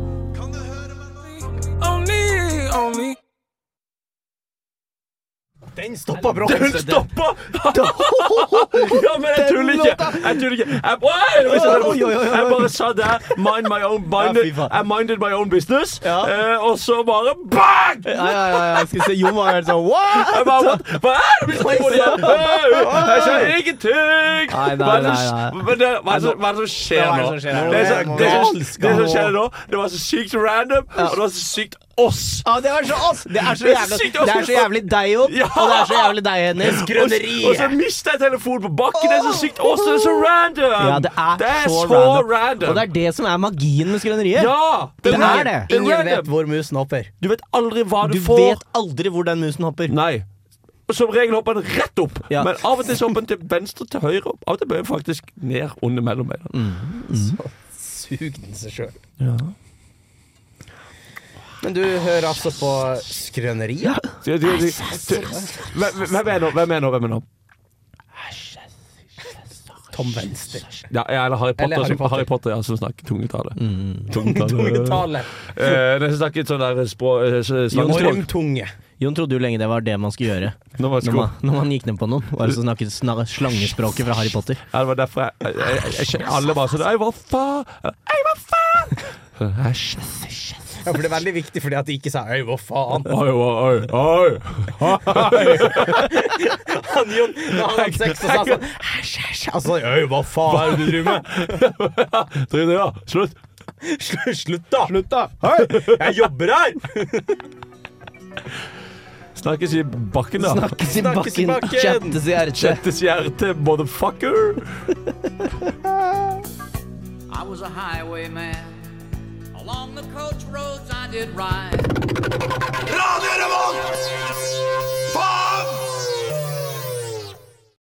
Speaker 4: Den stoppa
Speaker 3: Den stoppa! ja, men jeg tuller ikke. Jeg tuller ikke. Jeg, Oi, det var så
Speaker 4: Oi, oi, oi, oi.
Speaker 3: jeg bare sa der Mind my own minded, I minded my own business. Eh, og så bare bang!
Speaker 2: Ja, ja, ja, jeg skulle se Jon var helt sånn What?!
Speaker 3: Jeg bare, What? Hva er det som skjer igjen? Hey, Jeg skjønner ingenting!
Speaker 2: Nei, nei,
Speaker 3: Hva er det
Speaker 2: nei,
Speaker 3: som-
Speaker 2: nei.
Speaker 3: men det- Hva er det som- hva er det som skjer
Speaker 2: Hva er det
Speaker 3: nå?
Speaker 2: som skjer her?
Speaker 3: Det er så- det er så-
Speaker 2: Galskap.
Speaker 3: Det som skjer nå, det var så sykt random, og det var så sykt oss.
Speaker 2: Ja, det er så oss! Det er så jævlig,
Speaker 3: sykt oss.
Speaker 2: det er så jævlig deg, Jon. Og det er så jævlig deg, Hennes.
Speaker 3: Og, og så mister jeg telefonen på bakken. Det er så sykt oss, det er så random.
Speaker 2: Ja, det er, så, random. Og det er det som er magien med skrøneriet.
Speaker 3: Ja,
Speaker 2: det,
Speaker 3: det er
Speaker 2: er det.
Speaker 3: det er
Speaker 2: Ingen
Speaker 3: random.
Speaker 2: vet hvor musen hopper.
Speaker 3: Du vet aldri hva du,
Speaker 2: Du
Speaker 3: får.
Speaker 2: vet aldri hvor den musen hopper.
Speaker 3: Nei. Som regel hopper den rett opp,
Speaker 2: Ja.
Speaker 3: men av og til så hopper den til venstre, til høyre. og Av og til bøyer den faktisk ned under mellombeina.
Speaker 2: Mm.
Speaker 4: Sug den seg sjøl.
Speaker 3: Ja.
Speaker 4: Men du hører altså på Skrøneriet?
Speaker 3: Du- du- du- du- Hvem hvem er nå? Hvem er nå? Hvem er nå?
Speaker 4: Tom Venstre.
Speaker 3: Ja, ja, eller Harry Potter,
Speaker 4: Eller Harry
Speaker 3: som,
Speaker 4: Potter.
Speaker 3: Harry Potter ja, som snakker tungetale.
Speaker 2: Mm.
Speaker 4: Tungetale.
Speaker 3: Eh, det er snakket sånn der språ... eh, slangespråk.
Speaker 4: Ormtunge.
Speaker 2: Jon trodde jo lenge det var det man skulle gjøre.
Speaker 3: Når man
Speaker 2: Når
Speaker 3: skulle-
Speaker 2: man, når man gikk ned på noen. Var det så snakket sna- slangespråket fra Harry Potter.
Speaker 3: Ja, det var derfor jeg, jeg, jeg, jeg, jeg Alle bare sånn Ei, hva faen? Ei, hva faen? Æsj.
Speaker 4: Ja, for det er veldig viktig fordi at de ikke sa 'øy, hva faen'.
Speaker 3: Oi, oi, oi.
Speaker 4: Han Jon, da han hadde sex, så sa han sånn Æsj, æsj. Altså, øy, hva faen er det du driver med?
Speaker 3: Driv det, ja. Slutt.
Speaker 4: Slu- Slutt, da! Slutt da. Hei, jeg jobber her!
Speaker 3: Snakkes i bakken, da.
Speaker 2: Snakkes i
Speaker 4: Snakkes i
Speaker 2: bakken,
Speaker 4: bakken.
Speaker 2: kjentes i hjertet.
Speaker 3: Kjettes hjerte, motherfucker.
Speaker 12: I was a highwayman. Along the coach roads I did ride.
Speaker 11: Radio Revolt!